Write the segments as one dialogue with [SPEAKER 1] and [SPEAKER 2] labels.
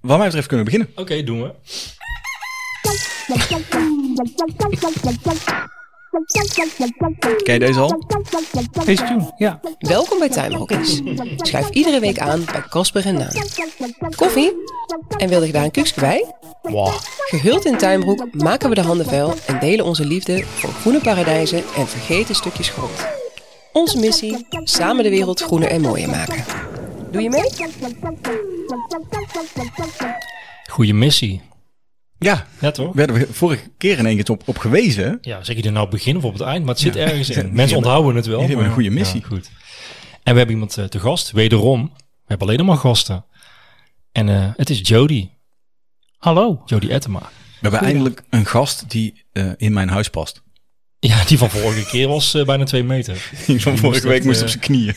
[SPEAKER 1] wat mij betreft kunnen we beginnen.
[SPEAKER 2] Oké, doen we.
[SPEAKER 1] Ken je deze al?
[SPEAKER 3] Deze tune, ja.
[SPEAKER 4] Welkom bij Tuinbroekjes. Schuif iedere week aan bij Kasper en Naam. Koffie? En wilde je daar een kuksje bij? Gehuld in tuinbroek maken we de handen vuil en delen onze liefde voor groene paradijzen en vergeten stukjes grond. Onze missie, samen de wereld groener en mooier maken. Doe je mee?
[SPEAKER 2] Goeie missie.
[SPEAKER 1] Ja,
[SPEAKER 2] Ja, toch?
[SPEAKER 1] werden we vorige keer in één keer op, op gewezen. hè?
[SPEAKER 2] Ja, zeg je er nou begin of op het eind, maar het zit ergens
[SPEAKER 1] Ja,
[SPEAKER 2] in. Mensen
[SPEAKER 1] maar-
[SPEAKER 2] onthouden het wel.
[SPEAKER 1] jullie hebben een goede
[SPEAKER 2] ja,
[SPEAKER 1] missie.
[SPEAKER 2] goed. En we hebben iemand eh, te gast, wederom. We hebben alleen maar gasten. En eh, het is Jody,
[SPEAKER 3] Hallo.
[SPEAKER 2] Jody Ettema.
[SPEAKER 1] We hebben eindelijk een gast die eh, in mijn huis past.
[SPEAKER 2] Ja, die van vorige keer was eh, bijna twee meter.
[SPEAKER 1] Die van vorige
[SPEAKER 2] moest
[SPEAKER 1] week
[SPEAKER 2] het,
[SPEAKER 1] moest
[SPEAKER 2] eh,
[SPEAKER 1] op zijn knieën.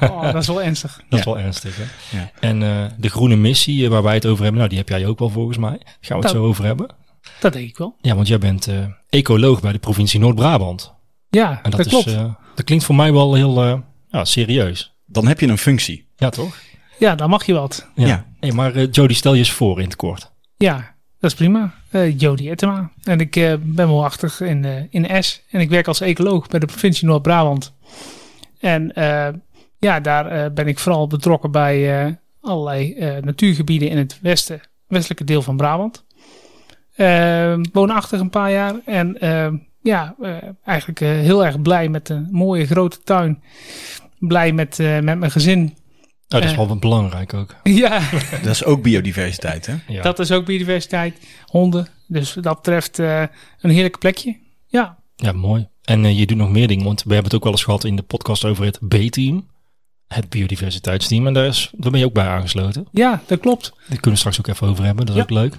[SPEAKER 3] Oh, dat is wel ernstig.
[SPEAKER 2] Dat is
[SPEAKER 1] Ja.
[SPEAKER 2] wel ernstig, hè?
[SPEAKER 1] Ja.
[SPEAKER 2] En eh, de groene missie eh, waar wij het over hebben, nou, die heb jij ook wel volgens mij. Daar gaan we het
[SPEAKER 3] Nou.
[SPEAKER 2] zo over hebben.
[SPEAKER 3] Dat denk ik wel.
[SPEAKER 2] Ja, want jij bent eh, ecoloog bij de provincie Noord-Brabant.
[SPEAKER 3] Ja,
[SPEAKER 2] En
[SPEAKER 3] dat,
[SPEAKER 2] dat, is,
[SPEAKER 3] klopt.
[SPEAKER 2] eh, dat klinkt voor mij wel heel eh, ja, serieus.
[SPEAKER 1] Dan heb je een functie.
[SPEAKER 2] Ja, toch?
[SPEAKER 3] ja, dan mag je wat.
[SPEAKER 2] Ja.
[SPEAKER 1] Ja.
[SPEAKER 2] Hey, maar eh, Jody, stel je eens voor in het kort. Nou,
[SPEAKER 3] Ja, dat is prima. Eh Jody Ettema. En ik eh, ben woonachtig in, eh in S. En ik werk als ecoloog bij de provincie Noord-Brabant. En eh, ja, daar eh, ben ik vooral betrokken bij eh, allerlei eh, natuurgebieden in het westen, westelijke deel van Brabant. Eh, woonachtig een paar jaar. En eh, ja, eh, eigenlijk eh, heel erg blij met een mooie grote tuin. Blij met, eh, met mijn gezin.
[SPEAKER 2] Nou, dat is
[SPEAKER 3] Eh.
[SPEAKER 2] wel belangrijk ook.
[SPEAKER 3] Ja,
[SPEAKER 1] Dat is ook biodiversiteit, hè?
[SPEAKER 2] Ja.
[SPEAKER 3] Dat is ook biodiversiteit. Honden. Dus wat dat betreft eh, een heerlijk plekje. Ja.
[SPEAKER 2] ja, mooi. En eh, je doet nog meer dingen, want we hebben het ook wel eens gehad in de podcast over het B-team. Het biodiversiteitsteam. En daar, is, daar ben je ook bij aangesloten.
[SPEAKER 3] ja, dat klopt.
[SPEAKER 2] Daar kunnen we straks ook even over hebben. Dat is
[SPEAKER 3] Ja.
[SPEAKER 2] ook leuk.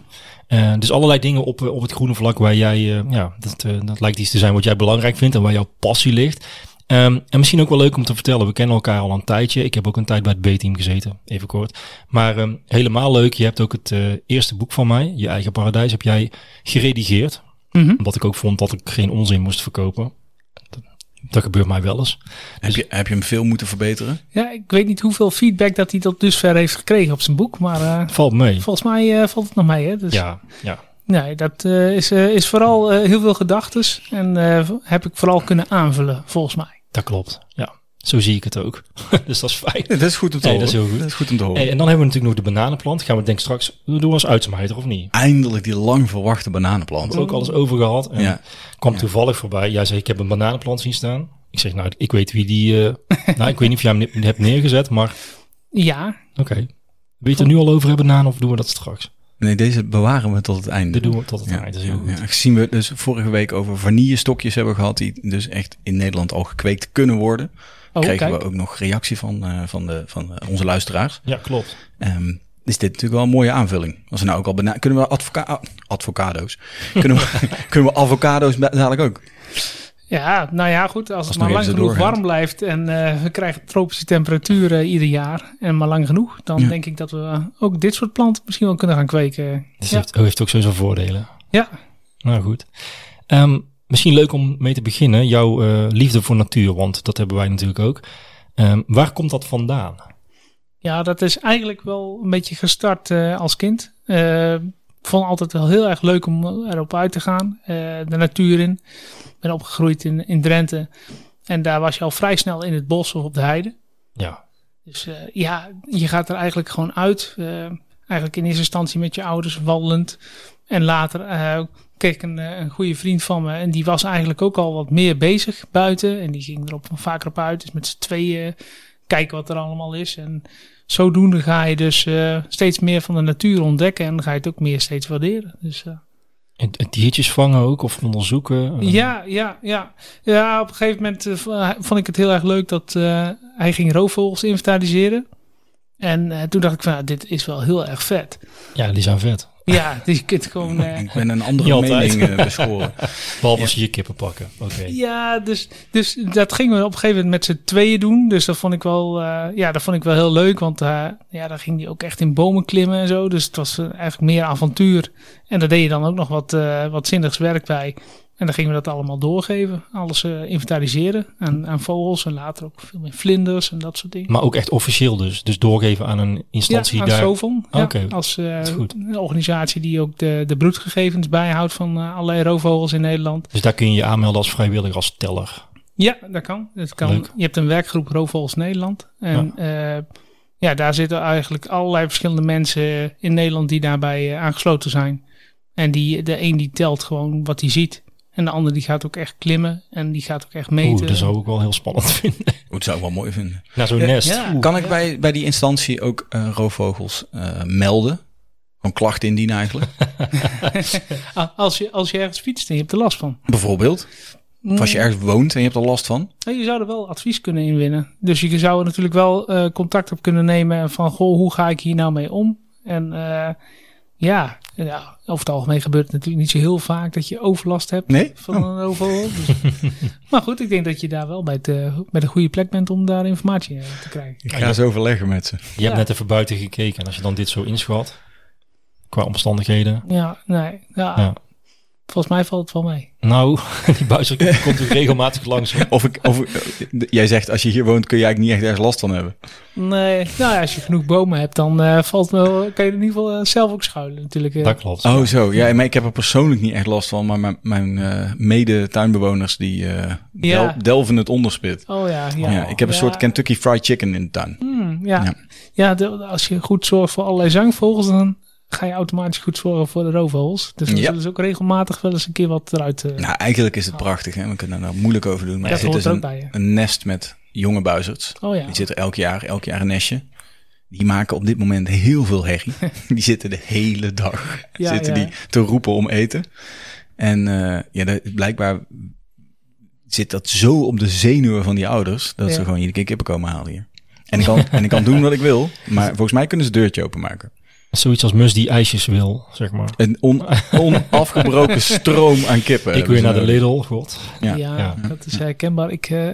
[SPEAKER 2] Eh, dus allerlei dingen op, eh, op het groene vlak waar jij, eh, ja, dat, eh, dat lijkt iets te zijn wat jij belangrijk vindt en waar jouw passie ligt. Ehm, en misschien ook wel leuk om te vertellen, we kennen elkaar al een tijdje. Ik heb ook een tijd bij het B-team gezeten, even kort. Maar ehm, helemaal leuk, je hebt ook het eh, eerste boek van mij, Je Eigen Paradijs, heb jij geredigeerd.
[SPEAKER 3] Mhm.
[SPEAKER 2] Omdat ik ook vond dat ik geen onzin moest verkopen. Dat- dat gebeurt mij wel eens.
[SPEAKER 1] Heb je, heb je hem veel moeten verbeteren?
[SPEAKER 3] Ja, ik weet niet hoeveel feedback dat hij tot dusver heeft gekregen op zijn boek. Maar eh,
[SPEAKER 2] Valt mee.
[SPEAKER 3] volgens mij eh, valt het nog mee. Hè? Dus,
[SPEAKER 2] Ja, ja.
[SPEAKER 3] Nee, dat eh, is, eh, is vooral eh, heel veel gedachtes. En eh, heb ik vooral kunnen aanvullen, volgens mij.
[SPEAKER 2] Dat klopt. Ja, zo zie ik het ook. dus dat is fijn.
[SPEAKER 1] Nee, dat is goed om te
[SPEAKER 2] Nee, dat
[SPEAKER 1] horen.
[SPEAKER 2] is heel goed.
[SPEAKER 1] om te horen.
[SPEAKER 2] Hey, en dan hebben we natuurlijk nog de bananenplant. Gaan we denk ik straks doen als uitsmijter of niet?
[SPEAKER 1] Eindelijk die lang verwachte
[SPEAKER 2] We
[SPEAKER 1] bananenplant.
[SPEAKER 2] hebben ook alles over gehad. En
[SPEAKER 1] Ja.
[SPEAKER 2] kwam toevallig voorbij. Jij zei, ik heb een bananenplant zien staan. Ik zeg, nou, ik weet wie die... eh, nou, ik weet niet of jij hem ne- hebt neergezet, maar...
[SPEAKER 3] Ja,
[SPEAKER 2] Oké. Wil je het er nu al over hebben, Naan, of doen we dat straks?
[SPEAKER 1] Nee, deze bewaren we tot het einde.
[SPEAKER 2] Dit doen we tot het
[SPEAKER 1] Ja,
[SPEAKER 2] eind. Dat is heel goed.
[SPEAKER 1] ja, gezien we dus vorige week over vanillestokjes hebben gehad, die dus echt in Nederland al gekweekt kunnen worden,
[SPEAKER 3] oh,
[SPEAKER 1] kregen
[SPEAKER 3] kijk.
[SPEAKER 1] we ook nog reactie van, eh, van, de, van eh, onze luisteraars.
[SPEAKER 2] Ja, klopt.
[SPEAKER 1] Ehm, is dit natuurlijk wel een mooie aanvulling. Als we nou ook al bena- kunnen we advoca ah, advocado's, kunnen we, kunnen we avocado's ba- dadelijk ook.
[SPEAKER 3] Ja, nou ja, goed. Als, het
[SPEAKER 1] nog
[SPEAKER 3] maar lang
[SPEAKER 1] even
[SPEAKER 3] genoeg
[SPEAKER 1] doorgaat.
[SPEAKER 3] warm blijft en eh, we krijgen tropische temperaturen eh, ieder jaar en maar lang genoeg, dan
[SPEAKER 1] Ja.
[SPEAKER 3] denk ik dat we eh, ook dit soort planten misschien wel kunnen gaan kweken.
[SPEAKER 2] Dus
[SPEAKER 3] ja.
[SPEAKER 2] heeft, heeft ook sowieso voordelen.
[SPEAKER 3] ja,
[SPEAKER 2] Nou goed. Ehm, misschien leuk om mee te beginnen. Jouw eh, liefde voor natuur, want dat hebben wij natuurlijk ook. Ehm, waar komt dat vandaan?
[SPEAKER 3] Ja, dat is eigenlijk wel een beetje gestart eh, als kind. Eh, ik vond het altijd wel heel erg leuk om erop uit te gaan. eh, de natuur in. Ik ben opgegroeid in, in Drenthe. En daar was je al vrij snel in het bos of op de heide.
[SPEAKER 2] Ja.
[SPEAKER 3] Dus eh, ja, je gaat er eigenlijk gewoon uit. eh, eigenlijk in eerste instantie met je ouders wandelend. En later eh, kreeg ik een, eh, een goede vriend van me. En die was eigenlijk ook al wat meer bezig buiten. En die ging erop vaker op uit. Dus met z'n tweeën kijken wat er allemaal is. En zodoende ga je dus eh, steeds meer van de natuur ontdekken. En ga je het ook meer steeds waarderen. Dus eh,
[SPEAKER 2] En, en diertjes vangen ook of onderzoeken? Eh,
[SPEAKER 3] ja, ja, ja. Ja, op een gegeven moment eh, v- eh, vond ik het heel erg leuk dat eh, hij ging roofvogels inventariseren. En eh, toen dacht ik van, nou, dit is wel heel erg vet.
[SPEAKER 2] Ja, die zijn vet.
[SPEAKER 3] Ja, dus je kunt gewoon... eh,
[SPEAKER 1] Ik ben een
[SPEAKER 2] Niet
[SPEAKER 1] andere
[SPEAKER 2] altijd.
[SPEAKER 1] mening eh, beschoren.
[SPEAKER 2] Behalve als je je kippen pakken. Oké.
[SPEAKER 3] ja, dus, dus dat gingen we op een gegeven moment met z'n tweeën doen. Dus dat vond ik wel, eh, ja, dat vond ik wel heel leuk. Want eh, ja, daar ging hij ook echt in bomen klimmen en zo. Dus het was eh, eigenlijk meer avontuur. En daar deed je dan ook nog wat, eh, wat zinnigs werk bij. En dan gingen we dat allemaal doorgeven. Alles eh, inventariseren aan, aan vogels en later ook veel meer vlinders en dat soort dingen.
[SPEAKER 2] Maar ook echt officieel dus. Dus doorgeven aan een instantie
[SPEAKER 3] ja, nou, aan
[SPEAKER 2] daar.
[SPEAKER 3] Sovon. Ja,
[SPEAKER 2] Oké,
[SPEAKER 3] Als eh,
[SPEAKER 2] is goed.
[SPEAKER 3] een organisatie die ook de, de broedgegevens bijhoudt van eh, allerlei roofvogels in Nederland.
[SPEAKER 2] Dus daar kun je je aanmelden als vrijwilliger, als teller.
[SPEAKER 3] Ja, dat kan. Dat kan.
[SPEAKER 2] Leuk.
[SPEAKER 3] Je hebt een werkgroep Roofvogels Nederland. En ja. ja, daar zitten eigenlijk allerlei verschillende mensen in Nederland die daarbij eh, aangesloten zijn. En die, de een die telt gewoon wat hij ziet. En de ander die gaat ook echt klimmen. En die gaat ook echt meten.
[SPEAKER 2] Oeh, dat zou ik wel heel spannend vinden.
[SPEAKER 1] Dat zou ik wel mooi vinden.
[SPEAKER 2] Naar zo'n
[SPEAKER 1] Ja,
[SPEAKER 2] nest.
[SPEAKER 3] ja.
[SPEAKER 2] Oeh.
[SPEAKER 1] Kan ik bij, bij die instantie ook eh, roofvogels eh, melden? Gewoon klachten indienen eigenlijk.
[SPEAKER 3] Ah, Als je, als je ergens fietst en je hebt er last van.
[SPEAKER 1] Bijvoorbeeld. Of
[SPEAKER 2] Mm.
[SPEAKER 1] als je ergens woont en je hebt er last van.
[SPEAKER 3] Nou, je zou er wel advies kunnen inwinnen. Dus je zou er natuurlijk wel eh, contact op kunnen nemen van goh, hoe ga ik hier nou mee om? En eh, ja, eh, ja, over het algemeen gebeurt het natuurlijk niet zo heel vaak dat je overlast hebt
[SPEAKER 1] Nee?
[SPEAKER 3] van een overhol. Dus. maar goed, ik denk dat je daar wel bij, de, bij de goede plek bent om daar informatie eh, te krijgen.
[SPEAKER 1] Ik ga eens overleggen met ze.
[SPEAKER 2] Je hebt net even buiten gekeken. En als je dan dit zo inschat, qua omstandigheden.
[SPEAKER 3] Ja, nee. Ja,
[SPEAKER 2] Ja.
[SPEAKER 3] Volgens mij valt het wel mee.
[SPEAKER 2] Nou, die buizer die komt ook regelmatig langs. hoor.
[SPEAKER 1] Of ik, of, ik- jij zegt, als je hier woont kun je eigenlijk niet echt ergens last van hebben.
[SPEAKER 3] Nee, nou ja, als je genoeg bomen hebt, dan eh, valt wel, kan je er in ieder geval eh, zelf ook schuilen natuurlijk. eh.
[SPEAKER 2] Dat klopt.
[SPEAKER 1] Oh zo, ja, maar ik heb er persoonlijk niet echt last van. Maar mijn, mijn eh, mede-tuinbewoners die eh, del-
[SPEAKER 3] Ja.
[SPEAKER 1] delven het onderspit.
[SPEAKER 3] Oh ja, ja.
[SPEAKER 1] Ja, ik heb een soort
[SPEAKER 3] Ja.
[SPEAKER 1] Kentucky Fried Chicken in de tuin.
[SPEAKER 3] Hmm, ja,
[SPEAKER 1] Ja.
[SPEAKER 3] ja. de- als je goed zorgt voor allerlei zangvogels, dan ga je automatisch goed zorgen voor de roofvogels. Dus dan
[SPEAKER 1] Ja.
[SPEAKER 3] zullen ze ook regelmatig wel eens een keer wat eruit. eh,
[SPEAKER 1] Nou, eigenlijk is het prachtig. Hè? We kunnen daar moeilijk over doen. Maar
[SPEAKER 3] Ja,
[SPEAKER 1] er zit
[SPEAKER 3] dat
[SPEAKER 1] dus
[SPEAKER 3] hoort
[SPEAKER 1] een,
[SPEAKER 3] er ook bij,
[SPEAKER 1] een nest met jonge buizerds.
[SPEAKER 3] oh ja.
[SPEAKER 1] Die zitten elk jaar, elk jaar een nestje. Die maken op dit moment heel veel herrie. Die zitten de hele dag
[SPEAKER 3] Ja,
[SPEAKER 1] zitten
[SPEAKER 3] ja.
[SPEAKER 1] Die te roepen om eten. En eh, ja, dat- blijkbaar zit dat zo op de zenuwen van die ouders... dat ze
[SPEAKER 3] Ja.
[SPEAKER 1] gewoon iedere keer kippen komen halen hier. En ik, kan, en ik kan doen wat ik wil, maar volgens mij kunnen ze het deurtje openmaken.
[SPEAKER 2] Zoiets als mus die ijsjes wil, zeg maar.
[SPEAKER 1] Een on- onafgebroken stroom aan kippen.
[SPEAKER 2] Ik weer naar de
[SPEAKER 1] lid.
[SPEAKER 2] Lidl, god.
[SPEAKER 1] Ja.
[SPEAKER 3] Ja,
[SPEAKER 2] Ja.
[SPEAKER 3] dat is herkenbaar. Ik, eh,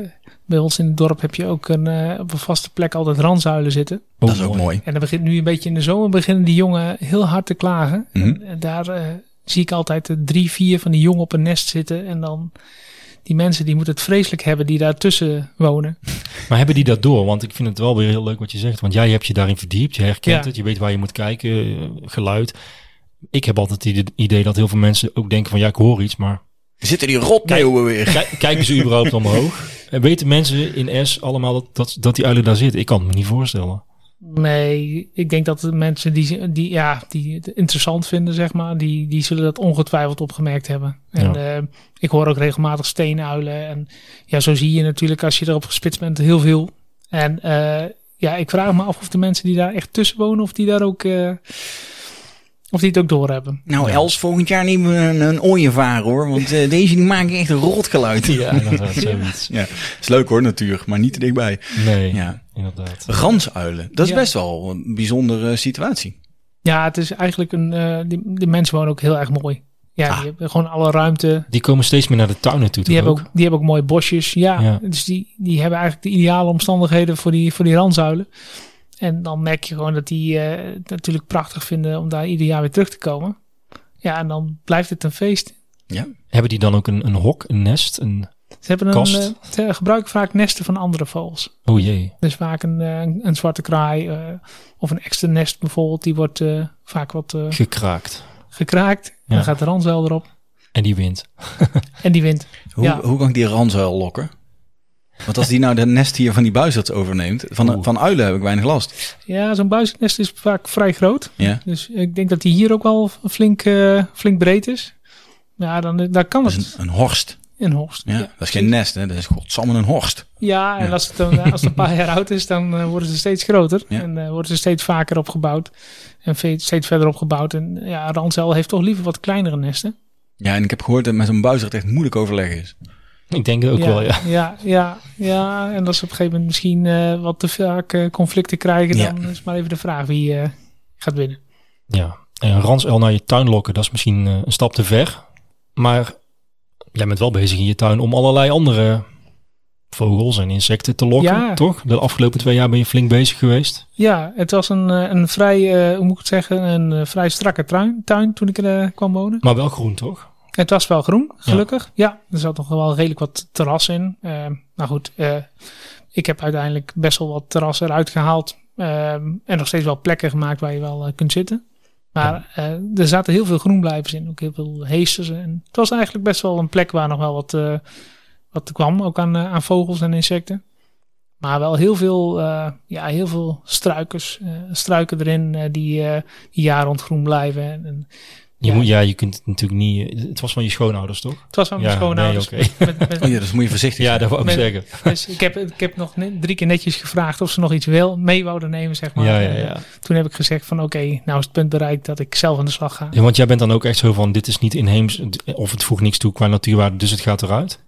[SPEAKER 3] bij ons in het dorp heb je ook een, eh, op een vaste plek altijd randzuilen zitten.
[SPEAKER 1] Dat
[SPEAKER 2] Oh,
[SPEAKER 1] is ook mooi.
[SPEAKER 3] En dan begint nu een beetje in de zomer beginnen die jongen heel hard te klagen.
[SPEAKER 1] Mhm.
[SPEAKER 3] En, eh, daar eh, zie ik altijd eh, drie, vier van die jongen op een nest zitten. En dan die mensen die moeten het vreselijk hebben die daartussen wonen.
[SPEAKER 2] Maar hebben die dat door? Want ik vind het wel weer heel leuk wat je zegt. Want jij hebt je daarin verdiept, je herkent
[SPEAKER 3] Ja.
[SPEAKER 2] het, je weet waar je moet kijken, eh, geluid. Ik heb altijd het idee dat heel veel mensen ook denken van ja, ik hoor iets, maar
[SPEAKER 1] Zitten die rotmeeuwen weer?
[SPEAKER 2] kijk, kijken ze überhaupt omhoog? En weten mensen in S allemaal dat, dat, dat die uilen daar zitten? Ik kan het me niet voorstellen.
[SPEAKER 3] Nee, ik denk dat de mensen die, die, ja, die het interessant vinden, zeg maar, die, die zullen dat ongetwijfeld opgemerkt hebben. En eh, ik hoor ook regelmatig steenuilen. En ja, zo zie je natuurlijk als je erop gespitst bent heel veel. En eh, ja, ik vraag me af of de mensen die daar echt tussen wonen, of die daar ook. eh, of die het ook doorhebben.
[SPEAKER 1] Nou,
[SPEAKER 2] Ja.
[SPEAKER 1] Els, volgend jaar nemen we een, een ooievaar hoor. Want eh, deze die maken echt een rotgeluid.
[SPEAKER 2] Ja, inderdaad, zoiets.
[SPEAKER 1] Ja, is leuk hoor, natuur, maar niet te dichtbij.
[SPEAKER 2] Nee,
[SPEAKER 1] Ja.
[SPEAKER 2] inderdaad.
[SPEAKER 1] Ransuilen, dat is
[SPEAKER 3] Ja.
[SPEAKER 1] best wel een bijzondere eh, situatie.
[SPEAKER 3] Ja, het is eigenlijk een. eh die, die mensen wonen ook heel erg mooi. Ja,
[SPEAKER 1] Ah.
[SPEAKER 3] die hebben gewoon alle ruimte.
[SPEAKER 2] Die komen steeds meer naar de tuinen toe,
[SPEAKER 3] Die
[SPEAKER 2] toch
[SPEAKER 3] hebben
[SPEAKER 2] ook?
[SPEAKER 3] ook, die hebben ook mooie bosjes. Ja,
[SPEAKER 2] Ja.
[SPEAKER 3] dus die, die hebben eigenlijk de ideale omstandigheden voor die, voor die randzuilen. En dan merk je gewoon dat die eh, het natuurlijk prachtig vinden om daar ieder jaar weer terug te komen. Ja, en dan blijft het een feest.
[SPEAKER 2] Hebben die dan ook een, een hok, een nest? Een...
[SPEAKER 3] Ze, hebben een,
[SPEAKER 2] Kast.
[SPEAKER 3] eh, ze gebruiken vaak nesten van andere vogels.
[SPEAKER 2] Oh jee.
[SPEAKER 3] Dus vaak een, eh, een, een zwarte kraai eh, of een extra nest bijvoorbeeld. Die wordt eh, vaak wat eh,
[SPEAKER 2] gekraakt.
[SPEAKER 3] gekraakt.
[SPEAKER 2] Ja.
[SPEAKER 3] Dan gaat de randzuil erop
[SPEAKER 2] En die wint.
[SPEAKER 3] en die wint.
[SPEAKER 1] Hoe,
[SPEAKER 3] Ja.
[SPEAKER 1] hoe kan ik die ransuil lokken? Want als die nou de nest hier van die buizerds overneemt, van,
[SPEAKER 2] Oeh.
[SPEAKER 1] van uilen heb ik weinig last.
[SPEAKER 3] Ja, zo'n buizennest is vaak vrij groot.
[SPEAKER 1] Ja.
[SPEAKER 3] Dus ik denk dat die hier ook wel flink, eh, flink breed is. Ja, dan, eh, daar kan
[SPEAKER 1] Dat
[SPEAKER 3] het
[SPEAKER 1] is een, een horst.
[SPEAKER 3] in Horst.
[SPEAKER 1] Ja. dat is geen nest, hè? dat is godsamme een horst.
[SPEAKER 3] Ja, en
[SPEAKER 1] Ja.
[SPEAKER 3] Als, het dan, eh, als het een paar jaar oud is, dan eh, worden ze steeds groter.
[SPEAKER 1] Ja.
[SPEAKER 3] En eh, worden ze steeds vaker opgebouwd. En ve- steeds verder opgebouwd. En ja, Ransel heeft toch liever wat kleinere nesten.
[SPEAKER 1] Ja, en ik heb gehoord dat met zo'n buizerd echt moeilijk overleg is.
[SPEAKER 2] Ik denk het ook
[SPEAKER 3] ja,
[SPEAKER 2] wel, ja.
[SPEAKER 3] Ja, ja, ja. en als ze op een gegeven moment misschien eh, wat te vaak eh, conflicten krijgen,
[SPEAKER 1] Ja.
[SPEAKER 3] dan is maar even de vraag wie eh, gaat winnen.
[SPEAKER 2] ja. En ransuil naar je tuin lokken, dat is misschien eh, een stap te ver. Maar jij bent wel bezig in je tuin om allerlei andere vogels en insecten te lokken,
[SPEAKER 3] Ja.
[SPEAKER 2] toch? De afgelopen twee jaar ben je flink bezig geweest.
[SPEAKER 3] Ja, het was een, eh, een vrij, eh, hoe moet ik het zeggen, een eh, vrij strakke tuin, tuin toen ik er eh, kwam wonen.
[SPEAKER 2] Maar wel groen, toch?
[SPEAKER 3] Het was wel groen, gelukkig. Ja, er zat nog wel redelijk wat terras in. Eh, maar goed, eh, ik heb uiteindelijk best wel wat terras eruit gehaald. ehm, en nog steeds wel plekken gemaakt waar je wel eh, kunt zitten. Maar eh, er zaten heel veel groenblijvers in, ook heel veel heesters. En het was eigenlijk best wel een plek waar nog wel wat, eh, wat kwam, ook aan, eh, aan vogels en insecten. Maar wel heel veel, eh, ja, heel veel struikers, eh, struiken erin eh, die eh, die jaar rond groen blijven. En, en
[SPEAKER 2] Je
[SPEAKER 3] Ja.
[SPEAKER 2] Moet, ja, je kunt het natuurlijk niet... Het was van je schoonouders, toch?
[SPEAKER 3] het was wel mijn
[SPEAKER 2] Ja,
[SPEAKER 3] schoonouders.
[SPEAKER 2] nee,
[SPEAKER 3] met, met,
[SPEAKER 1] Oh ja, dus moet je voorzichtig
[SPEAKER 2] Ja, dat wou ik
[SPEAKER 3] Met-
[SPEAKER 2] zeggen.
[SPEAKER 3] Dus ik heb, ik heb nog net- drie keer netjes gevraagd of ze nog iets wil, mee wouden nemen, zeg maar.
[SPEAKER 2] Ja, ja,
[SPEAKER 3] En,
[SPEAKER 2] ja.
[SPEAKER 3] eh, Toen heb ik gezegd van oké, nou is het punt bereikt dat ik zelf aan de slag ga.
[SPEAKER 2] Ja, want jij bent dan ook echt zo van, dit is niet inheems, d- of het voegt niks toe qua natuurwaarde, dus het gaat eruit.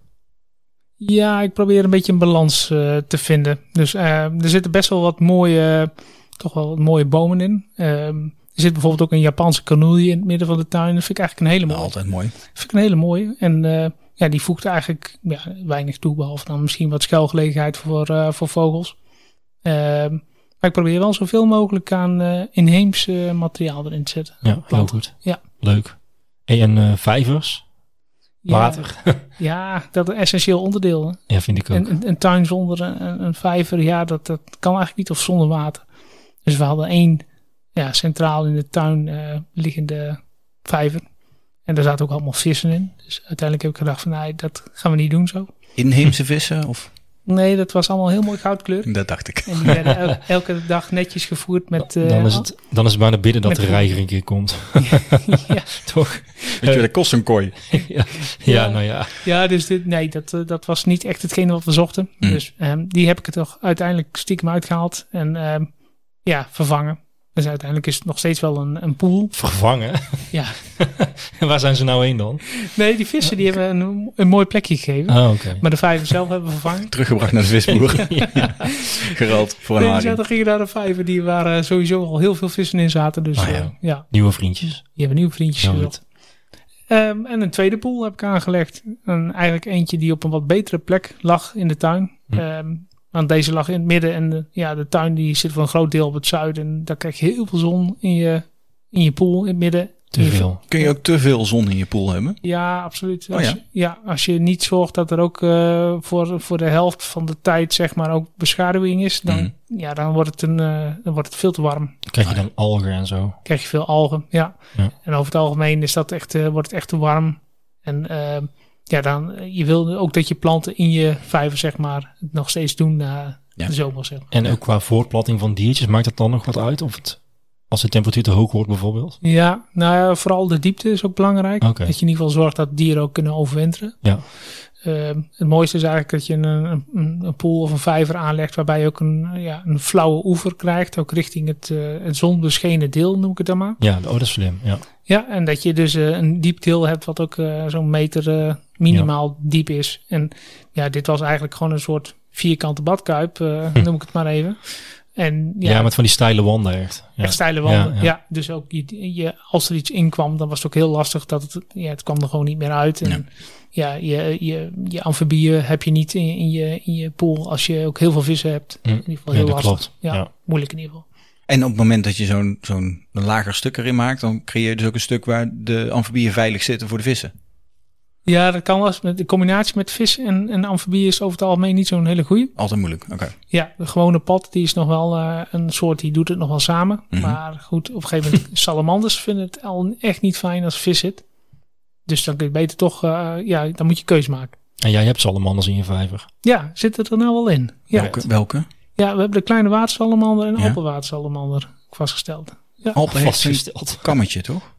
[SPEAKER 3] Ja, ik probeer een beetje een balans eh, te vinden. Dus eh, er zitten best wel wat mooie, toch wel wat mooie bomen in. Ehm, er zit bijvoorbeeld ook een Japanse kanoelje in het midden van de tuin. Dat vind ik eigenlijk een hele
[SPEAKER 1] Nou,
[SPEAKER 3] mooie.
[SPEAKER 1] altijd mooi.
[SPEAKER 3] vind ik een hele mooie. En eh, ja, die voegt eigenlijk ja, weinig toe, behalve dan misschien wat schuilgelegenheid voor, eh, voor vogels. Ehm, maar ik probeer wel zoveel mogelijk aan eh, inheems eh, materiaal erin te zetten.
[SPEAKER 2] Ja, heel
[SPEAKER 3] Klopt.
[SPEAKER 2] goed.
[SPEAKER 3] Ja.
[SPEAKER 2] Leuk. Hey, En eh, vijvers,
[SPEAKER 3] Ja,
[SPEAKER 2] water.
[SPEAKER 3] Ja, dat is een essentieel onderdeel. hè.
[SPEAKER 2] Ja, vind ik ook.
[SPEAKER 3] Een, een, een tuin zonder een, een- een vijver, ja, dat, dat kan eigenlijk niet. Of zonder water. Dus we hadden één ja, centraal in de tuin eh, liggende vijver. En daar zaten ook allemaal vissen in. Dus uiteindelijk heb ik gedacht van, nee, dat gaan we niet doen zo.
[SPEAKER 1] Inheemse vissen? Of?
[SPEAKER 3] Nee, dat was allemaal heel mooi goudkleur.
[SPEAKER 1] Dat dacht ik.
[SPEAKER 3] En die werden el- elke dag netjes gevoerd met... eh,
[SPEAKER 2] dan, is het, dan is het bijna bidden dat
[SPEAKER 3] met
[SPEAKER 2] de
[SPEAKER 3] groen.
[SPEAKER 2] reiger een keer komt.
[SPEAKER 3] Ja.
[SPEAKER 2] Toch?
[SPEAKER 1] Weet je, dat kost een kooi.
[SPEAKER 2] ja.
[SPEAKER 3] Ja.
[SPEAKER 2] nou ja.
[SPEAKER 3] Ja, dus dit, nee, dat, eh, dat was niet echt hetgene wat we zochten.
[SPEAKER 1] Mm.
[SPEAKER 3] Dus ehm, die heb ik er toch uiteindelijk stiekem uitgehaald. En ehm, ja, vervangen. Dus uiteindelijk is het nog steeds wel een, een pool.
[SPEAKER 2] Vervangen.
[SPEAKER 3] Ja.
[SPEAKER 2] En Waar zijn ze nou heen dan?
[SPEAKER 3] Nee, die vissen die hebben een, een mooi plekje gegeven.
[SPEAKER 2] Ah, oké.
[SPEAKER 3] Nou, Maar de vijver zelf hebben we vervangen.
[SPEAKER 1] Teruggebracht naar de visboer. Gerald voor een
[SPEAKER 3] Nee,
[SPEAKER 1] haring.
[SPEAKER 3] dus ja, dan gingen daar de vijver die waar eh, sowieso al heel veel vissen in zaten. Dus
[SPEAKER 2] Ah,
[SPEAKER 3] eh,
[SPEAKER 2] ja.
[SPEAKER 3] ja.
[SPEAKER 2] Nieuwe vriendjes. Nou,
[SPEAKER 3] die hebben nieuwe vriendjes
[SPEAKER 2] Ja,
[SPEAKER 3] gezocht. Ehm, en een tweede pool heb ik aangelegd. En eigenlijk eentje die op een wat betere plek lag in de tuin.
[SPEAKER 2] Hm.
[SPEAKER 3] Ehm, want deze lag in het midden en de, ja, de tuin die zit voor een groot deel op het zuiden. En daar krijg je heel veel zon in je, in je pool in het midden.
[SPEAKER 2] Te
[SPEAKER 3] In je-
[SPEAKER 2] veel.
[SPEAKER 1] Kun je ook te veel zon in je pool hebben?
[SPEAKER 3] Ja, absoluut.
[SPEAKER 1] Oh
[SPEAKER 3] als,
[SPEAKER 1] ja.
[SPEAKER 3] Je, ja, als je niet zorgt dat er ook eh, voor, voor de helft van de tijd zeg maar ook beschaduwing is, dan,
[SPEAKER 2] Hm.
[SPEAKER 3] ja, dan, wordt, het een, eh, dan wordt het veel te warm.
[SPEAKER 2] Dan krijg je
[SPEAKER 1] Ah, ja.
[SPEAKER 2] dan algen en zo.
[SPEAKER 3] krijg je veel algen. Ja.
[SPEAKER 2] Ja.
[SPEAKER 3] En over het algemeen is dat echt, eh, wordt het echt te warm. En ehm, ja, dan, eh, je wil ook dat je planten in je vijver, zeg maar, het nog steeds doen na
[SPEAKER 1] Ja.
[SPEAKER 3] de zomer. Zeg maar.
[SPEAKER 2] En ook qua voortplatting van diertjes, maakt dat dan nog wat uit? Of het, als de temperatuur te hoog wordt bijvoorbeeld?
[SPEAKER 3] Ja, nou ja, vooral de diepte is ook belangrijk.
[SPEAKER 2] Oké.
[SPEAKER 3] Dat je in ieder geval zorgt dat dieren ook kunnen overwinteren.
[SPEAKER 2] Ja.
[SPEAKER 3] Ehm, het mooiste is eigenlijk dat je een, een, een pool of een vijver aanlegt waarbij je ook een, ja, een flauwe oever krijgt. Ook richting het, eh, het zonbeschenen deel noem ik het dan maar.
[SPEAKER 2] Ja, oh, dat is slim. Ja.
[SPEAKER 3] Ja, en dat je dus eh, een diep deel hebt wat ook eh, zo'n meter eh, minimaal diep is. En ja, dit was eigenlijk gewoon een soort vierkante badkuip, eh, noem ik het maar even. En ja,
[SPEAKER 2] Hm. Ja. met van die steile wanden echt. Ja.
[SPEAKER 3] echt steile wanden.
[SPEAKER 2] Ja,
[SPEAKER 3] Ja,
[SPEAKER 2] ja.
[SPEAKER 3] dus ook je, je, als er iets in kwam, dan was het ook heel lastig dat het, ja, het kwam er gewoon niet meer uit. En ja, je, je, je amfibieën heb je niet in, je- in, je, in je pool als je ook heel veel vissen hebt.
[SPEAKER 2] Hm.
[SPEAKER 3] In ieder geval
[SPEAKER 2] Ja,
[SPEAKER 3] heel
[SPEAKER 2] dat
[SPEAKER 3] lastig.
[SPEAKER 2] klopt.
[SPEAKER 3] Ja,
[SPEAKER 2] Ja.
[SPEAKER 3] moeilijk in ieder geval.
[SPEAKER 1] En op het moment dat je zo'n zo'n lager stuk erin maakt, dan creëer je dus ook een stuk waar de amfibieën veilig zitten voor de vissen.
[SPEAKER 3] Ja, dat kan wel eens. Met De combinatie met vis en, en amfibieën is over het algemeen niet zo'n hele goeie.
[SPEAKER 1] Altijd moeilijk. Oké.
[SPEAKER 3] Ja, de gewone pad die is nog wel eh, een soort die doet het nog wel samen.
[SPEAKER 1] Mhm.
[SPEAKER 3] Maar goed, op een gegeven moment salamanders vinden het al echt niet fijn als vis zit. Dus dan kun je beter toch, eh, ja, dan moet je keus maken.
[SPEAKER 2] En jij hebt salamanders in je vijver.
[SPEAKER 3] Ja, zit het er nou wel in? Ja,
[SPEAKER 1] Welke? welke?
[SPEAKER 3] ja we hebben de kleine watersalamander en de
[SPEAKER 1] Ja.
[SPEAKER 3] appelwatersalamander vastgesteld.
[SPEAKER 1] Alpen heeft een
[SPEAKER 2] Vastgesteld.
[SPEAKER 1] kammetje, toch?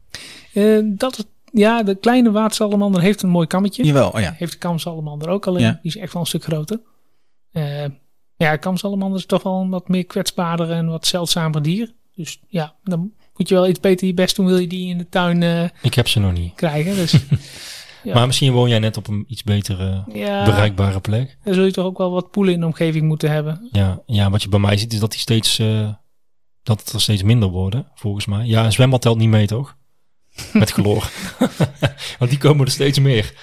[SPEAKER 3] Eh, dat, is- ja, de kleine watersalamander heeft een mooi kammetje.
[SPEAKER 1] Jawel, oh ja.
[SPEAKER 3] Heeft de kamsalamander ook alleen.
[SPEAKER 1] Ja.
[SPEAKER 3] Die is echt wel een stuk groter. Eh, ja, kamsalamander is toch wel een wat meer kwetsbaarder en wat zeldzamer dier. Dus ja, dan moet je wel iets beter je best doen. Wil je die in de tuin eh,
[SPEAKER 2] Ik heb ze nog niet.
[SPEAKER 3] krijgen. Dus Ja.
[SPEAKER 2] Maar misschien woon jij net op een iets betere
[SPEAKER 3] ja,
[SPEAKER 2] bereikbare plek.
[SPEAKER 3] dan zul je toch ook wel wat poelen in de omgeving moeten hebben.
[SPEAKER 2] Ja, ja, wat je bij mij ziet is dat die steeds, eh, dat het er steeds minder worden, volgens mij. Ja, een zwembad telt niet mee, toch? Met chloor. Want die komen er steeds meer.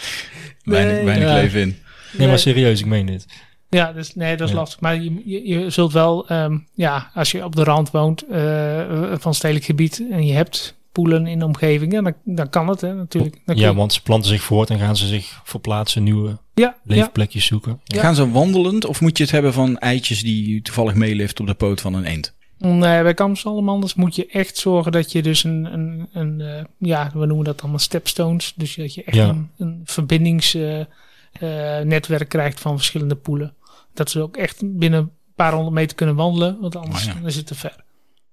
[SPEAKER 1] Weinig, weinig
[SPEAKER 2] ja.
[SPEAKER 1] leven in.
[SPEAKER 2] Nee, maar serieus, ik meen dit.
[SPEAKER 3] Ja, dus nee, dat is
[SPEAKER 2] Ja.
[SPEAKER 3] lastig. Maar je, je, je zult wel, ehm, ja, als je op de rand woont eh, van stedelijk gebied en je hebt poelen in de omgeving. Ja, dan, dan kan het hè, natuurlijk. Dan kun
[SPEAKER 2] Ja,
[SPEAKER 3] je-
[SPEAKER 2] want ze planten zich voort en gaan ze zich verplaatsen, nieuwe
[SPEAKER 3] ja, ja.
[SPEAKER 2] leefplekjes zoeken. Ja.
[SPEAKER 1] Gaan ze wandelend of moet je het hebben van eitjes die toevallig meelift op de poot van een eend?
[SPEAKER 3] Nee, eh, bij kamsalamanders moet je echt zorgen dat je dus een, een, een eh, ja, we noemen dat allemaal stepstones. Dus dat je echt
[SPEAKER 2] Ja.
[SPEAKER 3] een, een verbindingsnetwerk netwerk krijgt van verschillende poelen. Dat ze ook echt binnen een paar honderd meter kunnen wandelen, want anders
[SPEAKER 2] Ah,
[SPEAKER 1] Oh ja.
[SPEAKER 3] dan is het te ver.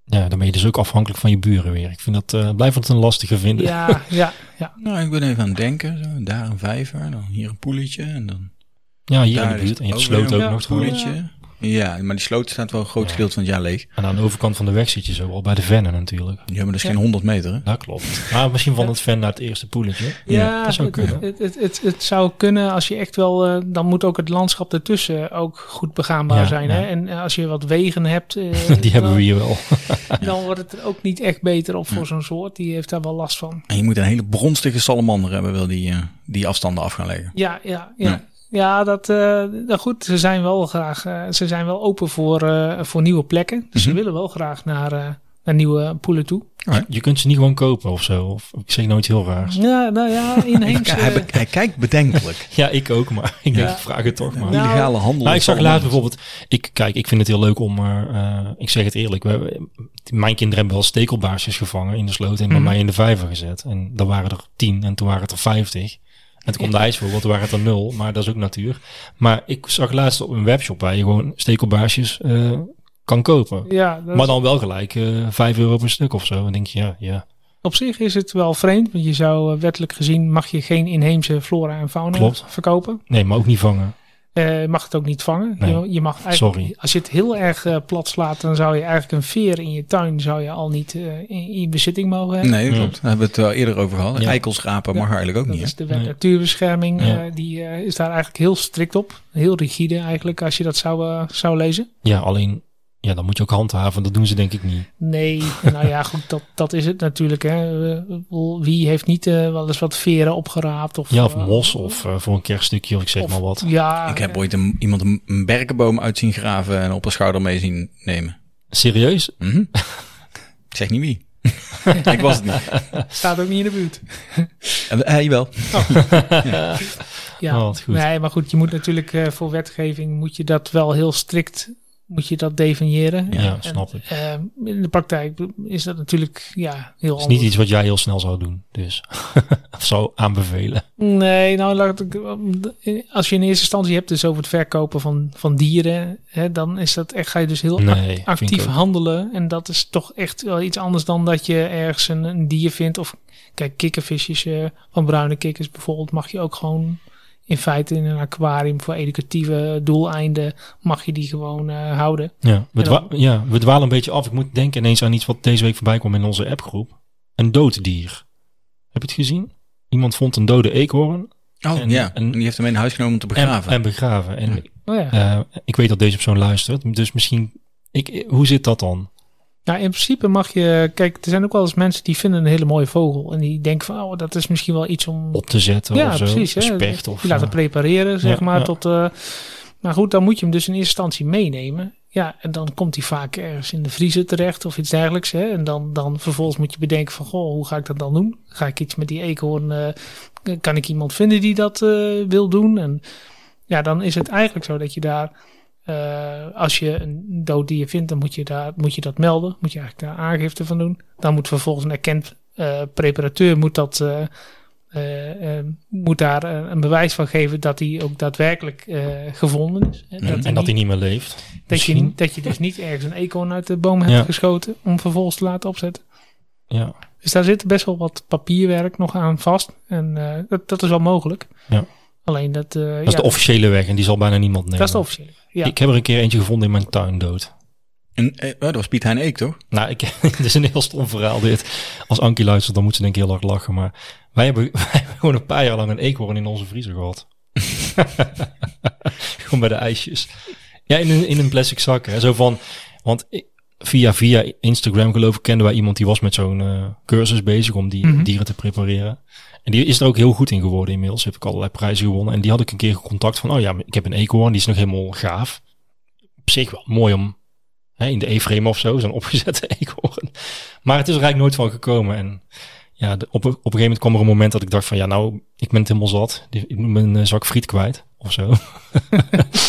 [SPEAKER 2] Ja, dan ben je dus ook afhankelijk van je buren weer. Ik vind dat, eh blijf het een lastige vinden.
[SPEAKER 3] Ja, ja, ja.
[SPEAKER 1] Nou, ik ben even aan het denken. Zo, daar een vijver, dan hier een poeletje en dan
[SPEAKER 2] Ja, hier
[SPEAKER 1] daar
[SPEAKER 2] in de buurt. En je hebt
[SPEAKER 1] weer
[SPEAKER 2] sloot ook
[SPEAKER 1] een
[SPEAKER 2] nog. gewoon.
[SPEAKER 1] poeletje. Ja, maar die sloot staat wel een groot gedeelte van het jaar leeg.
[SPEAKER 2] En aan de overkant van de weg zit je zo al bij de vennen natuurlijk.
[SPEAKER 1] Ja, maar dat is
[SPEAKER 3] Ja.
[SPEAKER 1] geen 100 meter, hè?
[SPEAKER 2] Dat klopt. Maar misschien van het ven naar het eerste poeletje.
[SPEAKER 3] Ja,
[SPEAKER 2] dat eh, zou
[SPEAKER 3] het,
[SPEAKER 2] kunnen.
[SPEAKER 3] Het, het, het, het zou kunnen als je echt wel, eh, dan moet ook het landschap ertussen ook goed begaanbaar
[SPEAKER 2] Ja,
[SPEAKER 3] zijn.
[SPEAKER 2] ja.
[SPEAKER 3] Hè? En eh, als je wat wegen hebt, eh,
[SPEAKER 2] Die hebben
[SPEAKER 3] dan,
[SPEAKER 2] we hier wel.
[SPEAKER 3] dan wordt het er ook niet echt beter op voor zo'n soort. Die heeft daar wel last van.
[SPEAKER 1] En je moet een hele bronstige salamander hebben, wil die, eh, die afstanden af gaan leggen.
[SPEAKER 3] Ja, ja,
[SPEAKER 1] Ja.
[SPEAKER 3] ja. Ja, dat, eh, nou goed, ze zijn wel graag, eh, ze zijn wel open voor, eh, voor nieuwe plekken. Dus
[SPEAKER 1] Mhm.
[SPEAKER 3] ze willen wel graag naar, eh, naar nieuwe poelen toe.
[SPEAKER 2] Je kunt ze niet gewoon kopen of zo. Of, ik zeg nooit heel raars.
[SPEAKER 3] Ja, nou ja, inheems.
[SPEAKER 1] Hij,
[SPEAKER 3] eh,
[SPEAKER 1] be- hij kijkt bedenkelijk.
[SPEAKER 2] Ja, ik ook, maar ik denk,
[SPEAKER 3] Ja.
[SPEAKER 2] ik vraag het toch maar.
[SPEAKER 3] Nou,
[SPEAKER 1] Illegale handel.
[SPEAKER 2] Nou,
[SPEAKER 1] in
[SPEAKER 2] ik zag
[SPEAKER 1] salamanders.
[SPEAKER 2] laatst bijvoorbeeld. Ik, kijk, ik vind het heel leuk om. eh, eh, ik zeg het eerlijk. We, mijn kinderen hebben wel stekelbaarsjes gevangen in de sloot. En bij
[SPEAKER 3] Mhm.
[SPEAKER 2] mij in de vijver gezet. En dan waren er tien. En toen waren het er vijftig. En toen kwam de ijsvogel. Toen waren het er nul. Maar dat is ook natuur. Maar ik zag laatst op een webshop waar je gewoon stekelbaarsjes eh, kan kopen.
[SPEAKER 3] ja, dat-
[SPEAKER 2] Maar dan wel gelijk eh 5 euro per stuk of zo. En dan denk je, ja, ja
[SPEAKER 3] op zich is het wel vreemd. Want je zou eh, wettelijk gezien mag je geen inheemse flora en fauna
[SPEAKER 2] Klopt.
[SPEAKER 3] verkopen.
[SPEAKER 2] nee, maar ook niet vangen.
[SPEAKER 3] Eh, je mag het ook niet vangen.
[SPEAKER 2] Nee.
[SPEAKER 3] Je, je mag eigenlijk,
[SPEAKER 2] Sorry.
[SPEAKER 3] Als je het heel erg eh, plat slaat, dan zou je eigenlijk een veer in je tuin zou je al niet eh, in, in je bezitting mogen hebben.
[SPEAKER 1] Nee,
[SPEAKER 2] Ja.
[SPEAKER 1] klopt. Daar hebben we het wel eerder over gehad.
[SPEAKER 2] Ja.
[SPEAKER 1] Eikelschrapen mag
[SPEAKER 3] Ja,
[SPEAKER 1] eigenlijk ook
[SPEAKER 3] Dat
[SPEAKER 1] niet, hè?
[SPEAKER 3] is de wet
[SPEAKER 2] Nee.
[SPEAKER 3] natuurbescherming.
[SPEAKER 2] Ja.
[SPEAKER 3] eh, die eh, is daar eigenlijk heel strikt op. Heel rigide eigenlijk, als je dat zou, eh, zou lezen.
[SPEAKER 2] Ja, alleen. Ja, dan moet je ook handhaven. Dat doen ze denk ik niet.
[SPEAKER 3] Nee, nou ja, goed, dat, dat is het natuurlijk. Hè. Eh, ik bedoel, Wie heeft niet eh, wel eens wat veren opgeraapt? Of,
[SPEAKER 2] Ja, of
[SPEAKER 3] eh,
[SPEAKER 2] mos. Of eh, voor een kerststukje. Of ik zeg
[SPEAKER 3] of-
[SPEAKER 2] maar wat.
[SPEAKER 3] Ja,
[SPEAKER 1] Ik heb ooit een, iemand een, een berkenboom uit zien graven en op een schouder mee zien nemen.
[SPEAKER 2] Serieus?
[SPEAKER 1] Mhm. ik zeg niet wie. ik was het niet.
[SPEAKER 3] staat ook niet in de buurt.
[SPEAKER 1] En, eh, jawel.
[SPEAKER 3] Ja.
[SPEAKER 2] Oh, wat goed.
[SPEAKER 3] Nee, maar goed, je moet natuurlijk eh, voor wetgeving moet je dat wel heel strikt moet je dat definiëren.
[SPEAKER 2] Ja,
[SPEAKER 3] En,
[SPEAKER 2] snap ik.
[SPEAKER 3] eh, in de praktijk is dat natuurlijk ja, heel
[SPEAKER 2] Het is
[SPEAKER 3] anders.
[SPEAKER 2] niet iets wat jij heel snel zou doen, dus. of zou aanbevelen.
[SPEAKER 3] Nee, nou, laat ik, als je in eerste instantie hebt dus over het verkopen van, van dieren, hè, dan is dat echt, ga je dus heel
[SPEAKER 2] Nee,
[SPEAKER 3] act-
[SPEAKER 2] vind ik
[SPEAKER 3] actief
[SPEAKER 2] ook.
[SPEAKER 3] handelen. En dat is toch echt wel iets anders dan dat je ergens een, een dier vindt. Of kijk, kikkervisjes eh, van bruine kikkers bijvoorbeeld, mag je ook gewoon in feite in een aquarium voor educatieve doeleinden, mag je die gewoon eh, houden.
[SPEAKER 2] Ja we,
[SPEAKER 3] En dan-
[SPEAKER 2] dwa- ja, we dwalen een beetje af. Ik moet denken ineens aan iets wat deze week voorbij kwam in onze appgroep. Een dood dier. Heb je het gezien? Iemand vond een dode eekhoorn
[SPEAKER 1] Oh,
[SPEAKER 2] En-
[SPEAKER 1] ja.
[SPEAKER 2] en-
[SPEAKER 1] En die heeft hem mee naar huis genomen om te
[SPEAKER 2] en,
[SPEAKER 1] begraven.
[SPEAKER 2] en begraven. En
[SPEAKER 3] Nou ja.
[SPEAKER 2] eh, ik weet dat deze persoon luistert, dus misschien... Ik, hoe zit dat dan?
[SPEAKER 3] Nou, in principe mag je. Kijk, er zijn ook wel eens mensen die vinden een hele mooie vogel. En die denken van, oh, dat is misschien wel iets om
[SPEAKER 2] Op te zetten
[SPEAKER 3] Ja,
[SPEAKER 2] of zo?
[SPEAKER 3] precies. Hè.
[SPEAKER 2] Specht of...
[SPEAKER 3] je laat het
[SPEAKER 2] eh,
[SPEAKER 3] prepareren, zeg
[SPEAKER 2] ja,
[SPEAKER 3] maar.
[SPEAKER 2] ja.
[SPEAKER 3] Tot, eh, maar goed, dan moet je hem dus in eerste instantie meenemen. Ja, en dan komt hij vaak ergens in de vriezer terecht of iets dergelijks. Hè. En dan, dan vervolgens moet je bedenken van, goh, hoe ga ik dat dan doen? Ga ik iets met die eekhoorn, eh, kan ik iemand vinden die dat eh, wil doen? En ja, dan is het eigenlijk zo dat je daar, eh, als je een dood dier vindt, dan moet je, daar, moet je dat melden. Moet je eigenlijk daar aangifte van doen. Dan moet vervolgens een erkend eh, preparateur moet dat... eh, eh, eh, moet daar eh, een bewijs van geven dat hij ook daadwerkelijk eh, gevonden is. Hè,
[SPEAKER 2] Hmm, en dat hij niet meer leeft.
[SPEAKER 3] dat, je,
[SPEAKER 2] misschien.
[SPEAKER 3] niet- dat je dus niet ergens een eekhoorn uit de boom hebt
[SPEAKER 2] Ja.
[SPEAKER 3] geschoten om vervolgens te laten opzetten.
[SPEAKER 2] Ja.
[SPEAKER 3] Dus daar zit best wel wat papierwerk nog aan vast. En eh, dat, dat is wel mogelijk.
[SPEAKER 2] Ja.
[SPEAKER 3] Alleen dat... eh,
[SPEAKER 2] Dat is
[SPEAKER 3] ja,
[SPEAKER 2] de officiële weg en die zal bijna niemand nemen.
[SPEAKER 3] dat is de officiële. Ja.
[SPEAKER 2] Ik heb er een keer eentje gevonden in mijn tuin dood.
[SPEAKER 1] En, eh, oh, dat was Piet Hein Eek, toch?
[SPEAKER 2] Nou, ik, dit is een heel stom verhaal dit. Als Ankie luistert, dan moet ze denk ik heel hard lachen. Maar wij hebben, wij hebben gewoon een paar jaar lang een eekhoorn in onze vriezer gehad. gewoon bij de ijsjes. Ja, in een, in een plastic zak. Hè. Zo van, want ik- via, via Instagram geloof ik kenden wij iemand die was met zo'n eh, cursus bezig om die
[SPEAKER 3] Mhm.
[SPEAKER 2] dieren te prepareren. En die is er ook heel goed in geworden inmiddels. Heb ik allerlei prijzen gewonnen. En die had ik een keer contact van, oh ja, ik heb een eekhoorn, die is nog helemaal gaaf. Op zich wel mooi om hè, in de E-frame of zo, zo'n opgezette eekhoorn. Maar het is er eigenlijk nooit van gekomen. En ja, de- op, op een gegeven moment kwam er een moment dat ik dacht van, ja nou, ik ben het helemaal zat. Die- Ik ben mijn eh, zak friet kwijt, of zo.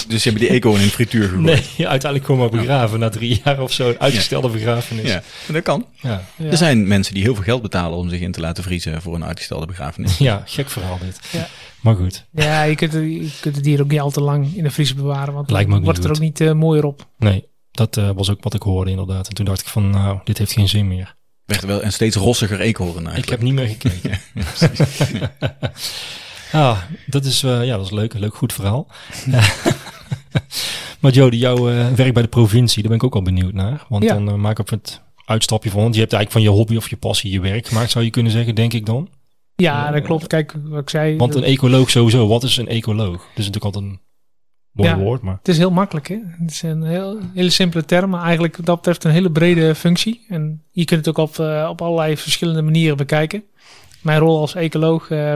[SPEAKER 1] Dus ze hebben die eekhoorn in de frituur gegooid.
[SPEAKER 2] Nee, ja, uiteindelijk gewoon maar begraven na drie jaar of zo. Een uitgestelde begrafenis.
[SPEAKER 1] Ja, dat kan.
[SPEAKER 2] Ja.
[SPEAKER 3] Ja.
[SPEAKER 1] Er zijn mensen die heel veel geld betalen om zich in te laten vriezen voor een uitgestelde begrafenis.
[SPEAKER 2] Ja, gek verhaal dit.
[SPEAKER 3] Ja.
[SPEAKER 2] Maar goed,
[SPEAKER 3] Ja, je kunt, het- je kunt het dier ook niet al te lang in de vriezer bewaren. Want
[SPEAKER 2] Lijkt me ook
[SPEAKER 3] dan
[SPEAKER 2] niet
[SPEAKER 3] wordt het er ook niet eh, mooier op.
[SPEAKER 2] nee, dat eh, was ook wat ik hoorde inderdaad. En toen dacht ik van, nou, dit heeft geen zin meer.
[SPEAKER 1] Werd wel een steeds rossiger eekhoorn
[SPEAKER 2] Ik
[SPEAKER 1] eigenlijk.
[SPEAKER 2] heb niet meer gekeken. ah, dat is, eh, ja, dat is leuk. Leuk, goed verhaal. maar Jody, jouw eh, werk bij de provincie, daar ben ik ook al benieuwd naar. Want
[SPEAKER 3] Ja.
[SPEAKER 2] dan eh, maken we het uitstapje van. Want je hebt eigenlijk van je hobby of je passie je werk gemaakt, zou je kunnen zeggen, denk ik dan.
[SPEAKER 3] Ja, dat klopt. Kijk wat ik zei.
[SPEAKER 2] Want een e- ecoloog sowieso, wat is een ecoloog? Dat is natuurlijk altijd een mooi
[SPEAKER 3] Ja.
[SPEAKER 2] woord, maar
[SPEAKER 3] Het is heel makkelijk. Hè? Het is een heel, hele simpele term, maar eigenlijk wat dat betreft een hele brede functie. En je kunt het ook op, eh, op allerlei verschillende manieren bekijken. Mijn rol als ecoloog eh,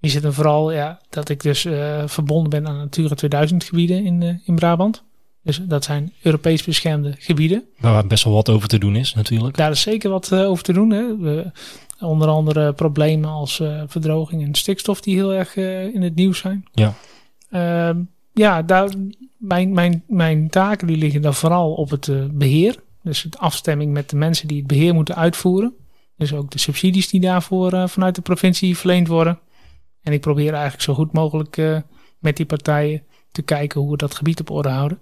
[SPEAKER 3] die zit er vooral ja, dat ik dus eh, verbonden ben aan Natura 2000 gebieden in, eh, in Brabant. Dus dat zijn Europees beschermde gebieden.
[SPEAKER 2] waar best wel wat over te doen is natuurlijk.
[SPEAKER 3] Daar is zeker wat eh, over te doen. Hè? We- onder andere problemen als eh, verdroging en stikstof die heel erg eh, in het nieuws zijn.
[SPEAKER 2] Ja.
[SPEAKER 3] Ehm, ja, daar, mijn, mijn, mijn taken die liggen dan vooral op het eh, beheer. Dus het afstemming met de mensen die het beheer moeten uitvoeren. Dus ook de subsidies die daarvoor eh, vanuit de provincie verleend worden. En ik probeer eigenlijk zo goed mogelijk eh, met die partijen te kijken hoe we dat gebied op orde houden.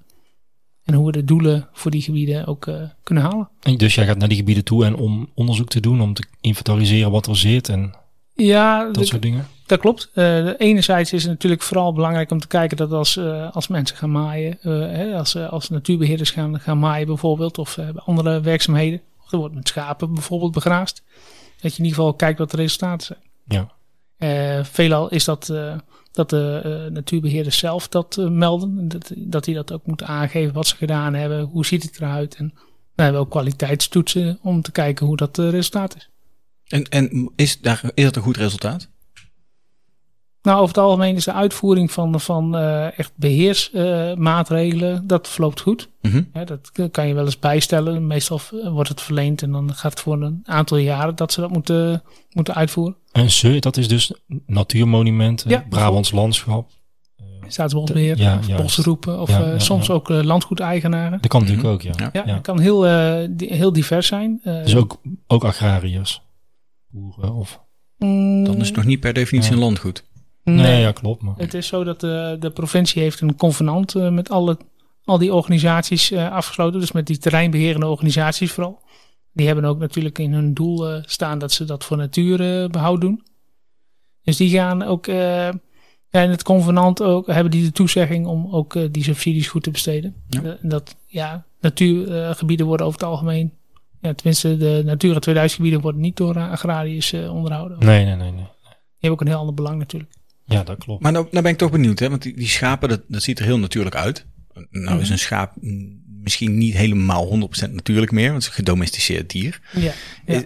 [SPEAKER 3] En hoe we de doelen voor die gebieden ook eh, kunnen halen.
[SPEAKER 2] En dus jij gaat naar die gebieden toe en om onderzoek te doen, om te inventariseren wat er zit en
[SPEAKER 3] Ja,
[SPEAKER 2] dat
[SPEAKER 3] dat,
[SPEAKER 2] soort dingen.
[SPEAKER 3] dat klopt. Eh, enerzijds is het natuurlijk vooral belangrijk om te kijken dat als, eh, als mensen gaan maaien, eh, hè, als, eh, als natuurbeheerders gaan, gaan maaien bijvoorbeeld, of eh, bij andere werkzaamheden, of er wordt met schapen bijvoorbeeld begraasd, dat je in ieder geval kijkt wat de resultaten zijn.
[SPEAKER 2] Ja.
[SPEAKER 3] Eh, veelal is dat eh, dat de eh, natuurbeheerders zelf dat eh, melden, en dat, dat die dat ook moeten aangeven wat ze gedaan hebben, hoe ziet het eruit en we hebben we ook kwaliteitstoetsen om te kijken hoe dat eh, resultaat is.
[SPEAKER 1] En, en is, daar, is dat een goed resultaat?
[SPEAKER 3] Nou, over het algemeen is de uitvoering van, van eh, echt beheersmaatregelen, eh, dat verloopt goed.
[SPEAKER 1] Mhm.
[SPEAKER 3] Hè, dat kan je wel eens bijstellen. Meestal v- wordt het verleend en dan gaat het voor een aantal jaren dat ze dat moeten, moeten uitvoeren.
[SPEAKER 2] En ze, dat is dus natuurmonument, eh,
[SPEAKER 3] Ja.
[SPEAKER 2] Brabants landschap.
[SPEAKER 3] Staatsbosbeheer,
[SPEAKER 2] Ja,
[SPEAKER 3] of
[SPEAKER 2] juist.
[SPEAKER 3] bosroepen of
[SPEAKER 2] Ja,
[SPEAKER 3] eh,
[SPEAKER 2] ja,
[SPEAKER 3] soms
[SPEAKER 2] ja.
[SPEAKER 3] ook eh, landgoedeigenaren.
[SPEAKER 2] Dat kan
[SPEAKER 1] Mhm.
[SPEAKER 2] natuurlijk ook, ja.
[SPEAKER 1] Ja.
[SPEAKER 3] Ja, dat kan heel, eh, di- heel divers zijn. Eh,
[SPEAKER 2] Dus ook, ook agrariërs. Boeren of...
[SPEAKER 3] mm,
[SPEAKER 1] Dan is het nog niet per definitie
[SPEAKER 2] Ja.
[SPEAKER 1] een landgoed.
[SPEAKER 2] Nee,
[SPEAKER 3] nee.
[SPEAKER 2] ja, klopt. Maar.
[SPEAKER 3] Het is zo dat de, de provincie heeft een convenant eh, met alle, al die organisaties eh, afgesloten. Dus met die terreinbeherende organisaties vooral. Die hebben ook natuurlijk in hun doel eh, staan dat ze dat voor natuurbehoud doen. Dus die gaan ook eh, ja, in het convenant ook, hebben die de toezegging om ook eh, die subsidies goed te besteden.
[SPEAKER 1] Ja.
[SPEAKER 3] Eh, dat, ja, natuurgebieden worden over het algemeen, ja, tenminste de Natura 2000 gebieden worden niet door eh, agrariërs eh, onderhouden. Die
[SPEAKER 2] Nee, nee, nee, nee.
[SPEAKER 3] hebben ook een heel ander belang natuurlijk.
[SPEAKER 2] Ja, dat klopt.
[SPEAKER 1] Maar nou, nou ben ik toch benieuwd, hè? want die, die schapen, dat, dat ziet er heel natuurlijk uit. Nou is een schaap mm, misschien niet helemaal 100% natuurlijk meer, want het is een gedomesticeerd dier.
[SPEAKER 3] Ja, ja.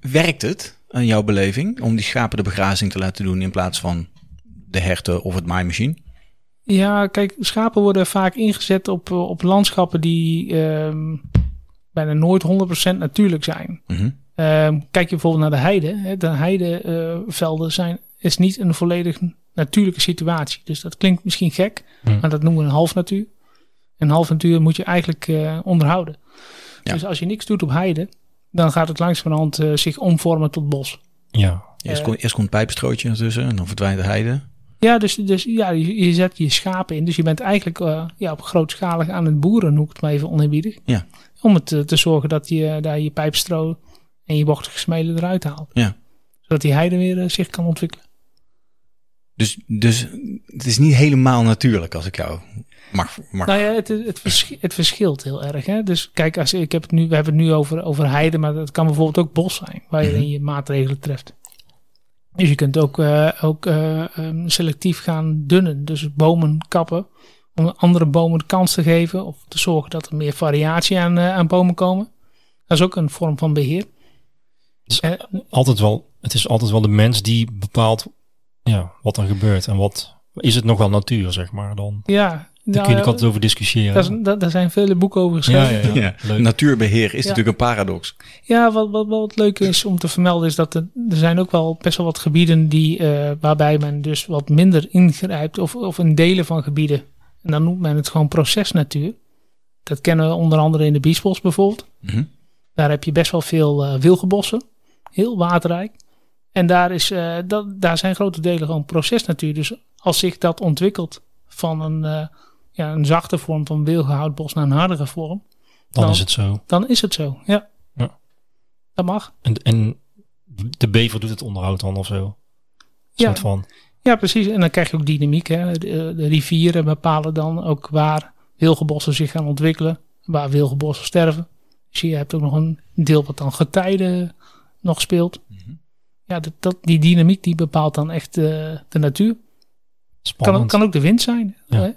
[SPEAKER 1] Werkt het, aan jouw beleving, om die schapen de begrazing te laten doen in plaats van de herten of het maaimachine?
[SPEAKER 3] Ja, kijk, schapen worden vaak ingezet op, eh, op landschappen die ehm, bijna nooit 100% natuurlijk zijn.
[SPEAKER 1] Mhm.
[SPEAKER 3] Ehm, kijk je bijvoorbeeld naar de heide. Hè? De heidevelden zijn, is niet een volledig natuurlijke situatie. Dus dat klinkt misschien gek,
[SPEAKER 2] Hmm.
[SPEAKER 3] maar dat noemen we een half natuur. En half natuur moet je eigenlijk eh, onderhouden.
[SPEAKER 1] Ja.
[SPEAKER 3] Dus als je niks doet op heide, dan gaat het langzamerhand eh, zich omvormen tot bos.
[SPEAKER 2] Ja.
[SPEAKER 1] Eerst,
[SPEAKER 3] Eh.
[SPEAKER 1] komt eerst komt het pijpstrootje ertussen en dan verdwijnt de heide.
[SPEAKER 3] Ja, dus, dus ja, je, je zet je schapen in. Dus je bent eigenlijk eh, ja, op grootschalig aan het boeren, noem ik het maar even oneerbiedig.
[SPEAKER 1] Ja.
[SPEAKER 3] Om het eh, te zorgen dat je daar je pijpstro en je bochtige smelen eruit haalt.
[SPEAKER 1] Ja.
[SPEAKER 3] Zodat die heide weer eh, zich kan ontwikkelen.
[SPEAKER 1] Dus, dus het is niet helemaal natuurlijk als ik jou mag. mag.
[SPEAKER 3] Nou ja, het, het, versch- het verschilt heel erg. Hè? Dus kijk, als, ik heb het nu, we hebben het nu over, over heide, maar dat kan bijvoorbeeld ook bos zijn. Waar je
[SPEAKER 1] Mhm.
[SPEAKER 3] in je maatregelen treft. Dus je kunt ook, eh, ook eh, ehm, selectief gaan dunnen. Dus bomen kappen. Om andere bomen de kans te geven. Of te zorgen dat er meer variatie aan, eh, aan bomen komen. Dat is ook een vorm van beheer.
[SPEAKER 2] Dus-
[SPEAKER 3] Eh,
[SPEAKER 2] Altijd wel, het is altijd wel de mens die bepaalt ja, wat er gebeurt. En wat is het nog wel natuur, zeg maar, dan.
[SPEAKER 3] ja, nou,
[SPEAKER 2] Daar kun je altijd over discussiëren.
[SPEAKER 3] Daar, zijn- daar- daar zijn vele boeken over geschreven.
[SPEAKER 2] ja,
[SPEAKER 3] Ja,
[SPEAKER 2] ja, ja.
[SPEAKER 1] Ja.
[SPEAKER 2] Leuk.
[SPEAKER 1] Natuurbeheer is
[SPEAKER 3] Ja.
[SPEAKER 1] natuurlijk een paradox.
[SPEAKER 3] wat, wat, wat leuk is om te vermelden is dat er, er zijn ook wel best wel wat gebieden die, eh, waarbij men dus wat minder ingrijpt of, of in delen van gebieden. En dan noemt men het gewoon procesnatuur. Dat kennen we onder andere in de Biesbos bijvoorbeeld.
[SPEAKER 1] Mhm.
[SPEAKER 3] Daar heb je best wel veel eh, wilgenbossen. Heel waterrijk. En daar, is, eh, dat, daar zijn grote delen gewoon procesnatuur. Dus als zich dat ontwikkelt van een, eh, ja, een zachte vorm van wilgenhoutbos naar een hardere vorm,
[SPEAKER 2] Dan
[SPEAKER 3] Dan.
[SPEAKER 2] is het zo.
[SPEAKER 3] dan is het zo. Ja.
[SPEAKER 2] Ja.
[SPEAKER 3] Dat mag.
[SPEAKER 2] En, en de bever doet het onderhoud dan of zo.
[SPEAKER 3] Ja.
[SPEAKER 2] Soort van.
[SPEAKER 3] Ja, precies. En dan krijg je ook dynamiek. Hè. De, de rivieren bepalen dan ook waar wilgenbossen zich gaan ontwikkelen, waar wilgenbossen sterven. Dus je hebt ook nog een deel wat dan getijden nog speelt.
[SPEAKER 2] Mhm.
[SPEAKER 3] Ja, dat, dat, die dynamiek die bepaalt dan echt eh, de natuur. Kan, ook-
[SPEAKER 2] Spannend.
[SPEAKER 3] kan ook de wind zijn.
[SPEAKER 2] Ja.
[SPEAKER 3] hè.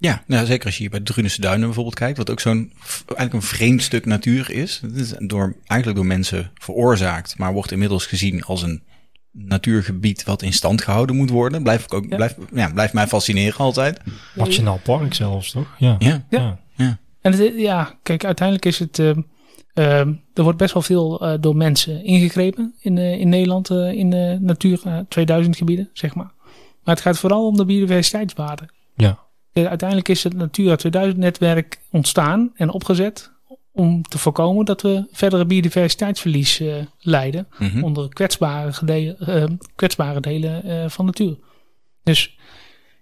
[SPEAKER 1] Ja, nou, zeker als je hier bij Drunense Duinen bijvoorbeeld kijkt, wat ook zo'n v- eigenlijk een vreemd stuk natuur is. Het is door, eigenlijk door mensen veroorzaakt, maar wordt inmiddels gezien als een natuurgebied wat in stand gehouden moet worden. Blijf ik ook,
[SPEAKER 3] Ja.
[SPEAKER 1] blijf, ja, blijft mij fascineren altijd.
[SPEAKER 2] Nationaal park zelfs, toch? Ja.
[SPEAKER 1] Ja,
[SPEAKER 3] Ja. En het, ja, kijk, uiteindelijk is het. ehm, ehm, er wordt best wel veel eh, door mensen ingegrepen in, eh, in Nederland, eh, in de Natuur eh, 2000 gebieden, zeg maar. Maar het gaat vooral om de biodiversiteitswaarde.
[SPEAKER 2] Ja.
[SPEAKER 3] Eh, uiteindelijk is het Natura 2000 netwerk ontstaan en opgezet om te voorkomen dat we verdere biodiversiteitsverlies eh, lijden
[SPEAKER 1] Mhm.
[SPEAKER 3] onder kwetsbare, gede- eh, kwetsbare delen eh, van natuur. Dus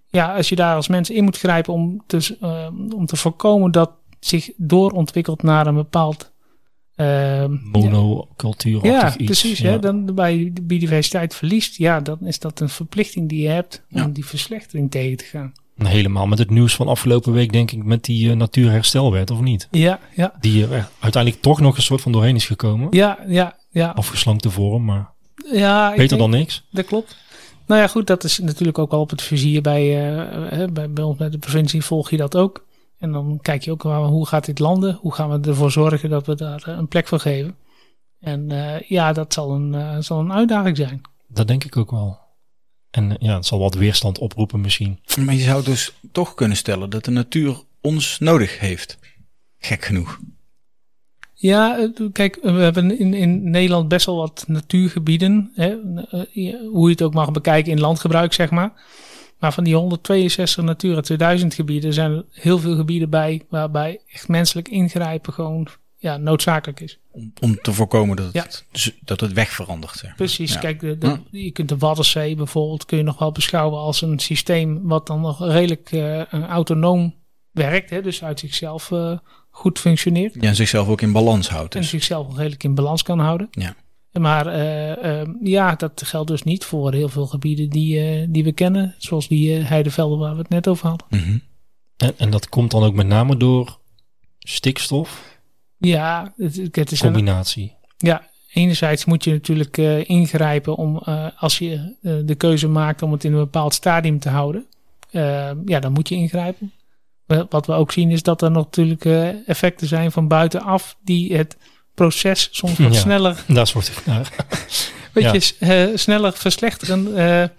[SPEAKER 3] ja, als je daar als mens in moet grijpen om te, s- eh, om te voorkomen dat zich doorontwikkelt naar een bepaald. ehm,
[SPEAKER 2] Monocultuur
[SPEAKER 3] ja, ja,
[SPEAKER 2] iets.
[SPEAKER 3] precies.
[SPEAKER 2] Ja.
[SPEAKER 3] Hè? Dan bij de biodiversiteit verliest, ja, dan is dat een verplichting die je hebt om
[SPEAKER 1] Ja.
[SPEAKER 3] die verslechtering tegen te gaan.
[SPEAKER 2] Helemaal met het nieuws van afgelopen week, denk ik, met die eh, natuurherstelwet, of niet?
[SPEAKER 3] Ja, ja,
[SPEAKER 2] Die er echt uiteindelijk toch nog een soort van doorheen is gekomen.
[SPEAKER 3] ja, ja, ja.
[SPEAKER 2] Afgeslankte vorm, maar
[SPEAKER 3] ja ik
[SPEAKER 2] beter
[SPEAKER 3] denk-
[SPEAKER 2] dan niks.
[SPEAKER 3] dat klopt. Nou ja, goed, dat is natuurlijk ook wel op het vizier bij, eh, hè, bij, bij ons met de provincie volg je dat ook. En dan kijk je ook waar, hoe gaat dit landen? Hoe gaan we ervoor zorgen dat we daar eh, een plek voor geven? En eh, ja, dat zal een, eh, zal een uitdaging zijn.
[SPEAKER 2] Dat denk ik ook wel. En eh, ja, het zal wat weerstand oproepen misschien.
[SPEAKER 1] Maar je zou dus toch kunnen stellen dat de natuur ons nodig heeft. Gek genoeg.
[SPEAKER 3] Ja, eh, kijk, we hebben in, in Nederland best wel wat natuurgebieden. Hè, eh, je- hoe je het ook mag bekijken in landgebruik, zeg maar. Maar van die 162 Natura 2000 gebieden zijn er heel veel gebieden bij waarbij echt menselijk ingrijpen gewoon ja, noodzakelijk is.
[SPEAKER 1] Om, om te voorkomen dat het, z- dat het wegverandert. Zeg maar.
[SPEAKER 3] Precies,
[SPEAKER 1] Ja.
[SPEAKER 3] kijk, de, de- je kunt de Waddenzee bijvoorbeeld kun je nog wel beschouwen als een systeem wat dan nog redelijk eh, autonoom werkt. Hè, dus uit zichzelf eh, goed functioneert.
[SPEAKER 1] Ja, en zichzelf ook in balans houdt.
[SPEAKER 3] en
[SPEAKER 1] Dus.
[SPEAKER 3] zichzelf nog redelijk in balans kan houden.
[SPEAKER 1] Ja.
[SPEAKER 3] Maar eh, eh, ja, dat geldt dus niet voor heel veel gebieden die, eh, die we kennen. Zoals die eh, heidevelden waar we het net over hadden.
[SPEAKER 1] Mhm.
[SPEAKER 2] En, en dat komt dan ook met name door stikstof
[SPEAKER 3] Ja, het, het is een,
[SPEAKER 2] combinatie.
[SPEAKER 3] ja, enerzijds moet je natuurlijk eh, ingrijpen om eh, als je eh, de keuze maakt om het in een bepaald stadium te houden. eh, ja, dan moet je ingrijpen. Eh, Wat we ook zien is dat er natuurlijk eh, effecten zijn van buitenaf die het proces soms wat
[SPEAKER 2] Ja.
[SPEAKER 3] sneller
[SPEAKER 2] Daar soort ik naar.
[SPEAKER 3] weet
[SPEAKER 2] Ja.
[SPEAKER 3] je, s- eh, sneller verslechteren eh,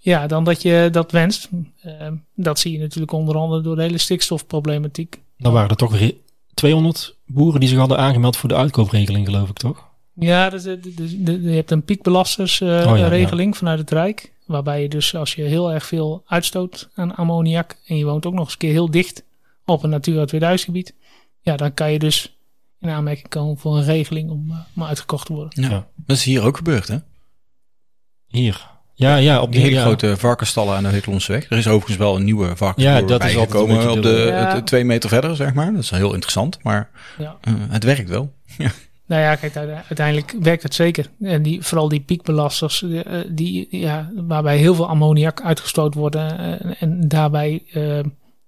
[SPEAKER 3] ja, dan dat je dat wenst. Eh, dat zie je natuurlijk onder andere door de hele stikstofproblematiek.
[SPEAKER 2] Dan waren er toch re- 200 boeren die zich hadden aangemeld voor de uitkoopregeling, geloof ik toch?
[SPEAKER 3] Ja, dus, eh, dus, de- de- je hebt een
[SPEAKER 2] Oh ja,
[SPEAKER 3] piekbelastersregeling vanuit het Rijk. Waarbij je dus als je heel erg veel uitstoot aan ammoniak en je woont ook nog eens een keer heel dicht op een Natura 2000 gebied. Ja, dan kan je dus in aanmerking komen voor een regeling om, eh, om uitgekocht te worden.
[SPEAKER 1] Ja.
[SPEAKER 2] Ja.
[SPEAKER 1] Dat is hier ook gebeurd, hè?
[SPEAKER 2] Hier. Ja, ja, op
[SPEAKER 1] Die
[SPEAKER 2] die
[SPEAKER 1] hele
[SPEAKER 2] ja.
[SPEAKER 1] grote varkenstallen aan de Heukelonsweg. Er is overigens wel een nieuwe varkensboer
[SPEAKER 2] Ja, dat is altijd een
[SPEAKER 1] bijgekomen
[SPEAKER 2] beetje
[SPEAKER 1] op de,
[SPEAKER 2] dubbel.
[SPEAKER 3] Ja.
[SPEAKER 1] het- het twee meter verder, zeg maar. Dat is heel interessant, maar
[SPEAKER 3] Ja.
[SPEAKER 1] eh, het werkt wel.
[SPEAKER 3] Nou ja, kijk, uite- uiteindelijk werkt het zeker. En die, vooral die piekbelasters, eh, eh, die, ja, waarbij heel veel ammoniak uitgestoot worden eh, en daarbij eh,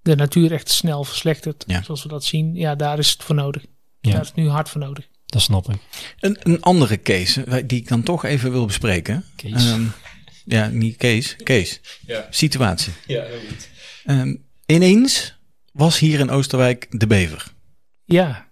[SPEAKER 3] de natuur echt snel verslechtert.
[SPEAKER 1] Ja.
[SPEAKER 3] Zoals we dat zien, ja, daar is het voor nodig.
[SPEAKER 2] Ja.
[SPEAKER 3] Daar is het nu hard voor nodig.
[SPEAKER 2] Dat snap ik.
[SPEAKER 1] Een, een andere case eh, die ik dan toch even wil bespreken.
[SPEAKER 2] Kees.
[SPEAKER 1] Ehm, ja, niet Kees. Kees.
[SPEAKER 2] Ja.
[SPEAKER 1] Situatie.
[SPEAKER 2] Ja,
[SPEAKER 1] Ehm, ineens was hier in Oosterwijk de bever.
[SPEAKER 3] Ja,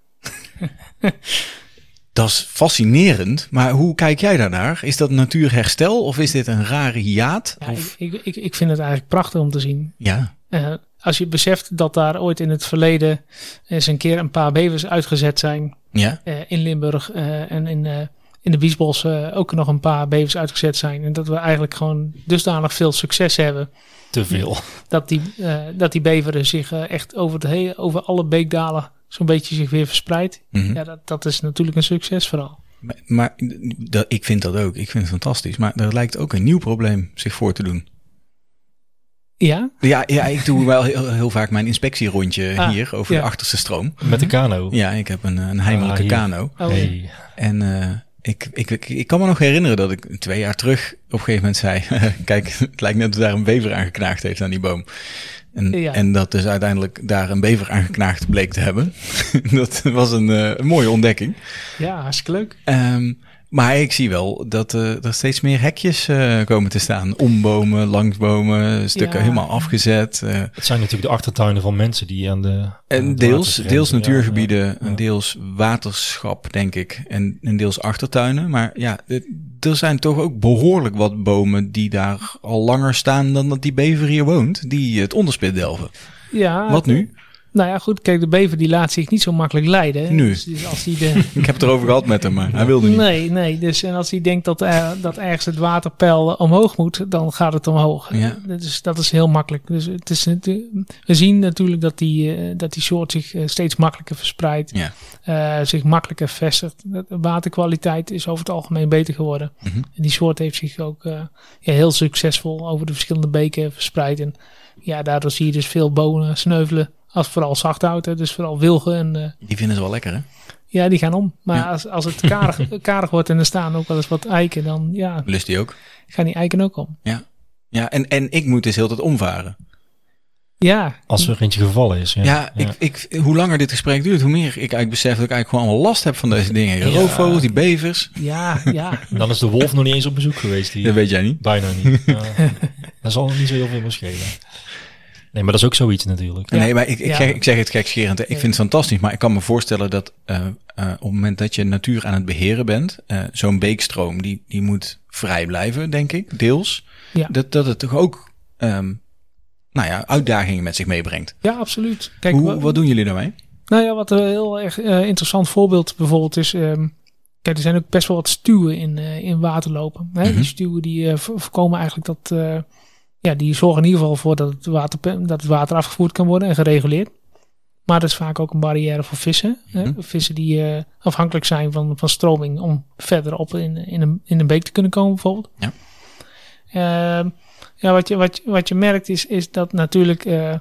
[SPEAKER 1] Dat is fascinerend, maar hoe kijk jij daarnaar? Is dat natuurherstel of is dit een rare jaat?
[SPEAKER 3] ja
[SPEAKER 1] of,
[SPEAKER 3] ik, ik, ik, ik vind het eigenlijk prachtig om te zien.
[SPEAKER 1] ja.
[SPEAKER 3] Eh, Als je beseft dat daar ooit in het verleden eens een keer een paar bevers uitgezet zijn.
[SPEAKER 1] Ja,
[SPEAKER 3] eh, in Limburg eh, en in, eh, in de Biesbos eh, ook nog een paar bevers uitgezet zijn. En dat we eigenlijk gewoon dusdanig veel succes hebben.
[SPEAKER 2] Te veel.
[SPEAKER 3] Dat die, eh, dat die beveren zich eh, echt over, het hele, over alle beekdalen zo'n beetje zich weer verspreidt.
[SPEAKER 1] mhm.
[SPEAKER 3] Ja, dat, dat is natuurlijk een succesverhaal.
[SPEAKER 1] Maar, maar dat, ik vind dat ook. Ik vind het fantastisch. Maar er lijkt ook een nieuw probleem zich voor te doen.
[SPEAKER 3] Ja,
[SPEAKER 1] Ja, ja ik doe wel heel, heel vaak mijn inspectierondje
[SPEAKER 3] Ah,
[SPEAKER 1] hier over
[SPEAKER 3] ja.
[SPEAKER 1] de achterste stroom.
[SPEAKER 2] Met de kano.
[SPEAKER 1] Ja, ik heb een, eh, een heimelijke
[SPEAKER 2] Ah, hier.
[SPEAKER 1] kano.
[SPEAKER 3] oh,
[SPEAKER 2] Hey.
[SPEAKER 1] En eh, ik, ik, ik, ik kan me nog herinneren dat ik twee jaar terug op een gegeven moment zei... Kijk, het lijkt net dat daar een bever aan geknaagd heeft aan die boom. En,
[SPEAKER 3] Ja.
[SPEAKER 1] en dat dus uiteindelijk daar een bever aan geknaagd bleek te hebben. dat was een, eh, een mooie ontdekking.
[SPEAKER 3] ja, hartstikke leuk.
[SPEAKER 1] Ehm, maar ik zie wel dat eh, er steeds meer hekjes eh, komen te staan. Om bomen, langs bomen, stukken
[SPEAKER 3] Ja.
[SPEAKER 1] helemaal afgezet. eh.
[SPEAKER 2] Het zijn natuurlijk de achtertuinen van mensen die aan de... aan
[SPEAKER 1] en
[SPEAKER 2] Eh, het
[SPEAKER 1] deels,
[SPEAKER 2] water grenzen.
[SPEAKER 1] deels
[SPEAKER 2] Ja,
[SPEAKER 1] natuurgebieden,
[SPEAKER 2] ja.
[SPEAKER 1] en deels waterschap, denk ik. En, en deels achtertuinen. Maar ja, het- er zijn toch ook behoorlijk wat bomen die daar al langer staan dan dat die bever hier woont. Die het onderspit delven.
[SPEAKER 3] Ja,
[SPEAKER 1] wat nu?
[SPEAKER 3] Nou ja, goed. Kijk, de bever die laat zich niet zo makkelijk leiden. hè.
[SPEAKER 1] Nu.
[SPEAKER 3] Dus, dus als hij de...
[SPEAKER 1] Ik heb het erover gehad met hem, maar hij wilde niet.
[SPEAKER 3] Nee, nee. Dus, en als hij denkt dat, eh, dat ergens het waterpeil eh, omhoog moet, dan gaat het omhoog.
[SPEAKER 1] Ja.
[SPEAKER 3] Dus dat is heel makkelijk. Dus het is, natu- we zien natuurlijk dat die, eh, dat die soort zich eh, steeds makkelijker verspreidt,
[SPEAKER 1] Ja.
[SPEAKER 3] eh, zich makkelijker vestigt. De waterkwaliteit is over het algemeen beter geworden.
[SPEAKER 1] Mhm.
[SPEAKER 3] En die soort heeft zich ook eh, ja, heel succesvol over de verschillende beken verspreid. En ja, daardoor zie je dus veel bonen sneuvelen. Als vooral zachthout, hè, dus vooral wilgen en eh,
[SPEAKER 1] Die vinden ze wel lekker, hè?
[SPEAKER 3] ja, die gaan om. Maar
[SPEAKER 1] Ja.
[SPEAKER 3] als, als het karig, karig wordt en er staan ook wel eens wat eiken, dan ja,
[SPEAKER 1] Lust die ook.
[SPEAKER 3] gaan die eiken ook om.
[SPEAKER 1] Ja, en, en ik moet dus heel tijd omvaren.
[SPEAKER 3] Ja,
[SPEAKER 2] Als er eentje gevallen is. Ja,
[SPEAKER 1] Ja, Ik, ik, hoe langer dit gesprek duurt, hoe meer ik eigenlijk besef dat ik eigenlijk gewoon allemaal last heb van deze dingen. Die
[SPEAKER 2] Ja.
[SPEAKER 1] Roofvogels, die bevers.
[SPEAKER 3] ja, ja.
[SPEAKER 2] Dan is de wolf nog niet eens op bezoek geweest. Die,
[SPEAKER 1] Dat weet jij niet.
[SPEAKER 2] Bijna niet. Ja. dat zal nog niet zo heel veel meer schelen. Nee, maar dat is ook zoiets natuurlijk.
[SPEAKER 3] Ja.
[SPEAKER 1] Nee, maar ik, ik,
[SPEAKER 3] Ja.
[SPEAKER 1] zeg, ik zeg het gekscherend. hè. Ik
[SPEAKER 3] Ja.
[SPEAKER 1] vind het fantastisch, maar ik kan me voorstellen dat eh, eh, op het moment dat je natuur aan het beheren bent, eh, zo'n beekstroom, die, die moet vrij blijven, denk ik, deels.
[SPEAKER 3] Ja.
[SPEAKER 1] Dat, dat het toch ook ehm, nou ja, uitdagingen met zich meebrengt.
[SPEAKER 3] ja, absoluut. Kijk,
[SPEAKER 1] hoe,
[SPEAKER 3] wa-
[SPEAKER 1] wat doen jullie daarmee?
[SPEAKER 3] Nou ja, wat een heel erg eh, interessant voorbeeld bijvoorbeeld is. ehm, kijk, er zijn ook best wel wat stuwen in, eh, in waterlopen. Hè?
[SPEAKER 1] Mhm.
[SPEAKER 3] Die stuwen die eh, vo- voorkomen eigenlijk dat. eh, ja, die zorgen in ieder geval voor dat het, water, dat het water afgevoerd kan worden en gereguleerd. Maar dat is vaak ook een barrière voor vissen. Hè?
[SPEAKER 1] Mhm.
[SPEAKER 3] Vissen die eh, afhankelijk zijn van, van stroming om verder op in, in, een, in een beek te kunnen komen bijvoorbeeld.
[SPEAKER 1] Ja.
[SPEAKER 3] Ehm, ja, wat je, wat, je- wat je merkt is, is dat natuurlijk eh,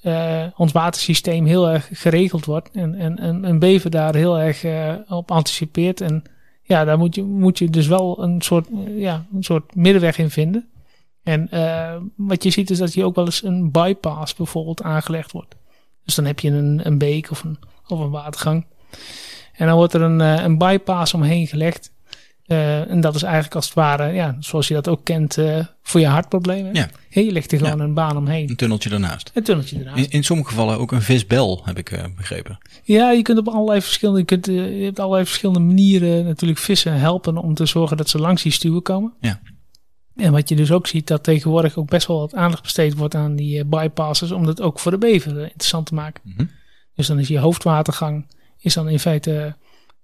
[SPEAKER 3] eh, ons watersysteem heel erg geregeld wordt. En, en, en, en bever daar heel erg eh, op anticipeert. En ja, daar moet je, moet je dus wel een soort, eh, ja, een soort middenweg in vinden. En eh, wat je ziet is dat hier ook wel eens een bypass bijvoorbeeld aangelegd wordt. Dus dan heb je een, een beek of een, of een watergang. En dan wordt er een, eh, een bypass omheen gelegd. Eh, en dat is eigenlijk als het ware, ja, zoals je dat ook kent, eh, voor je hartproblemen.
[SPEAKER 1] Ja. Hm.
[SPEAKER 3] Je legt er gewoon een baan omheen.
[SPEAKER 1] Een tunneltje daarnaast.
[SPEAKER 3] Een tunneltje eraan.
[SPEAKER 1] In, in sommige gevallen ook een visbel, heb ik eh, begrepen.
[SPEAKER 3] Ja, je kunt op allerlei verschillende, je, kunt, eh, je hebt allerlei verschillende manieren natuurlijk vissen helpen om te zorgen dat ze langs die stuwen komen.
[SPEAKER 1] Ja.
[SPEAKER 3] En wat je dus ook ziet, dat tegenwoordig ook best wel wat aandacht besteed wordt aan die eh, bypasses, om dat ook voor de bever eh, interessant te maken.
[SPEAKER 1] Mhm.
[SPEAKER 3] Dus dan is je hoofdwatergang is dan in feite eh,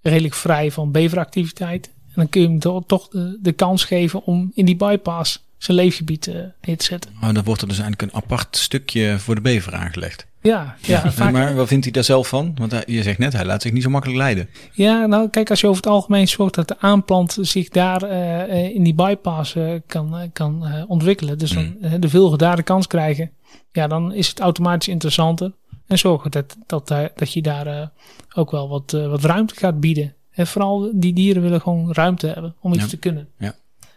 [SPEAKER 3] redelijk vrij van beveractiviteit. En dan kun je hem to- toch eh, de, de kans geven om in die bypass zijn leefgebied eh, neer te zetten.
[SPEAKER 1] Oh, dan wordt er dus eigenlijk een apart stukje voor de bever aangelegd. Eh,
[SPEAKER 3] Ja, ja, vaak-
[SPEAKER 1] Maar wat vindt hij daar zelf van? Want hij- je zegt net, hij laat zich niet zo makkelijk leiden.
[SPEAKER 3] Ja, nou kijk, als je over het algemeen zorgt dat de aanplant zich daar eh, eh, in die bypass eh, kan, eh, kan eh, ontwikkelen. Dus dan
[SPEAKER 1] Mm.
[SPEAKER 3] eh, de vilgen daar de kans krijgen. Ja, dan is het automatisch interessanter. En zorgen dat, dat, daar- dat je daar eh, ook wel wat, eh, wat ruimte gaat bieden. En vooral die dieren willen gewoon ruimte hebben om iets
[SPEAKER 1] Ja.
[SPEAKER 3] te kunnen.
[SPEAKER 1] Ja.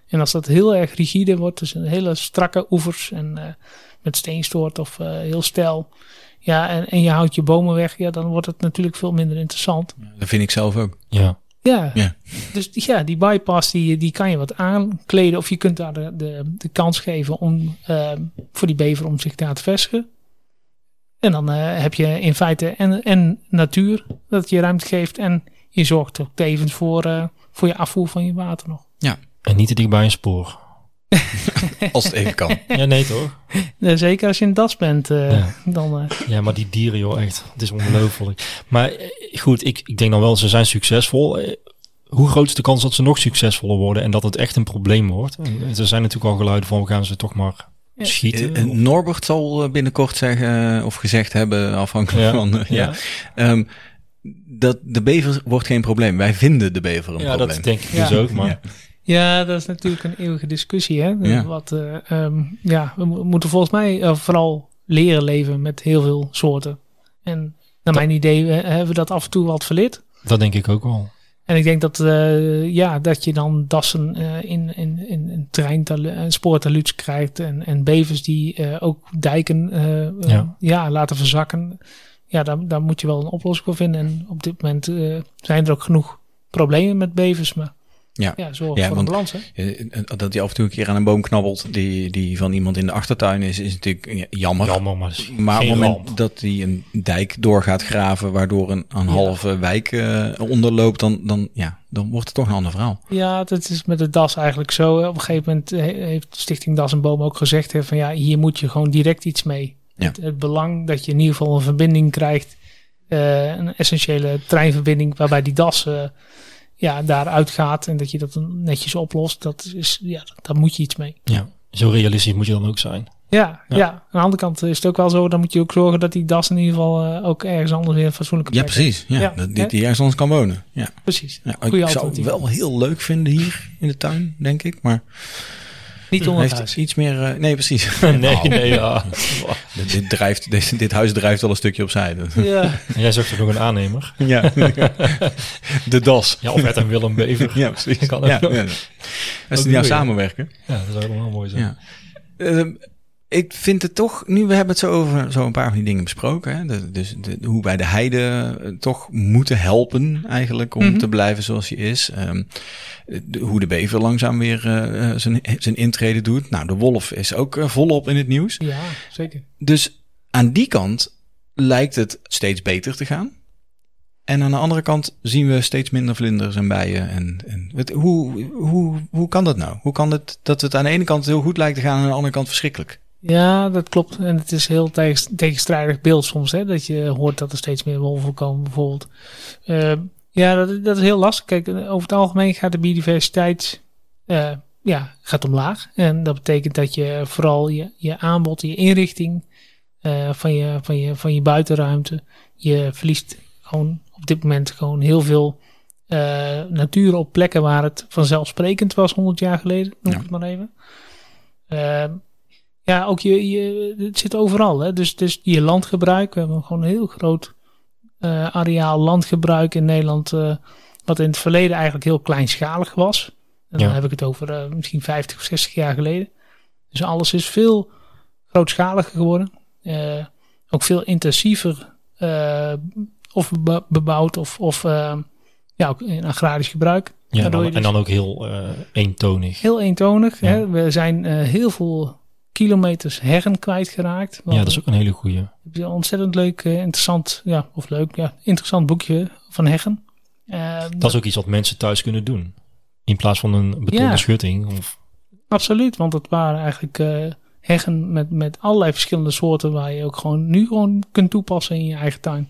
[SPEAKER 3] En als dat heel erg rigide wordt, dus een hele strakke oevers en eh, met steenstoort of eh, heel steil. Ja, en, en je houdt je bomen weg, ja, dan wordt het natuurlijk veel minder interessant.
[SPEAKER 1] Dat vind ik zelf ook.
[SPEAKER 2] Ja.
[SPEAKER 3] Ja.
[SPEAKER 1] Ja.
[SPEAKER 3] Dus die- ja, die bypass die, die kan je wat aankleden. Of je kunt daar de, de, de kans geven om ehm, voor die bever om zich daar te vestigen. En dan eh, heb je in feite en, en natuur dat je ruimte geeft. En je zorgt ook tevens voor, eh, voor je afvoer van je water nog.
[SPEAKER 2] En niet te dicht bij een spoor.
[SPEAKER 1] Als het even kan.
[SPEAKER 2] Ja, nee toch?
[SPEAKER 3] Eh, zeker als je in das bent, eh,
[SPEAKER 2] Ja.
[SPEAKER 3] dan... eh,
[SPEAKER 2] Ja, maar die dieren joh, echt. Het is ongelooflijk. Maar eh, goed, ik, ik denk dan wel, ze zijn succesvol. Eh, Hoe groot is de kans dat ze nog succesvoller worden en dat het echt een probleem wordt? En, eh, Er zijn natuurlijk al geluiden van, we gaan ze toch maar
[SPEAKER 3] Ja.
[SPEAKER 2] schieten.
[SPEAKER 1] Eh, eh, Norbert zal eh, binnenkort zeggen eh, of gezegd hebben, afhankelijk
[SPEAKER 2] Ja,
[SPEAKER 1] van. eh, ja.
[SPEAKER 2] ja.
[SPEAKER 1] Ehm, dat de bever wordt geen probleem. Wij vinden de bever een
[SPEAKER 2] ja,
[SPEAKER 1] probleem.
[SPEAKER 2] dat denk ik
[SPEAKER 3] Ja.
[SPEAKER 2] dus ook. Maar
[SPEAKER 1] Ja.
[SPEAKER 3] Ja, dat is natuurlijk een eeuwige discussie. Hè?
[SPEAKER 1] Ja.
[SPEAKER 3] Wat, eh, ehm, ja, we mo- moeten volgens mij eh, vooral leren leven met heel veel soorten. En naar mijn idee eh, hebben we dat af en toe wat verleerd.
[SPEAKER 2] dat denk ik ook wel.
[SPEAKER 3] En ik denk dat, eh, ja, dat je dan dassen eh, in, in, in, in terrein talu- en spoortaluuts krijgt. En, en bevers die eh, ook dijken eh, eh, ja.
[SPEAKER 2] Ja.
[SPEAKER 3] laten verzakken. Ja, daar, daar moet je wel een oplossing voor vinden. En op dit moment eh, zijn er ook genoeg problemen met bevers. Maar
[SPEAKER 1] Ja.
[SPEAKER 3] ja zorg
[SPEAKER 1] Ja,
[SPEAKER 3] voor een
[SPEAKER 1] want-
[SPEAKER 3] balans. Hè?
[SPEAKER 1] Eh, eh, Dat hij af en toe een keer aan een boom knabbelt die, die van iemand in de achtertuin is, is natuurlijk eh, jammer.
[SPEAKER 2] Jammer, maar het is
[SPEAKER 1] Maar op
[SPEAKER 2] geen
[SPEAKER 1] het moment
[SPEAKER 2] ramp.
[SPEAKER 1] dat hij een dijk door gaat graven, waardoor een, een halve wijk eh, onderloopt, dan, dan, ja, dan wordt het toch een ander verhaal.
[SPEAKER 3] Ja, dat is met de DAS eigenlijk zo. hè. Op een gegeven moment he- heeft Stichting DAS en Boom ook gezegd... hè, van ja, hier moet je gewoon direct iets mee.
[SPEAKER 1] Ja.
[SPEAKER 3] Het, het belang dat je in ieder geval een verbinding krijgt... eh, een essentiële treinverbinding waarbij die DAS eh, ja, daaruit gaat... en dat je dat dan netjes oplost, dat is, ja, daar moet je iets mee.
[SPEAKER 2] Ja, zo realistisch moet je dan ook zijn.
[SPEAKER 3] Ja, ja.
[SPEAKER 2] Ja.
[SPEAKER 3] aan de andere kant is het ook wel zo... dan moet je ook zorgen dat die DAS in ieder geval eh, ook ergens anders weer een fatsoenlijke
[SPEAKER 1] Ja,
[SPEAKER 3] plek
[SPEAKER 1] precies. Ja,
[SPEAKER 3] Ja,
[SPEAKER 1] Dat,
[SPEAKER 3] hè?
[SPEAKER 1] die, die ergens anders kan wonen. Ja.
[SPEAKER 3] heeft. Precies.
[SPEAKER 1] Ja, ik
[SPEAKER 3] Goeie
[SPEAKER 1] zou het
[SPEAKER 3] alternatief.
[SPEAKER 1] wel heel leuk vinden hier in de tuin, denk ik. Maar
[SPEAKER 3] Niet onder het
[SPEAKER 1] heeft
[SPEAKER 3] huis.
[SPEAKER 1] iets meer... eh, nee, precies.
[SPEAKER 2] nee,
[SPEAKER 1] Nou,
[SPEAKER 2] nee, ja.
[SPEAKER 1] dit, dit drijft, deze- dit huis drijft al een stukje opzij.
[SPEAKER 3] Ja.
[SPEAKER 2] En jij zocht er nog een aannemer.
[SPEAKER 1] ja. de das.
[SPEAKER 2] Ja, of Ed en Willem Bever.
[SPEAKER 1] Ja, precies.
[SPEAKER 2] Kan ook
[SPEAKER 1] ja,
[SPEAKER 2] nog.
[SPEAKER 1] ja. Als
[SPEAKER 2] Ook
[SPEAKER 1] die nou
[SPEAKER 2] mooi,
[SPEAKER 1] samenwerken.
[SPEAKER 2] Ja, dat zou wel mooi zijn.
[SPEAKER 1] Ja. Ehm, ik vind het toch, nu we hebben het zo over zo een paar van die dingen besproken. Hè? De- dus de, hoe wij de heide eh, toch moeten helpen eigenlijk om
[SPEAKER 3] Mhm.
[SPEAKER 1] te blijven zoals hij is. Ehm, de- hoe de bever langzaam weer eh, eh, zijn, zijn intrede doet. Nou, de wolf is ook eh, volop in het nieuws.
[SPEAKER 3] ja, zeker.
[SPEAKER 1] Dus aan die kant lijkt het steeds beter te gaan. En aan de andere kant zien we steeds minder vlinders en bijen. En, en het, hoe, hoe, hoe kan dat nou? Hoe kan het dat het aan de ene kant heel goed lijkt te gaan en aan de andere kant verschrikkelijk?
[SPEAKER 3] Ja, dat klopt. En het is heel tegens- tegenstrijdig beeld soms. Hè? Dat je hoort dat er steeds meer wolven komen bijvoorbeeld. Eh, ja, dat, dat is heel lastig. Kijk, eh, over het algemeen gaat de biodiversiteit eh, ja, gaat omlaag. En dat betekent dat je vooral je, je aanbod, je inrichting eh, van, je, van, je, van je buitenruimte... je verliest gewoon op dit moment gewoon heel veel eh, natuur op plekken... waar het vanzelfsprekend was 100 jaar geleden, noem ik
[SPEAKER 1] Ja.
[SPEAKER 3] het maar even. Ehm, ja, ook je, je, het zit overal. Hè? Dus, dus je landgebruik, we hebben gewoon een heel groot eh, areaal landgebruik in Nederland, eh, wat in het verleden eigenlijk heel kleinschalig was. En dan
[SPEAKER 2] Ja.
[SPEAKER 3] heb ik het over eh, misschien 50 of 60 jaar geleden. Dus alles is veel grootschaliger geworden. Eh, ook veel intensiever eh, of beba- bebouwd of, of eh, ja, ook in agrarisch gebruik.
[SPEAKER 2] Ja, en
[SPEAKER 3] Waardoor je
[SPEAKER 2] dan,
[SPEAKER 3] dus-
[SPEAKER 2] en dan ook heel eh, eentonig.
[SPEAKER 3] Heel eentonig.
[SPEAKER 2] Ja.
[SPEAKER 3] Hè? We zijn eh, heel veel kilometers herren kwijtgeraakt.
[SPEAKER 2] Ja, dat is ook een hele goeie.
[SPEAKER 3] Ik heb een ontzettend leuk, eh, interessant, ja, of leuk, ja, interessant boekje van Heggen. Eh,
[SPEAKER 2] Dat is ook iets wat mensen thuis kunnen doen. In plaats van een betonnen
[SPEAKER 3] Ja.
[SPEAKER 2] schutting. Of,
[SPEAKER 3] Absoluut, want dat waren eigenlijk eh, heggen met, met allerlei verschillende soorten waar je ook gewoon nu gewoon kunt toepassen in je eigen tuin.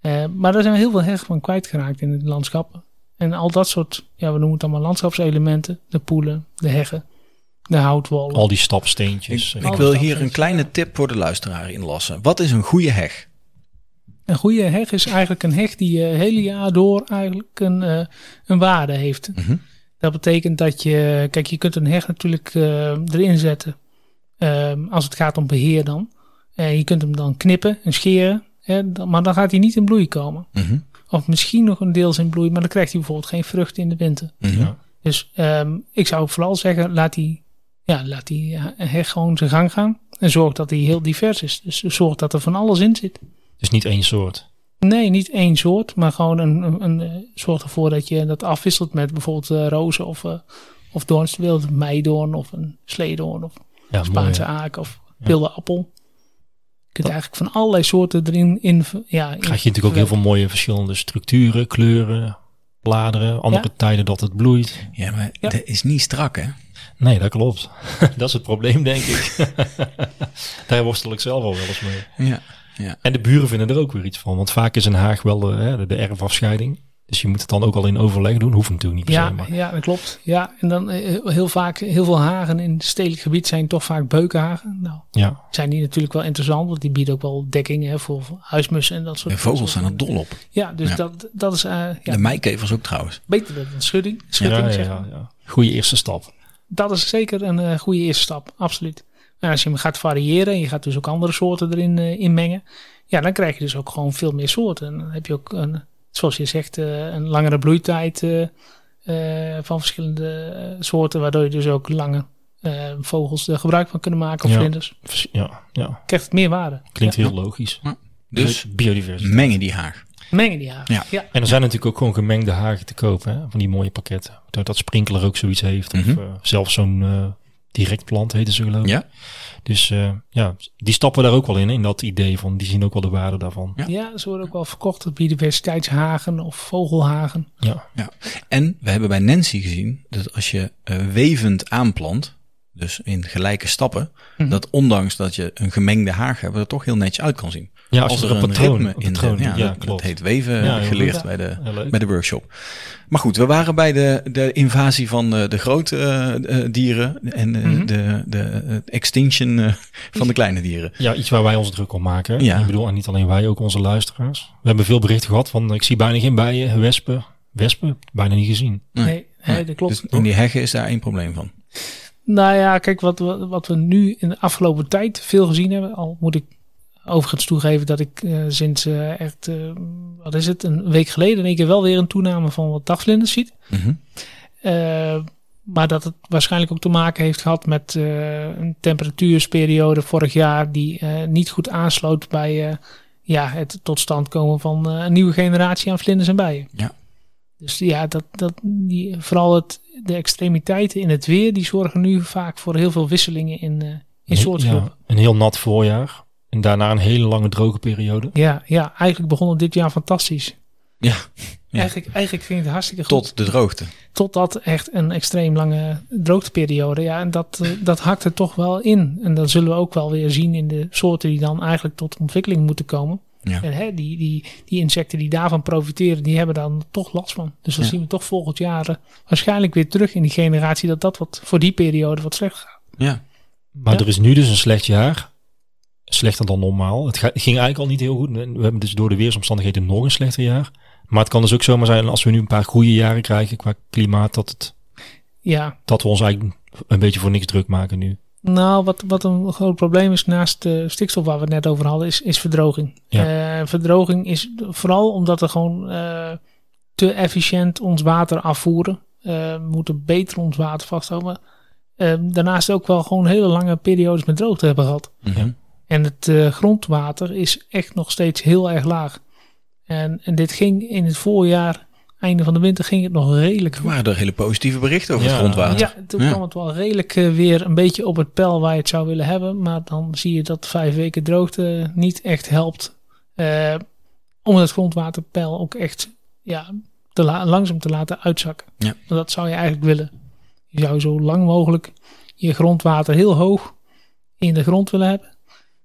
[SPEAKER 3] Eh, maar daar zijn heel veel heggen van kwijtgeraakt in het landschap. En al dat soort, ja, we noemen het allemaal landschapselementen, de poelen, de heggen, de houtwollen.
[SPEAKER 2] al die stapsteentjes.
[SPEAKER 1] ik
[SPEAKER 2] eh,
[SPEAKER 1] ik wil
[SPEAKER 3] Oh, dat
[SPEAKER 1] hier
[SPEAKER 3] is,
[SPEAKER 1] een kleine tip voor de luisteraar inlassen. Wat is een goede heg?
[SPEAKER 3] Een goede heg is eigenlijk een heg die je hele jaar door eigenlijk een, eh, een waarde heeft.
[SPEAKER 1] Mhm.
[SPEAKER 3] Dat betekent dat je, kijk, je kunt een heg natuurlijk eh, erin zetten ehm, als het gaat om beheer dan. Eh, je kunt hem dan knippen en scheren, hè, dan- maar dan gaat hij niet in bloei komen.
[SPEAKER 1] Mhm,
[SPEAKER 3] Of misschien nog een deels in bloei, maar dan krijgt hij bijvoorbeeld geen vrucht in de winter.
[SPEAKER 1] mhm.
[SPEAKER 2] Ja.
[SPEAKER 3] Dus ehm, ik zou vooral zeggen, laat die, ja, laat die eh, heg gewoon zijn gang gaan. En zorg dat hij heel divers is. Dus zorg dat er van alles in zit.
[SPEAKER 2] Dus niet één soort.
[SPEAKER 3] Nee, niet één soort, maar gewoon een, een, een eh, zorg ervoor dat je dat afwisselt met bijvoorbeeld eh, rozen of, eh of doorns, bijvoorbeeld een meidoorn of een sleedoorn of
[SPEAKER 2] Ja, mooi.
[SPEAKER 3] Spaanse aak of wilde appel. Je kunt eigenlijk van allerlei soorten erin in, ja, in-
[SPEAKER 2] Krijg je natuurlijk ook heel veel mooie verschillende structuren, kleuren, bladeren, andere tijden dat het bloeit.
[SPEAKER 1] Ja, maar
[SPEAKER 3] Ja.
[SPEAKER 1] dat is niet strak, hè?
[SPEAKER 2] Nee, dat klopt. dat is het probleem, denk ik. Daar worstel ik zelf al wel eens mee.
[SPEAKER 1] Ja. ja.
[SPEAKER 2] En de buren vinden er ook weer iets van. Want vaak is in Haag wel de, hè, de, de erfafscheiding. Dus je moet het dan ook al in overleg doen. Hoeft natuurlijk niet per se.
[SPEAKER 3] Ja,
[SPEAKER 2] Maar.
[SPEAKER 3] ja, dat klopt. Ja, en dan eh, heel vaak, heel veel hagen in het stedelijk gebied zijn toch vaak beukenhagen. Nou,
[SPEAKER 2] Ja.
[SPEAKER 3] zijn die natuurlijk wel interessant, want die bieden ook wel dekking hè, voor voor huismussen en dat soort
[SPEAKER 1] De vogels zijn er dol op.
[SPEAKER 3] Ja, dus
[SPEAKER 1] Ja.
[SPEAKER 3] Dat, dat is eh, ja,
[SPEAKER 1] De meikevers ook trouwens.
[SPEAKER 3] beter dan een schudding.
[SPEAKER 2] Ja,
[SPEAKER 3] schutting
[SPEAKER 2] ja,
[SPEAKER 3] zeg
[SPEAKER 2] ja,
[SPEAKER 3] maar.
[SPEAKER 2] ja. Goede eerste stap.
[SPEAKER 3] Dat is zeker een eh, goede eerste stap, absoluut. En als je hem gaat variëren en je gaat dus ook andere soorten erin eh, in mengen, ja, dan krijg je dus ook gewoon veel meer soorten. En dan heb je ook, een, zoals je zegt, eh, een langere bloeitijd eh, eh, van verschillende eh, soorten, waardoor je dus ook lange eh, vogels er gebruik van kunnen maken, of
[SPEAKER 2] Ja.
[SPEAKER 3] vlinders.
[SPEAKER 2] Vers- Ja, ja.
[SPEAKER 3] Krijgt het meer waarde.
[SPEAKER 2] klinkt
[SPEAKER 3] Ja.
[SPEAKER 2] heel logisch.
[SPEAKER 1] Dus
[SPEAKER 2] biodiversiteit.
[SPEAKER 1] mengen die haag.
[SPEAKER 3] Mengen die hagen.
[SPEAKER 1] Ja.
[SPEAKER 3] ja.
[SPEAKER 2] En er zijn natuurlijk ook gewoon gemengde hagen te kopen. Hè? Van die mooie pakketten. Dat, dat Sprinkler ook zoiets heeft.
[SPEAKER 1] Mhm.
[SPEAKER 2] Of eh, zelfs zo'n eh, direct plant heten ze geloof ik.
[SPEAKER 1] Ja.
[SPEAKER 2] Dus eh, ja, die stappen daar ook wel in. In dat idee van, die zien ook wel de waarde daarvan.
[SPEAKER 1] Ja.
[SPEAKER 3] Ja, ze worden ook wel verkocht op biodiversiteitshagen of vogelhagen.
[SPEAKER 2] Ja,
[SPEAKER 1] En we hebben bij Nancy gezien dat als je eh, wevend aanplant, dus in gelijke stappen,
[SPEAKER 3] Mhm.
[SPEAKER 1] dat ondanks dat je een gemengde haag hebt, er toch heel netjes uit kan zien.
[SPEAKER 2] ja als, er een patroon, een
[SPEAKER 1] in
[SPEAKER 2] patroon
[SPEAKER 1] zit,
[SPEAKER 2] ja,
[SPEAKER 1] dat- dat,
[SPEAKER 2] klopt.
[SPEAKER 1] heet weven
[SPEAKER 2] Ja, heel
[SPEAKER 1] geleerd
[SPEAKER 3] goed.
[SPEAKER 1] bij de,
[SPEAKER 2] Heel leuk.
[SPEAKER 1] bij de workshop. Maar goed, we waren bij de, de invasie van de, de grote eh, eh, dieren en eh,
[SPEAKER 3] Mhm.
[SPEAKER 1] de, de eh, extinction eh, van de kleine dieren.
[SPEAKER 2] Ja, iets waar wij ons druk om maken.
[SPEAKER 1] Ja.
[SPEAKER 2] Ik bedoel, en niet alleen wij, ook onze luisteraars. We hebben veel berichten gehad van, ik zie bijna geen bijen, wespen. Wespen, bijna niet gezien.
[SPEAKER 1] Nee.
[SPEAKER 3] Nee, nee, dat klopt.
[SPEAKER 1] Dus in die heggen is daar één probleem van.
[SPEAKER 3] Nou ja, kijk, wat, we- wat we nu in de afgelopen tijd veel gezien hebben, al moet ik overigens toegeven dat ik eh, sinds eh, echt, eh, wat is het, een week geleden in één keer wel weer een toename van wat dagvlinders ziet.
[SPEAKER 1] Mhm.
[SPEAKER 3] Eh, maar dat het waarschijnlijk ook te maken heeft gehad met eh, een temperatuurperiode vorig jaar die eh, niet goed aansloot bij eh, ja, het tot stand komen van eh, een nieuwe generatie aan vlinders en bijen.
[SPEAKER 1] Ja.
[SPEAKER 3] Dus ja, dat, dat, die, vooral het, de extremiteiten in het weer, die zorgen nu vaak voor heel veel wisselingen in, eh in soortgroepen.
[SPEAKER 2] Ja, een heel nat voorjaar. En daarna een hele lange droge periode.
[SPEAKER 3] Ja, ja, eigenlijk begon het dit jaar fantastisch.
[SPEAKER 1] Ja, Ja.
[SPEAKER 3] Eigenlijk, eigenlijk ging het hartstikke goed.
[SPEAKER 1] tot de droogte.
[SPEAKER 3] Totdat echt een extreem lange droogteperiode. Ja, en dat, eh, dat hakt er toch wel in. En dat zullen we ook wel weer zien in de soorten die dan eigenlijk tot ontwikkeling moeten komen.
[SPEAKER 1] Ja.
[SPEAKER 3] En hè, die, die, die insecten die daarvan profiteren, die hebben dan toch last van. Dus dan
[SPEAKER 1] Ja.
[SPEAKER 3] zien we toch volgend jaar eh, waarschijnlijk weer terug in die generatie dat dat wat voor die periode wat slecht gaat.
[SPEAKER 1] Ja,
[SPEAKER 2] Maar
[SPEAKER 3] Ja.
[SPEAKER 2] er is nu dus een slecht jaar. Slechter dan normaal. Het ga- het ging eigenlijk al niet heel goed. We hebben dus door de weersomstandigheden nog een slechter jaar. Maar het kan dus ook zomaar zijn als we nu een paar goede jaren krijgen qua klimaat. Dat, het,
[SPEAKER 3] Ja,
[SPEAKER 2] dat we ons eigenlijk een beetje voor niks druk maken nu.
[SPEAKER 3] Nou, wat, wat een groot probleem is naast eh, stikstof waar we het net over hadden, is, is verdroging. Eh, verdroging is vooral omdat we gewoon eh, te efficiënt ons water afvoeren. Eh, we moeten beter ons water vasthouden. Eh, daarnaast ook wel gewoon hele lange periodes met droogte hebben gehad.
[SPEAKER 1] Mhm.
[SPEAKER 3] En het eh, grondwater is echt nog steeds heel erg laag. En, en dit ging in het voorjaar, einde van de winter, ging het nog redelijk
[SPEAKER 1] er waren er hele positieve berichten over
[SPEAKER 2] Ja.
[SPEAKER 1] het grondwater.
[SPEAKER 3] ja, toen
[SPEAKER 1] Ja.
[SPEAKER 3] kwam het wel redelijk eh, weer een beetje op het pijl waar je het zou willen hebben. Maar dan zie je dat vijf weken droogte niet echt helpt. eh, om het grondwaterpeil ook echt ja, te la- langzaam te laten uitzakken.
[SPEAKER 1] Ja.
[SPEAKER 3] Want dat zou je eigenlijk willen. Je zou zo lang mogelijk je grondwater heel hoog in de grond willen hebben.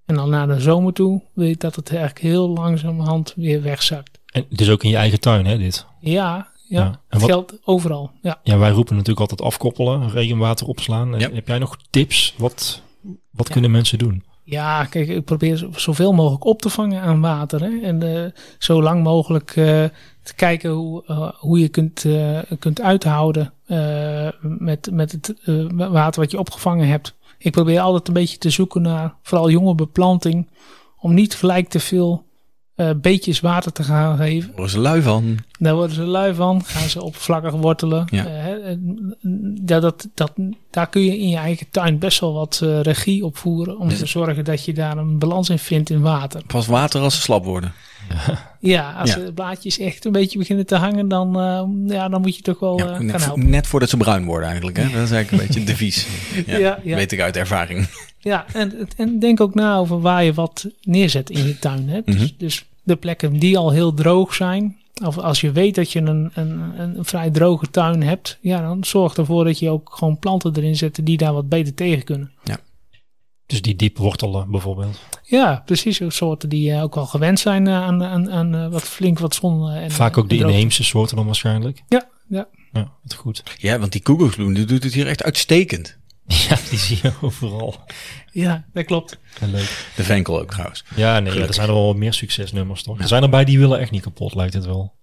[SPEAKER 3] En dan naar de zomer toe wil je dat het eigenlijk heel langzamerhand weer wegzakt.
[SPEAKER 2] En het is ook in je eigen tuin, hè, dit.
[SPEAKER 3] Ja, ja,
[SPEAKER 2] Ja. En
[SPEAKER 3] het
[SPEAKER 2] wat-
[SPEAKER 3] geldt overal. Ja.
[SPEAKER 2] Ja, wij roepen natuurlijk altijd afkoppelen, regenwater opslaan. Eh,
[SPEAKER 1] Ja.
[SPEAKER 2] Heb jij nog tips? Wat, wat kunnen mensen doen?
[SPEAKER 3] Ja, kijk, ik probeer zo- zoveel mogelijk op te vangen aan water. Hè? En eh, zo lang mogelijk eh, te kijken hoe, eh, hoe je kunt, eh, kunt uithouden eh, met, met het eh, water wat je opgevangen hebt. Ik probeer altijd een beetje te zoeken naar vooral jonge beplanting. Om niet gelijk te veel eh, beetjes water te gaan geven.
[SPEAKER 1] Daar was lui van.
[SPEAKER 3] Daar worden ze lui van, gaan ze oppervlakkig wortelen.
[SPEAKER 1] Ja.
[SPEAKER 3] Eh, hè, en, mm, ja, dat, dat, daar kun je in je eigen tuin best wel wat eh, regie op voeren. Om
[SPEAKER 1] Dus-
[SPEAKER 3] te zorgen dat je daar een balans in vindt in water.
[SPEAKER 1] Pas water als ze slap worden.
[SPEAKER 3] Ja, als
[SPEAKER 1] Ja.
[SPEAKER 3] de blaadjes echt een beetje beginnen te hangen, dan, eh, ja, dan moet je toch wel eh,
[SPEAKER 1] Ja,
[SPEAKER 3] gaan
[SPEAKER 1] net,
[SPEAKER 3] helpen.
[SPEAKER 1] net voordat ze bruin worden eigenlijk. Hè? Dat is eigenlijk een beetje het devies. Ja,
[SPEAKER 3] Ja, ja.
[SPEAKER 1] Weet ik uit ervaring.
[SPEAKER 3] Ja, en, en denk ook na over waar je wat neerzet in je tuin. Hè? Dus,
[SPEAKER 1] Mhm.
[SPEAKER 3] dus de plekken die al heel droog zijn, Of als je weet dat je een, een, een vrij droge tuin hebt, ja, dan zorg ervoor dat je ook gewoon planten erin zet die daar wat beter tegen kunnen.
[SPEAKER 2] Dus die diepwortelen bijvoorbeeld.
[SPEAKER 3] Ja, precies. ook Soorten die eh, ook wel gewend zijn eh, aan, aan, aan eh, wat flink wat zon. eh, En,
[SPEAKER 2] Vaak ook de
[SPEAKER 3] en droogte.
[SPEAKER 2] inheemse soorten dan waarschijnlijk.
[SPEAKER 3] Ja, ja.
[SPEAKER 2] Ja, wat goed.
[SPEAKER 1] Ja, want die koegelgloen die doet het hier echt uitstekend.
[SPEAKER 2] Ja, die zie je overal.
[SPEAKER 3] Ja, dat klopt.
[SPEAKER 2] En leuk.
[SPEAKER 1] De venkel ook trouwens.
[SPEAKER 2] Ja, nee, ja, er zijn er wel wat meer succesnummers toch? Er zijn erbij die willen echt niet kapot, lijkt het wel.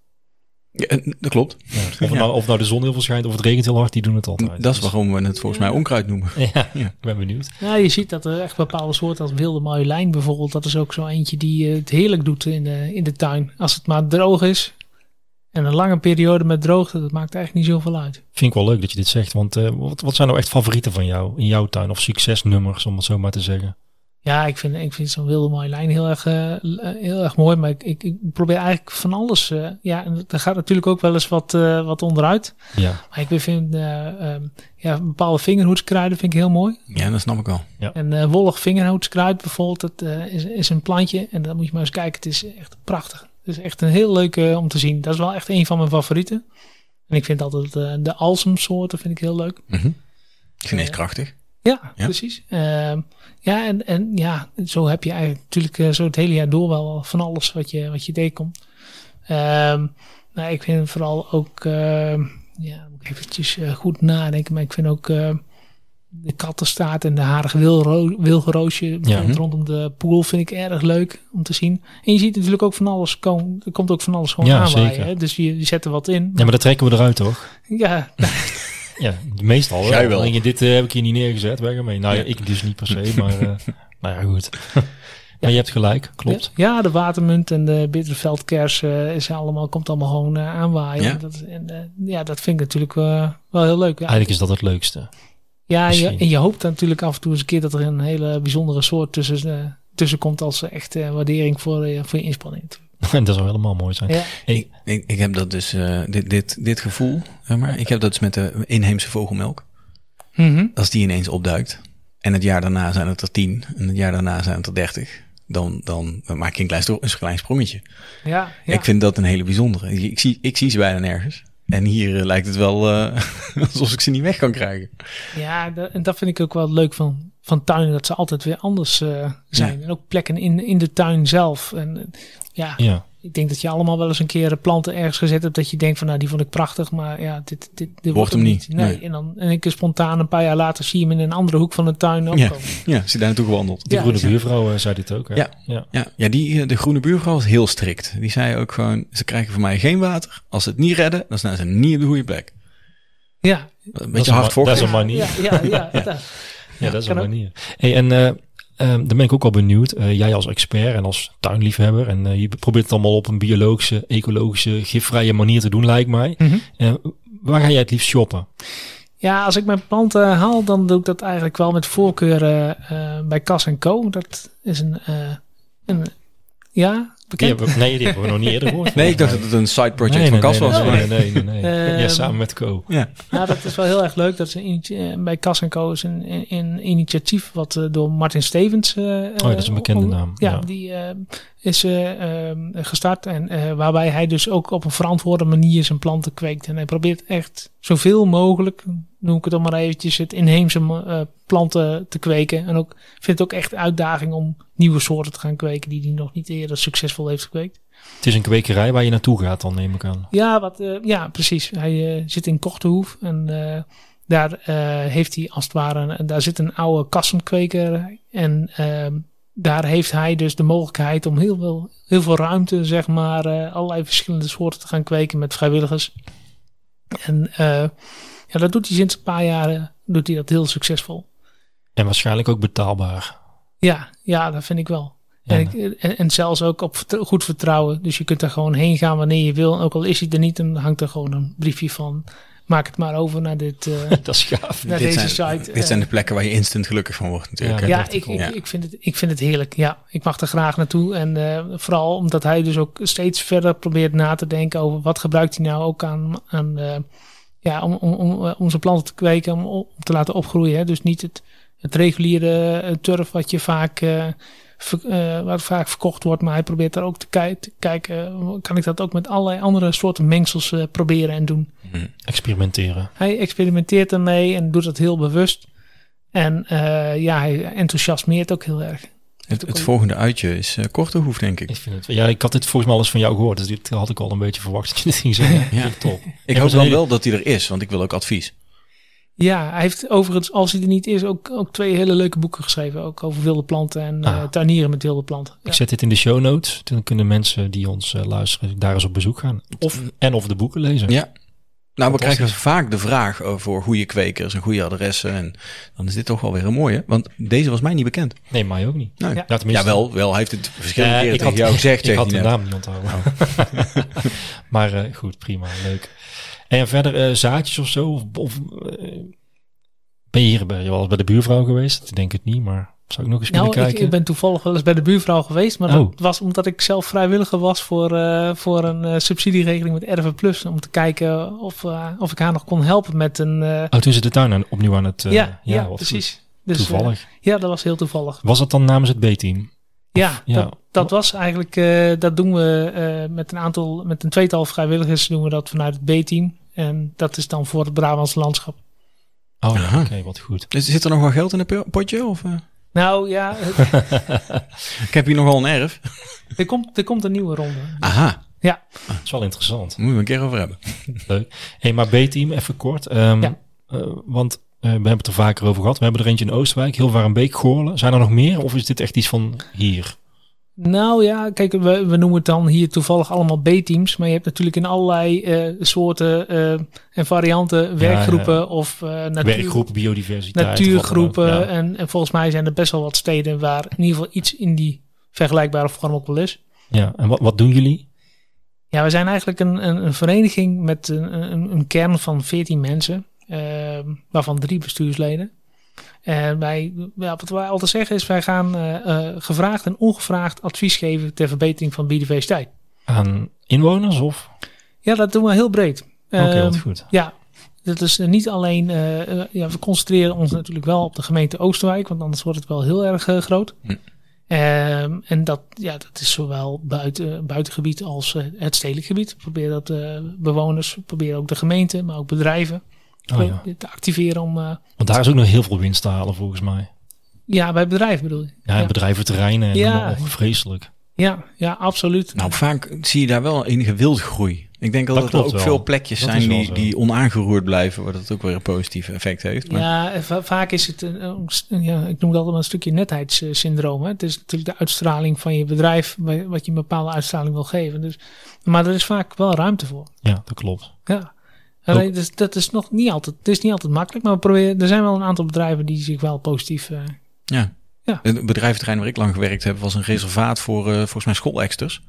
[SPEAKER 1] Ja, eh, dat klopt.
[SPEAKER 2] Ja, of, het nou, of nou de zon heel veel schijnt of het regent heel hard, die doen het altijd.
[SPEAKER 1] Dat is
[SPEAKER 2] Dus-
[SPEAKER 1] waarom we het volgens mij onkruid noemen.
[SPEAKER 2] Ja,
[SPEAKER 1] Ja.
[SPEAKER 2] ik ben benieuwd.
[SPEAKER 3] Ja, je ziet dat er echt bepaalde soorten als wilde marjolein bijvoorbeeld. Dat is ook zo eentje die eh, het heerlijk doet in de, in de tuin. Als het maar droog is. En een lange periode met droogte, dat maakt eigenlijk niet zoveel uit.
[SPEAKER 2] Vind ik wel leuk dat je dit zegt, want eh, wat, wat zijn nou echt favorieten van jou in jouw tuin? Of succesnummers, om het zo maar te zeggen.
[SPEAKER 3] Ja, ik vind, ik vind zo'n wilde marjolein heel erg, eh, l- eh, heel erg mooi. Maar ik, ik, ik probeer eigenlijk van alles. eh, ja, en er gaat natuurlijk ook wel eens wat, eh, wat onderuit.
[SPEAKER 2] Ja,
[SPEAKER 3] Maar ik vind eh, ehm, ja, bepaalde vingerhoedskruiden vind ik heel mooi.
[SPEAKER 1] Ja, dat snap ik wel.
[SPEAKER 3] En eh, wollig vingerhoedskruid bijvoorbeeld, dat eh, is, is een plantje. En dan moet je maar eens kijken, het is echt prachtig. Het is echt een heel leuke eh, om te zien. Dat is wel echt een van mijn favorieten. En ik vind altijd eh, de alsemsoorten vind ik heel leuk.
[SPEAKER 1] Mhm. Geneeskrachtig.
[SPEAKER 3] Ja,
[SPEAKER 1] Ja.
[SPEAKER 3] precies. Ehm, ja, en, en ja, zo heb je eigenlijk natuurlijk eh, zo het hele jaar door wel van alles wat je, wat je tegenkomt. Ehm nou, ik vind vooral ook, ehm, ja, dan moet ik eventjes eh, goed nadenken, maar ik vind ook ehm, de kattenstaart en de harige wilro- wilgenroosje bijvoorbeeld rondom de poel vind ik erg leuk om te zien. En je ziet natuurlijk ook van alles, komen, er komt ook van alles gewoon
[SPEAKER 2] Ja,
[SPEAKER 3] aanwaaien.
[SPEAKER 2] zeker.
[SPEAKER 3] Hè? Dus je, je zet er wat in.
[SPEAKER 2] ja maar dat trekken we eruit, toch?
[SPEAKER 3] Ja,
[SPEAKER 2] Ja, meestal wel.
[SPEAKER 1] Jij wel.
[SPEAKER 2] Alleen, dit eh, heb ik hier niet neergezet, weg ermee. Nou, ja. ik dus niet per se, maar eh, nou ja, goed. Maar je hebt gelijk, klopt.
[SPEAKER 3] Ja, de watermunt en de bittere veldkers eh, is allemaal, komt allemaal gewoon eh, aanwaaien.
[SPEAKER 1] Ja.
[SPEAKER 3] En Dat, en, eh, ja, dat vind ik natuurlijk eh, wel heel leuk. Ja,
[SPEAKER 2] Eigenlijk is dat het leukste.
[SPEAKER 3] ja en, je,
[SPEAKER 2] Ah, misschien.
[SPEAKER 3] en je hoopt dan natuurlijk af en toe eens een keer dat er een hele bijzondere soort tussen, eh, tussen komt als eh, echt eh, waardering voor, eh, voor je inspanning.
[SPEAKER 2] En dat zou helemaal mooi zijn.
[SPEAKER 3] Ja.
[SPEAKER 2] Hey,
[SPEAKER 1] Ik, ik heb dat dus, eh, dit, dit, dit gevoel, zeg maar. Ik heb dat dus met de inheemse vogelmelk. Als die ineens opduikt en het jaar daarna zijn het er tien en het jaar daarna zijn het er dertig. Dan, dan maak je een klein, stro- een klein sprongetje.
[SPEAKER 3] Ja, ja.
[SPEAKER 1] Ik vind dat een hele bijzondere. Ik, ik zie, ik zie ze bijna nergens. En hier eh, lijkt het wel eh, alsof ik ze niet weg kan krijgen.
[SPEAKER 3] ja dat, en dat vind ik ook wel leuk van, van tuinen, dat ze altijd weer anders eh, zijn. En ook plekken in, in de tuin zelf. En eh, ja,
[SPEAKER 2] ja.
[SPEAKER 3] ik denk dat je allemaal wel eens een keer eh, planten ergens gezet hebt dat je denkt van nou die vond ik prachtig, maar ja, dit, dit, dit
[SPEAKER 1] Wordt hem niet,
[SPEAKER 3] Nee.
[SPEAKER 1] nee.
[SPEAKER 3] En dan en ik spontaan een paar jaar later zie je hem in een andere hoek van de tuin
[SPEAKER 1] Ja,
[SPEAKER 3] opkomen.
[SPEAKER 1] ja ze daar naartoe gewandeld.
[SPEAKER 2] Die
[SPEAKER 3] Ja, dus-
[SPEAKER 2] groene
[SPEAKER 3] ja.
[SPEAKER 2] buurvrouw eh, zei dit ook. Hè?
[SPEAKER 1] Ja.
[SPEAKER 2] ja.
[SPEAKER 1] Ja, ja die, eh, de groene buurvrouw was heel strikt. Die zei ook gewoon, ze krijgen van mij geen water. Als ze het niet redden, dan staan ze niet op de goede plek.
[SPEAKER 3] Ja,
[SPEAKER 1] Een
[SPEAKER 2] is
[SPEAKER 1] beetje
[SPEAKER 2] een-
[SPEAKER 1] hard voor.
[SPEAKER 2] dat is een manier.
[SPEAKER 3] Ja, ja, ja, ja, ja.
[SPEAKER 2] Ja, dat is een
[SPEAKER 3] kan ook.
[SPEAKER 2] manier. Hey, en eh, ehm, dan ben ik ook wel benieuwd. eh, jij als expert en als tuinliefhebber. En eh, je probeert het allemaal op een biologische, ecologische, gifvrije manier te doen, lijkt mij.
[SPEAKER 3] Mhm.
[SPEAKER 2] Eh, waar ga jij het liefst shoppen?
[SPEAKER 3] Ja, als ik mijn planten eh, haal, dan doe ik dat eigenlijk wel met voorkeur eh, eh, bij Cas Co. Dat is een, eh, een ja,
[SPEAKER 2] Die
[SPEAKER 3] bekend.
[SPEAKER 2] hebben, we- nee, die hebben we nog niet eerder gehoord.
[SPEAKER 1] Nee, ik dacht
[SPEAKER 2] volgens
[SPEAKER 1] dat
[SPEAKER 2] mij.
[SPEAKER 1] het een side project van
[SPEAKER 2] Nee, nee,
[SPEAKER 1] Cas
[SPEAKER 2] nee,
[SPEAKER 1] was. maar-
[SPEAKER 2] Nee, nee, nee. nee.
[SPEAKER 3] Ehm,
[SPEAKER 2] ja, samen met Co.
[SPEAKER 1] Ja.
[SPEAKER 3] Nou, dat is wel heel erg leuk. Dat is een, initi- eh, bij Cas Co. is een, een, een initiatief wat eh, door Martin Stevens. eh,
[SPEAKER 2] Oh ja, dat is een bekende
[SPEAKER 3] om-
[SPEAKER 2] naam.
[SPEAKER 3] Ja,
[SPEAKER 2] Ja.
[SPEAKER 3] die eh, is eh, ehm, gestart. En eh, waarbij hij dus ook op een verantwoorde manier zijn planten kweekt. En hij probeert echt zoveel mogelijk, noem ik het dan maar eventjes, het inheemse eh, planten te kweken. En ook vindt het ook echt uitdaging om nieuwe soorten te gaan kweken die hij nog niet eerder succesvol heeft gekweekt.
[SPEAKER 2] Het is een kwekerij waar je naartoe gaat dan, neem ik aan.
[SPEAKER 3] Ja, wat, eh, ja precies. Hij eh, zit in Kochtenhoef en eh, daar eh, heeft hij als het ware, een- daar zit een oude kassenkweker en ehm, daar heeft hij dus de mogelijkheid om heel veel, heel veel ruimte, zeg maar, eh, allerlei verschillende soorten te gaan kweken met vrijwilligers. En eh, ja, dat doet hij sinds een paar jaren, doet hij dat heel succesvol.
[SPEAKER 2] En waarschijnlijk ook betaalbaar.
[SPEAKER 3] Ja, ja, dat vind ik wel.
[SPEAKER 2] Ja,
[SPEAKER 3] en, ik, en, en zelfs ook op vertr- goed vertrouwen. Dus je kunt er gewoon heen gaan wanneer je wil. En Ook al is hij er niet, dan hangt er gewoon een briefje van. Maak het maar over naar, dit, eh,
[SPEAKER 2] Dat is gaaf.
[SPEAKER 3] naar
[SPEAKER 1] dit
[SPEAKER 3] deze
[SPEAKER 1] zijn,
[SPEAKER 3] site.
[SPEAKER 1] dit
[SPEAKER 3] Eh,
[SPEAKER 1] zijn de plekken waar je instant gelukkig van wordt natuurlijk.
[SPEAKER 2] Ja,
[SPEAKER 1] hè.
[SPEAKER 3] ja,
[SPEAKER 2] dacht ik
[SPEAKER 3] ik,
[SPEAKER 2] al.
[SPEAKER 3] ik,
[SPEAKER 1] Ja.
[SPEAKER 3] ik, vind het, ik vind het heerlijk. Ja, ik mag er graag naartoe. En eh, vooral omdat hij dus ook steeds verder probeert na te denken over wat gebruikt hij nou ook aan, aan eh, ja, om, om, om, eh, onze planten te kweken, om, op- om te laten opgroeien. Hè. Dus niet het, het reguliere eh, turf wat je vaak, eh, ver- eh, wat vaak verkocht wordt. Maar hij probeert daar ook te, kijk- te kijken, eh, kan ik dat ook met allerlei andere soorten mengsels eh, proberen en doen.
[SPEAKER 2] Experimenteren.
[SPEAKER 3] Hij experimenteert ermee en doet dat heel bewust. En eh, ja, hij enthousiasmeert ook heel erg.
[SPEAKER 1] Het, het volgende uitje is eh Kortehoef, denk ik.
[SPEAKER 2] Ik vind het, ja, ik had dit volgens mij al eens van jou gehoord. Dus dit had ik al een beetje verwacht dat je dit ging zeggen.
[SPEAKER 1] Ja.
[SPEAKER 2] Vind ik Top.
[SPEAKER 1] Ik
[SPEAKER 2] Ja,
[SPEAKER 1] hoop
[SPEAKER 2] maar
[SPEAKER 1] dan
[SPEAKER 2] ze-
[SPEAKER 1] wel dat hij er is, want ik wil ook advies.
[SPEAKER 3] Ja, hij heeft overigens, als hij er niet is, ook, ook twee hele leuke boeken geschreven. Ook over wilde planten en eh
[SPEAKER 2] Ah.
[SPEAKER 3] tuinieren met wilde planten. Ja.
[SPEAKER 2] Ik zet dit in de show notes. Dan kunnen mensen die ons eh, luisteren daar eens op bezoek gaan. Of,
[SPEAKER 3] Mm.
[SPEAKER 2] en of de boeken lezen.
[SPEAKER 1] Ja. Nou, we krijgen vaak de vraag over goede kwekers en goede adressen. En dan is dit toch wel weer een mooie, want deze was mij niet bekend.
[SPEAKER 2] Nee, mij ook niet.
[SPEAKER 1] Nou,
[SPEAKER 2] Ja,
[SPEAKER 1] ja.
[SPEAKER 2] tenminste.
[SPEAKER 1] wel, wel, hij heeft het verschillende
[SPEAKER 2] Eh,
[SPEAKER 1] keren tegen Oh. jou gezegd.
[SPEAKER 2] ik
[SPEAKER 1] zegt
[SPEAKER 2] had de
[SPEAKER 1] hij net.
[SPEAKER 2] naam niet onthouden. maar eh, goed, prima, leuk. En ja, verder eh, zaadjes of zo? Of, of, eh, ben je hier bij, wel eens bij de buurvrouw geweest? Ik denk het niet, maar zou ik nog eens
[SPEAKER 3] Nou,
[SPEAKER 2] kunnen
[SPEAKER 3] ik,
[SPEAKER 2] kijken?
[SPEAKER 3] ik ben toevallig wel eens bij de buurvrouw geweest. Maar
[SPEAKER 2] Oh.
[SPEAKER 3] dat was omdat ik zelf vrijwilliger was voor, eh, voor een eh, subsidieregeling met RV Plus. Om te kijken of, eh, of ik haar nog kon helpen met een... eh,
[SPEAKER 2] Oh, toen ze de tuin aan, opnieuw aan het... eh,
[SPEAKER 3] ja, ja,
[SPEAKER 2] wat
[SPEAKER 3] precies.
[SPEAKER 2] goed.
[SPEAKER 3] Dus, eh,
[SPEAKER 2] Toevallig.
[SPEAKER 3] ja, dat was heel toevallig.
[SPEAKER 2] Was dat dan namens het B-team?
[SPEAKER 3] Ja,
[SPEAKER 2] ja.
[SPEAKER 3] Dat, dat was eigenlijk, eh, dat doen we eh, met een aantal, met een tweetal vrijwilligers doen we dat vanuit het B-team. En dat is dan voor het Brabants landschap.
[SPEAKER 2] Oh, ja,
[SPEAKER 1] Aha.
[SPEAKER 2] oké, wat goed.
[SPEAKER 1] Dus Zit er nog wel geld in een pe- potje? Of, eh?
[SPEAKER 3] Nou ja, het-
[SPEAKER 1] Ik heb hier nogal een erf.
[SPEAKER 3] er, komt, er komt een nieuwe ronde.
[SPEAKER 1] Aha,
[SPEAKER 2] Dat is wel interessant.
[SPEAKER 1] daar moeten we een keer over hebben.
[SPEAKER 2] Hé, maar B-team, even kort. ehm,
[SPEAKER 3] Ja.
[SPEAKER 2] eh, want eh, we hebben het er vaker over gehad. We hebben er eentje in Oostwijk, heel Warenbeek, Goorlen. Zijn er nog meer of is dit echt iets van hier?
[SPEAKER 3] Nou ja, kijk, we, we noemen het dan hier toevallig allemaal B-teams. Maar je hebt natuurlijk in allerlei eh, soorten eh, en varianten werkgroepen of eh natuur-
[SPEAKER 2] Werkgroep, biodiversiteit.
[SPEAKER 3] natuurgroepen.
[SPEAKER 2] of wat dan ook, ja.
[SPEAKER 3] En, en volgens mij zijn er best wel wat steden waar in ieder geval iets in die vergelijkbare vorm ook wel is.
[SPEAKER 2] Ja, en wat, wat doen jullie?
[SPEAKER 3] Ja, we zijn eigenlijk een, een, een vereniging met een, een, een kern van 14 mensen, ehm, waarvan drie bestuursleden. En wij, ja, wat wij altijd zeggen is, wij gaan eh, eh, gevraagd en ongevraagd advies geven ter verbetering van biodiversiteit.
[SPEAKER 2] Aan inwoners of?
[SPEAKER 3] Ja, dat doen we heel breed.
[SPEAKER 2] Oké,
[SPEAKER 3] Ehm,
[SPEAKER 2] wat goed. Oh,
[SPEAKER 3] ja, dat is eh, niet alleen, eh, eh, ja, we concentreren ons natuurlijk wel op de gemeente Oosterwijk, want anders wordt het wel heel erg eh, groot.
[SPEAKER 1] Hm.
[SPEAKER 3] Ehm, en dat, ja, dat is zowel buiten, buitengebied als eh, het stedelijk gebied. We proberen dat eh, bewoners, we proberen ook de gemeente, maar ook bedrijven
[SPEAKER 2] Oh, ja.
[SPEAKER 3] te activeren om, eh,
[SPEAKER 2] Want daar is ook nog heel veel winst te halen volgens mij.
[SPEAKER 3] ja, bij bedrijven bedoel je.
[SPEAKER 2] Ja,
[SPEAKER 3] Ja.
[SPEAKER 2] bedrijventerreinen en
[SPEAKER 3] Ja.
[SPEAKER 2] ja. vreselijk.
[SPEAKER 3] Ja, ja, absoluut.
[SPEAKER 1] Nou, vaak zie je daar wel enige wildgroei. Ik denk wel
[SPEAKER 2] Dat
[SPEAKER 1] dat, er
[SPEAKER 2] klopt
[SPEAKER 1] ook
[SPEAKER 2] wel.
[SPEAKER 1] veel plekjes
[SPEAKER 2] Dat is
[SPEAKER 1] zijn
[SPEAKER 2] wel
[SPEAKER 1] die,
[SPEAKER 2] zo.
[SPEAKER 1] die onaangeroerd blijven, waar dat ook weer een positief effect heeft. Maar
[SPEAKER 3] Ja, en va- vaak is het, een- een st- ja, ik noem dat allemaal een stukje netheidssyndroom. Hè? Het is natuurlijk de uitstraling van je bedrijf, wa- wat je een bepaalde uitstraling wil geven. Dus, maar er is vaak wel ruimte voor.
[SPEAKER 2] Ja, dat klopt.
[SPEAKER 3] Ja. Alleen, dus, dat is nog niet altijd, het is niet altijd makkelijk, maar we proberen, er zijn wel een aantal bedrijven die zich wel positief. eh,
[SPEAKER 1] ja.
[SPEAKER 3] Ja.
[SPEAKER 1] Het bedrijventerrein waar ik lang gewerkt heb, was een reservaat voor eh, volgens mij schoolexters.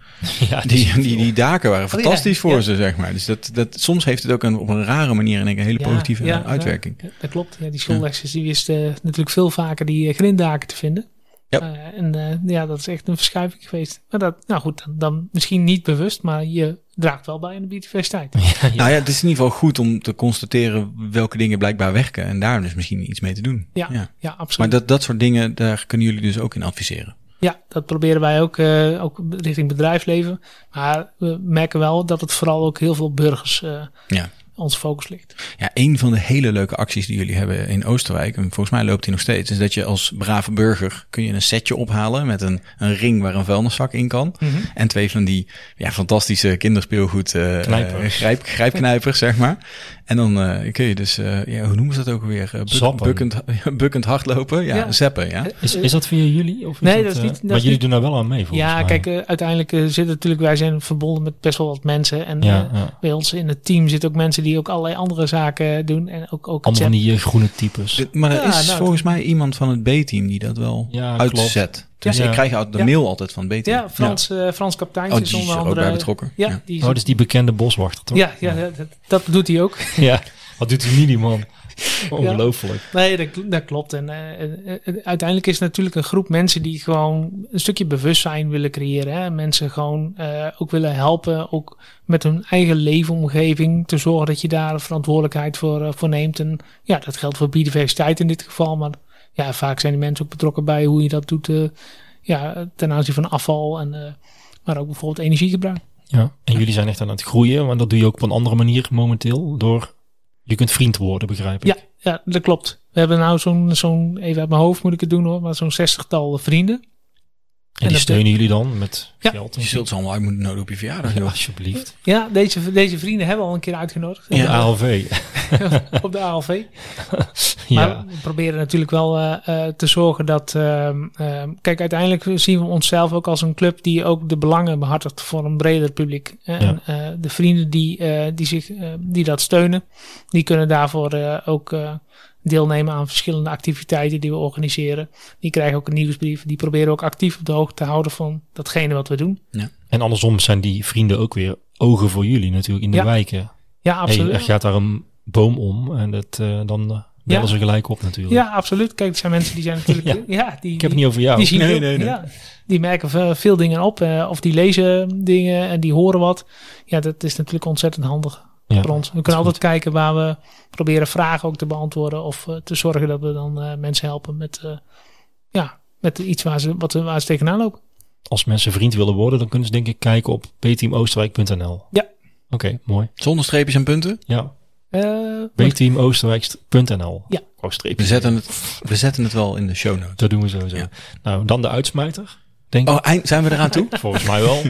[SPEAKER 2] Ja, het is
[SPEAKER 1] Die,
[SPEAKER 2] heel
[SPEAKER 1] die,
[SPEAKER 2] veel.
[SPEAKER 1] die daken waren
[SPEAKER 3] ja,
[SPEAKER 1] fantastisch voor
[SPEAKER 3] Oh, ja.
[SPEAKER 1] ze, zeg maar. Dus dat, dat, soms heeft het ook een, op een rare manier in één keer een hele
[SPEAKER 3] Ja,
[SPEAKER 1] positieve eh,
[SPEAKER 3] ja,
[SPEAKER 1] uitwerking.
[SPEAKER 3] ja, dat klopt. Ja, die schoolexters die wisten eh, natuurlijk veel vaker die eh, grindaken te vinden.
[SPEAKER 1] Ja.
[SPEAKER 3] Eh, en eh, ja, dat is echt een verschuiving geweest. Maar dat, nou goed, dan, dan misschien niet bewust, maar je draagt wel bij aan de biodiversiteit.
[SPEAKER 2] Ja, ja.
[SPEAKER 1] Nou ja, het is in ieder geval goed om te constateren welke dingen blijkbaar werken. En daar dus misschien iets mee te doen.
[SPEAKER 3] Ja, ja. absoluut.
[SPEAKER 1] Maar dat, dat soort dingen, daar kunnen jullie dus ook in adviseren.
[SPEAKER 3] ja, dat proberen wij ook, eh, ook richting bedrijfsleven. Maar we merken wel dat het vooral ook heel veel op burgers eh
[SPEAKER 1] Ja.
[SPEAKER 3] ons focus ligt.
[SPEAKER 1] Ja, een van de hele leuke acties die jullie hebben in Oosterwijk, en volgens mij loopt die nog steeds, is dat je als brave burger kun je een setje ophalen met een, een ring waar een vuilniszak in kan.
[SPEAKER 3] Mhm.
[SPEAKER 1] En twee van die ja, fantastische kinderspeelgoed eh,
[SPEAKER 2] Knijpers.
[SPEAKER 1] eh, grijp, grijpknijpers, zeg maar. En dan eh, kun je dus, eh, ja, hoe noemen ze dat ook weer? Eh, buk,
[SPEAKER 2] Zappen.
[SPEAKER 1] bukkend, bukkend hardlopen? Ja,
[SPEAKER 3] Ja.
[SPEAKER 1] zeppen, ja.
[SPEAKER 3] Eh,
[SPEAKER 2] Is, is dat via jullie? Of is
[SPEAKER 3] Nee, dat is
[SPEAKER 2] eh,
[SPEAKER 3] niet- dat
[SPEAKER 2] maar
[SPEAKER 3] is
[SPEAKER 2] jullie
[SPEAKER 3] niet-
[SPEAKER 2] doen daar wel aan mee volgens
[SPEAKER 3] ja,
[SPEAKER 2] mij.
[SPEAKER 3] kijk, eh, uiteindelijk eh, zitten natuurlijk, wij zijn verbonden met best wel wat mensen. En
[SPEAKER 2] ja,
[SPEAKER 3] eh,
[SPEAKER 2] ja.
[SPEAKER 3] bij ons in het team zitten ook mensen die ook allerlei andere zaken doen. En ook, ook
[SPEAKER 2] Allemaal van
[SPEAKER 3] chat-
[SPEAKER 2] die eh, groene types.
[SPEAKER 1] Dit- Maar er
[SPEAKER 3] Ja,
[SPEAKER 1] is
[SPEAKER 3] nou,
[SPEAKER 1] volgens mij iemand van het B-team die dat wel
[SPEAKER 2] Ja,
[SPEAKER 1] uitzet. Dus
[SPEAKER 2] Ja.
[SPEAKER 1] ik krijg de
[SPEAKER 3] Ja.
[SPEAKER 1] mail altijd van het B-team.
[SPEAKER 3] Ja, Frans, eh Frans Kapteins
[SPEAKER 1] Oh,
[SPEAKER 3] is
[SPEAKER 1] die is
[SPEAKER 3] onder
[SPEAKER 1] er ook
[SPEAKER 3] andere...
[SPEAKER 1] bij betrokken.
[SPEAKER 3] Ja, die is,
[SPEAKER 2] Oh, dus die bekende boswachter, toch?
[SPEAKER 3] ja, ja, dat, dat doet hij ook.
[SPEAKER 2] ja. Wat doet die mini man? Ongelooflijk.
[SPEAKER 3] Nee, dat, kl- dat klopt. En eh, eh, eh, uiteindelijk is het natuurlijk een groep mensen die gewoon een stukje bewustzijn willen creëren. Hè? Mensen gewoon eh, ook willen helpen, ook met hun eigen leefomgeving te zorgen dat je daar verantwoordelijkheid voor, eh, voor neemt. En ja, dat geldt voor biodiversiteit in dit geval. Maar ja, vaak zijn die mensen ook betrokken bij hoe je dat doet eh, ja, ten aanzien van afval en eh, maar ook bijvoorbeeld energiegebruik.
[SPEAKER 2] Ja. En jullie zijn echt aan het groeien, maar dat doe je ook op een andere manier momenteel. Door, je kunt vriend worden, begrijp ik.
[SPEAKER 3] Ja, ja, dat klopt. We hebben nou zo'n, zo'n, even uit mijn hoofd moet ik het doen hoor, maar zo'n zestigtal vrienden.
[SPEAKER 2] En die
[SPEAKER 3] En dat-
[SPEAKER 2] steunen jullie dan met
[SPEAKER 3] Ja.
[SPEAKER 2] geld? en
[SPEAKER 1] Je
[SPEAKER 2] zo?
[SPEAKER 1] zult ze allemaal uit moeten nodigen op je verjaardag.
[SPEAKER 2] Ja,
[SPEAKER 1] joh.
[SPEAKER 2] alsjeblieft.
[SPEAKER 3] Ja, deze, deze vrienden hebben we al een keer uitgenodigd
[SPEAKER 2] Op de ALV.
[SPEAKER 3] op de ALV. Maar
[SPEAKER 2] ja.
[SPEAKER 3] we proberen natuurlijk wel eh, eh, te zorgen dat... ehm, ehm, kijk, uiteindelijk zien we onszelf ook als een club die ook de belangen behartigt voor een breder publiek. Eh, En eh, de vrienden die, eh, die, zich, eh, die dat steunen, die kunnen daarvoor eh, ook eh, deelnemen aan verschillende activiteiten die we organiseren. Die krijgen ook een nieuwsbrief. Die proberen ook actief op de hoogte te houden van datgene wat we doen.
[SPEAKER 2] En andersom zijn die vrienden ook weer ogen voor jullie natuurlijk in de
[SPEAKER 3] Ja.
[SPEAKER 2] wijken.
[SPEAKER 3] Ja, absoluut.
[SPEAKER 2] Hey, er gaat daar een boom om en dat, eh, dan eh, bellen
[SPEAKER 3] Ja.
[SPEAKER 2] ze gelijk op natuurlijk.
[SPEAKER 3] Ja, absoluut. Kijk, er zijn mensen die zijn natuurlijk...
[SPEAKER 2] Ja.
[SPEAKER 3] ja. die,
[SPEAKER 2] Ik heb het niet over jou.
[SPEAKER 3] Die zien
[SPEAKER 2] Oh. Nee,
[SPEAKER 3] veel,
[SPEAKER 2] nee, nee.
[SPEAKER 3] Ja, die merken ve- veel dingen op. eh, of die lezen dingen en die horen wat. Ja, dat is natuurlijk ontzettend handig
[SPEAKER 2] Ja.
[SPEAKER 3] voor ons. We
[SPEAKER 2] is
[SPEAKER 3] kunnen altijd kijken waar we proberen vragen ook te beantwoorden. Of eh, te zorgen dat we dan eh, mensen helpen met, eh, ja, met iets waar ze, wat, ze- waar ze tegenaan lopen.
[SPEAKER 2] Als mensen vriend willen worden, dan kunnen ze denk ik kijken op bteamoosterwijk.nl.
[SPEAKER 3] Ja.
[SPEAKER 2] Oké, mooi.
[SPEAKER 1] Zonder streepjes en punten.
[SPEAKER 2] Ja,
[SPEAKER 3] Eh, want-
[SPEAKER 2] bteamoosterwijk.nl.
[SPEAKER 3] Ja.
[SPEAKER 2] Oh, streepje.
[SPEAKER 1] We zetten het, we zetten het wel in de show notes.
[SPEAKER 2] Dat doen we sowieso.
[SPEAKER 1] Ja.
[SPEAKER 2] Nou, dan de uitsmijter. Denk
[SPEAKER 1] Oh, eind- zijn we eraan toe?
[SPEAKER 2] ik. Volgens mij wel.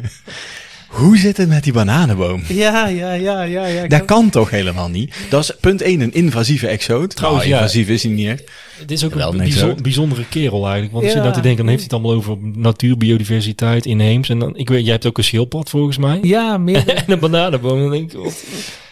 [SPEAKER 1] Hoe zit het met die bananenboom?
[SPEAKER 3] ja, ja, ja, ja. ja. Ik
[SPEAKER 1] Dat
[SPEAKER 3] heb-
[SPEAKER 1] kan toch helemaal niet? Dat is punt 1, een invasieve exoot.
[SPEAKER 2] Trouwens,
[SPEAKER 1] Nou,
[SPEAKER 2] ja.
[SPEAKER 1] invasief is hij niet echt.
[SPEAKER 2] Het is ook
[SPEAKER 1] Wel
[SPEAKER 2] een
[SPEAKER 1] niks
[SPEAKER 2] bijzo-
[SPEAKER 1] ook.
[SPEAKER 2] bijzondere kerel eigenlijk. Want als je
[SPEAKER 3] Ja.
[SPEAKER 2] dat te denken, dan heeft hij het allemaal over natuur, biodiversiteit, inheems. En dan, ik weet, jij hebt ook een schildpad volgens mij.
[SPEAKER 3] Ja, meer.
[SPEAKER 2] En een bananenboom. Dan denk ik, wat-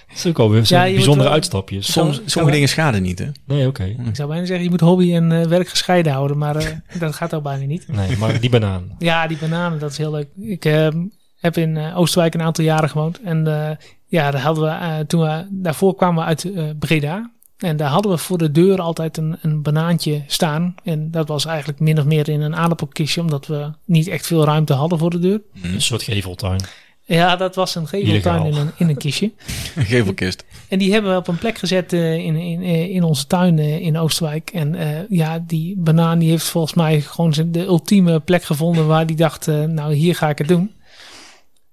[SPEAKER 2] dat is ook alweer
[SPEAKER 3] Ja,
[SPEAKER 2] zijn
[SPEAKER 3] je moet
[SPEAKER 2] bijzondere
[SPEAKER 3] wel-
[SPEAKER 2] uitstapjes.
[SPEAKER 1] Soms,
[SPEAKER 3] kan
[SPEAKER 1] sommige
[SPEAKER 3] wel.
[SPEAKER 1] dingen schaden niet, hè?
[SPEAKER 2] Nee, oké.
[SPEAKER 1] Mm.
[SPEAKER 3] ik zou bijna zeggen, je moet hobby en eh, werk gescheiden houden. Maar eh, dat gaat ook bijna niet.
[SPEAKER 2] Nee, maar die banaan.
[SPEAKER 3] Ja, die bananen, dat is heel leuk. Ik ehm, heb in eh, Oosterwijk een aantal jaren gewoond. En eh, ja, daar hadden we, eh, toen we daarvoor kwamen we uit eh, Breda. En daar hadden we voor de deur altijd een, een banaantje staan. En dat was eigenlijk min of meer in een aardappelkistje, omdat we niet echt veel ruimte hadden voor de deur.
[SPEAKER 1] Mm.
[SPEAKER 2] Een soort geveltuin.
[SPEAKER 3] Ja, dat was een geveltuin in
[SPEAKER 2] Illegaal.
[SPEAKER 3] een, in een kistje.
[SPEAKER 1] Een Gevelkist.
[SPEAKER 3] En die hebben we op een plek gezet eh, in, in, eh, in onze tuin eh, in Oosterwijk. En eh, ja, die banaan die heeft volgens mij gewoon zijn- de ultieme plek gevonden waar die dacht, eh, nou hier ga ik het doen.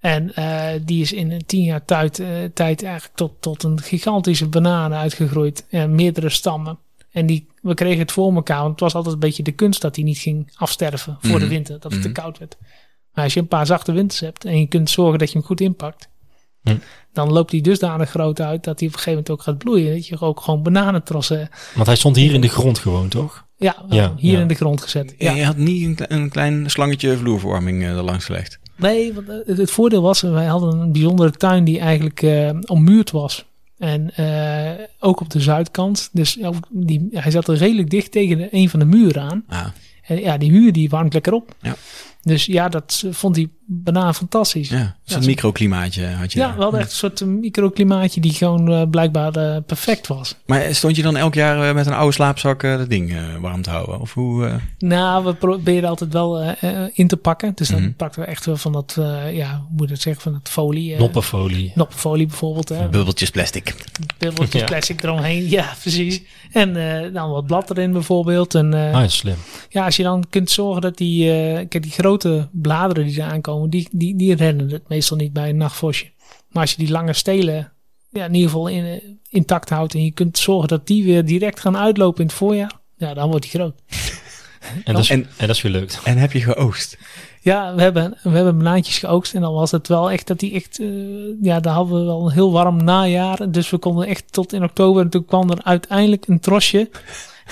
[SPEAKER 3] En eh, die is in een tien jaar tijd, eh, tijd eigenlijk tot, tot een gigantische banaan uitgegroeid. En meerdere stammen. En die, we kregen het voor elkaar, want het was altijd een beetje de kunst dat die niet ging afsterven voor
[SPEAKER 1] Mhm.
[SPEAKER 3] de winter. Dat het
[SPEAKER 1] Mhm.
[SPEAKER 3] te koud werd. Maar als je een paar zachte winters hebt en je kunt zorgen dat je hem goed inpakt.
[SPEAKER 2] Hm.
[SPEAKER 3] Dan loopt hij dusdanig groot uit dat hij op een gegeven moment ook gaat bloeien. Dat je ook gewoon bananentrossen. eh,
[SPEAKER 2] Want hij stond hier in de grond gewoon, toch?
[SPEAKER 3] Ja,
[SPEAKER 2] Ja,
[SPEAKER 3] hier
[SPEAKER 2] ja.
[SPEAKER 3] in de grond gezet. Ja.
[SPEAKER 1] Je had niet een, kle- een klein slangetje vloerverwarming eh, erlangs gelegd.
[SPEAKER 3] Nee, want eh, het, het voordeel was, wij hadden een bijzondere tuin die eigenlijk eh, ommuurd was. En eh, ook op de zuidkant. Dus ook die, hij zat er redelijk dicht tegen de- een van de muren aan.
[SPEAKER 1] Ah,
[SPEAKER 3] En ja, die muur die warmt lekker op.
[SPEAKER 1] Ja.
[SPEAKER 3] Dus ja, dat eh, vond die banaan fantastisch.
[SPEAKER 1] ja. Een soort
[SPEAKER 3] Ja.
[SPEAKER 1] microklimaatje had je
[SPEAKER 3] Ja,
[SPEAKER 1] daar.
[SPEAKER 3] wel echt een soort eh, microklimaatje die gewoon eh, blijkbaar eh, perfect was.
[SPEAKER 1] Maar stond je dan elk jaar eh, met een oude slaapzak eh, dat ding eh, warm te houden? Of hoe? eh?
[SPEAKER 3] Nou, we proberen altijd wel eh, eh, in te pakken. Dus dan
[SPEAKER 1] Mhm.
[SPEAKER 3] pakten we echt wel van dat, eh, ja, hoe moet je dat zeggen, van dat folie. eh,
[SPEAKER 2] Noppenfolie.
[SPEAKER 3] Noppenfolie bijvoorbeeld, hè.
[SPEAKER 1] Bubbeltjes plastic.
[SPEAKER 3] Bubbeltjes
[SPEAKER 2] Ja.
[SPEAKER 3] plastic eromheen. Ja, precies. En eh, dan wat blad erin bijvoorbeeld. En eh,
[SPEAKER 2] Ah, is slim.
[SPEAKER 3] ja, als je dan kunt zorgen dat die, eh, kijk, die grote bladeren die eraan komen, die, die, die rennen het meestal niet bij een nachtvosje. Maar als je die lange stelen ja, in ieder geval in, eh, intact houdt en je kunt zorgen dat die weer direct gaan uitlopen in het voorjaar, ja, dan wordt die groot.
[SPEAKER 2] En dat is, en,
[SPEAKER 1] En-
[SPEAKER 2] dat is gelukt.
[SPEAKER 1] En heb je geoogst?
[SPEAKER 3] Ja, we hebben, we hebben banaantjes geoogst. En dan was het wel echt dat die echt... eh, ja, daar hadden we wel een heel warm najaar. Dus we konden echt tot in oktober. En toen kwam er uiteindelijk een trosje.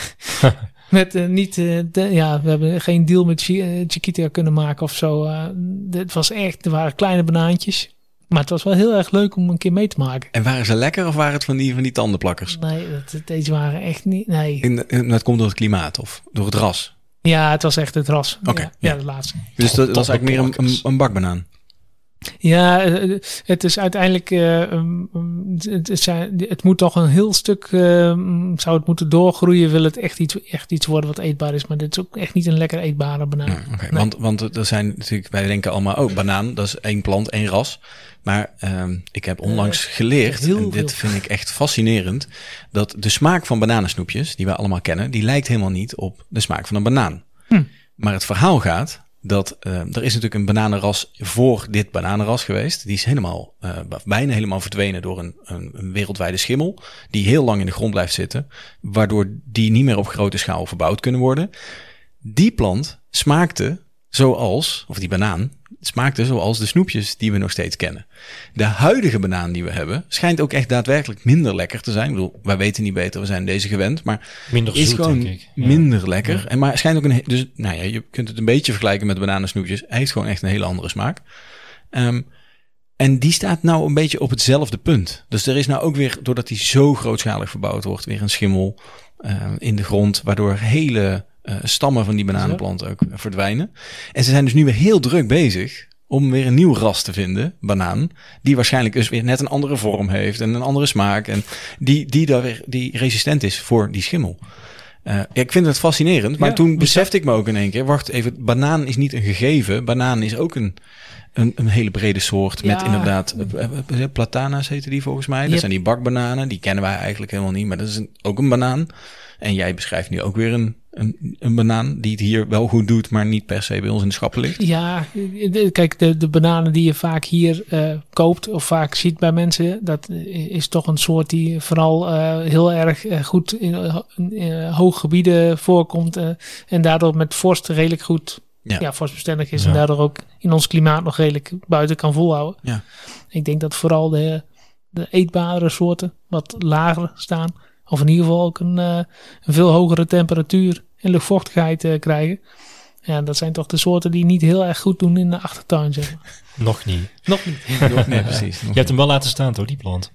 [SPEAKER 3] met eh, niet... eh, de, ja, we hebben geen deal met Chi- eh, Chiquita kunnen maken of zo. eh. het was echt... Er waren kleine banaantjes. Maar het was wel heel erg leuk om een keer mee te maken.
[SPEAKER 1] En waren ze lekker of waren het van die, van die tandenplakkers?
[SPEAKER 3] Nee, dat, deze waren echt niet... Nee.
[SPEAKER 1] En, en dat komt door het klimaat of door het ras.
[SPEAKER 3] Ja, het was echt het ras.
[SPEAKER 1] Oké,
[SPEAKER 3] ja,
[SPEAKER 1] ja.
[SPEAKER 3] ja, het laatste.
[SPEAKER 1] Dus dat, dat was eigenlijk meer een, een, een bakbanaan.
[SPEAKER 3] Ja, eh, eh, het is uiteindelijk, eh, um, um, het- het, het zijn- het moet toch een heel stuk, eh, um, zou het moeten doorgroeien, wil het echt iets, echt iets worden wat eetbaar is. Maar dit is ook echt niet een lekker eetbare banaan.
[SPEAKER 1] Ja, oké. Want, want er zijn natuurlijk, wij denken allemaal, oh, banaan, dat is één plant, één ras. Maar ehm, ik heb onlangs geleerd,
[SPEAKER 3] heel
[SPEAKER 1] en dit vind ik echt fascinerend, dat de smaak van bananensnoepjes, die wij allemaal kennen, die lijkt helemaal niet op de smaak van een banaan. Maar het verhaal gaat dat ehm, er is natuurlijk een bananenras voor dit bananenras geweest. Die is helemaal, eh, bijna helemaal verdwenen door een, een, een wereldwijde schimmel. Die heel lang in de grond blijft zitten. Waardoor die niet meer op grote schaal verbouwd kunnen worden. Die plant smaakte zoals, of die banaan, smaakte zoals de snoepjes die we nog steeds kennen. De huidige banaan die we hebben schijnt ook echt daadwerkelijk minder lekker te zijn. Ik bedoel, wij weten niet beter, we zijn deze gewend. Maar
[SPEAKER 2] Minder
[SPEAKER 1] is
[SPEAKER 2] zoet,
[SPEAKER 1] gewoon
[SPEAKER 2] denk ik. Ja.
[SPEAKER 1] minder lekker. En maar schijnt ook een. he- Dus nou ja, je kunt het een beetje vergelijken met bananensnoepjes. Hij heeft gewoon echt een hele andere smaak. Ehm, en die staat nou een beetje op hetzelfde punt. Dus er is nou ook weer, doordat die zo grootschalig verbouwd wordt, weer een schimmel ehm, in de grond. Waardoor hele eh, stammen van die bananenplant ook eh, verdwijnen. En ze zijn dus nu weer heel druk bezig om weer een nieuw ras te vinden, banaan. Die waarschijnlijk dus weer net een andere vorm heeft en een andere smaak. En die, die, daar, weer- die resistent is voor die schimmel. Eh, ja, ik vind het fascinerend, maar
[SPEAKER 3] Ja, dus
[SPEAKER 1] toen besefte ik me ook in één keer... wacht even, banaan is niet een gegeven. Banaan is ook een, een, een hele brede soort met
[SPEAKER 3] Ja.
[SPEAKER 1] inderdaad... eh, eh, eh, platana's heten die volgens mij. Dat
[SPEAKER 3] Yep.
[SPEAKER 1] zijn die bakbananen, die kennen wij eigenlijk helemaal niet... maar dat is een- ook een banaan. En jij beschrijft nu ook weer een, een, een banaan... die het hier wel goed doet, maar niet per se bij ons in de schappen ligt.
[SPEAKER 3] Ja, eh, de- kijk, de, de bananen die je vaak hier eh, koopt of vaak ziet bij mensen, dat eh, is toch een soort die vooral eh, heel erg eh, goed in, eh, ho- in, eh, hoge gebieden voorkomt eh, en daardoor met vorst redelijk goed
[SPEAKER 1] Ja.
[SPEAKER 3] ja. vorstbestendig is
[SPEAKER 2] Ja.
[SPEAKER 3] en daardoor ook in ons klimaat nog redelijk buiten kan volhouden.
[SPEAKER 1] Ja.
[SPEAKER 3] Ik denk dat vooral de, de eetbare soorten wat lager staan of in ieder geval ook een, eh, een veel hogere temperatuur en luchtvochtigheid eh, krijgen. Ja, dat zijn toch de soorten die niet heel erg goed doen in de achtertuin, zeg maar.
[SPEAKER 2] Nog niet.
[SPEAKER 3] Nog niet.
[SPEAKER 1] Nee, precies.
[SPEAKER 2] Je hebt hem wel laten staan, toch, die plant?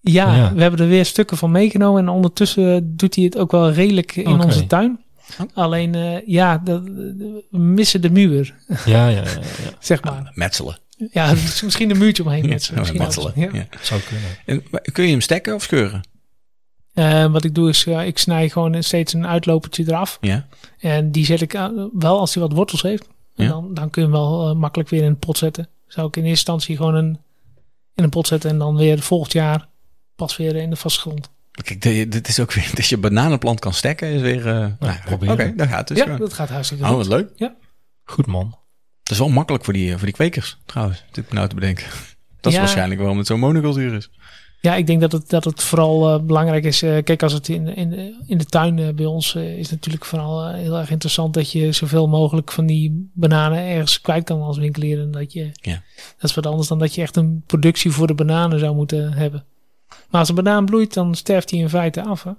[SPEAKER 3] Ja,
[SPEAKER 2] Ja.
[SPEAKER 3] we hebben er weer stukken van meegenomen. En ondertussen eh, doet hij het ook wel redelijk in
[SPEAKER 2] Oké.
[SPEAKER 3] onze tuin.
[SPEAKER 1] Oh.
[SPEAKER 3] Alleen, eh, ja, dat, we missen de muur,
[SPEAKER 2] Ja, ja, ja, ja.
[SPEAKER 3] zeg maar.
[SPEAKER 1] Metselen.
[SPEAKER 3] Ja, dus misschien een muurtje omheen met
[SPEAKER 1] Ja,
[SPEAKER 3] Misschien
[SPEAKER 1] metselen.
[SPEAKER 3] anders. Ja.
[SPEAKER 1] Ja.
[SPEAKER 2] zou kunnen.
[SPEAKER 1] En, maar kun je hem stekken of scheuren?
[SPEAKER 3] Eh, wat ik doe is, eh, ik snij gewoon steeds een uitlopertje eraf.
[SPEAKER 1] Ja.
[SPEAKER 3] En die zet ik aan- wel als hij wat wortels heeft. En
[SPEAKER 1] Ja.
[SPEAKER 3] dan, dan kun je hem wel eh, makkelijk weer in een pot zetten. Zou ik in eerste instantie gewoon een, in een pot zetten. En dan weer volgend jaar pas weer in de vastgrond.
[SPEAKER 1] Kijk, de- dit is ook weer, dat je bananenplant kan stekken is weer... eh, nou,
[SPEAKER 2] proberen.
[SPEAKER 1] Oké, daar gaat het dus.
[SPEAKER 3] ja,
[SPEAKER 1] gewoon.
[SPEAKER 3] dat gaat hartstikke
[SPEAKER 1] Oh,
[SPEAKER 3] goed.
[SPEAKER 1] wat leuk.
[SPEAKER 2] Goed, man.
[SPEAKER 1] Dat is wel makkelijk voor die, eh, voor die kwekers, trouwens. Dit nou te bedenken. Dat is
[SPEAKER 3] Ja.
[SPEAKER 1] waarschijnlijk waarom het zo'n monocultuur is.
[SPEAKER 3] Ja, ik denk dat het, dat het vooral eh, belangrijk is. eh, kijk, als het in, in, in de tuin eh, bij ons eh, is natuurlijk vooral eh, heel erg interessant dat je zoveel mogelijk van die bananen ergens kwijt kan als winkelier. En dat, je,
[SPEAKER 1] Ja.
[SPEAKER 3] dat is wat anders dan dat je echt een productie voor de bananen zou moeten hebben. Maar als een banaan bloeit, dan sterft hij in feite af. Hè?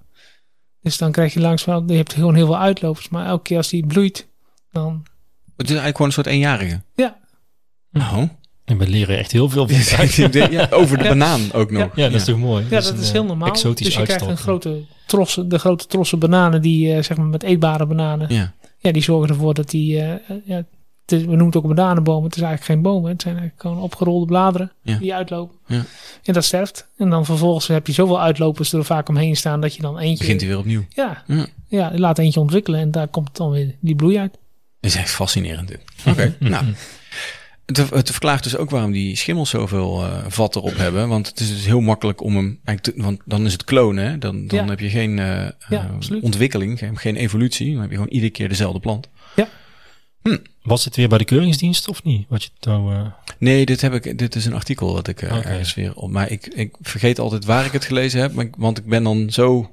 [SPEAKER 3] Dus dan krijg je langs van, je hebt gewoon heel veel uitlopers. Maar elke keer als die bloeit, dan
[SPEAKER 1] Het is eigenlijk gewoon een soort eenjarige.
[SPEAKER 3] Ja.
[SPEAKER 1] Nou,
[SPEAKER 2] En we leren echt heel veel van
[SPEAKER 1] Ja,
[SPEAKER 2] elkaar.
[SPEAKER 1] ja, over de
[SPEAKER 3] Ja.
[SPEAKER 1] banaan ook nog.
[SPEAKER 2] Ja, dat is toch mooi?
[SPEAKER 3] Ja, dat
[SPEAKER 2] een,
[SPEAKER 3] is
[SPEAKER 2] eh,
[SPEAKER 3] heel normaal. Dus je
[SPEAKER 2] Exotisch
[SPEAKER 3] krijgt een
[SPEAKER 2] uitstapje.
[SPEAKER 3] grote trossen, de grote trossen bananen die, eh, zeg maar, met eetbare bananen.
[SPEAKER 1] Ja.
[SPEAKER 3] Ja, die zorgen ervoor dat die, eh, eh, ja, het is- we noemen het ook een bananenboom. Het is eigenlijk geen boom. hè. Het zijn eigenlijk gewoon opgerolde bladeren
[SPEAKER 1] Ja.
[SPEAKER 3] die uitlopen.
[SPEAKER 1] Ja.
[SPEAKER 3] En dat sterft. En dan vervolgens heb je zoveel uitlopers er vaak omheen staan dat je dan eentje...
[SPEAKER 1] Begint hij weer opnieuw.
[SPEAKER 3] ja,
[SPEAKER 1] Ja.
[SPEAKER 3] ja. je laat eentje ontwikkelen en daar komt dan weer die bloei uit.
[SPEAKER 1] Dat is echt fascinerend dit. Oké, nou. Het, het verklaart dus ook waarom die schimmels zoveel eh, vat erop hebben. Want het is dus heel makkelijk om hem... eigenlijk te- want dan is het klonen, hè? Dan, dan
[SPEAKER 3] Ja.
[SPEAKER 1] heb je geen eh, eh,
[SPEAKER 3] absoluut.
[SPEAKER 1] ontwikkeling, geen, geen evolutie. Dan heb je gewoon iedere keer dezelfde plant.
[SPEAKER 2] Was het weer bij de keuringsdienst of niet? Wat je nou, eh,
[SPEAKER 1] Nee, dit, heb ik, dit is een artikel wat ik eh,
[SPEAKER 2] Oké.
[SPEAKER 1] ergens weer op... Maar ik, ik vergeet altijd waar ik het gelezen heb. Maar ik- want ik ben dan zo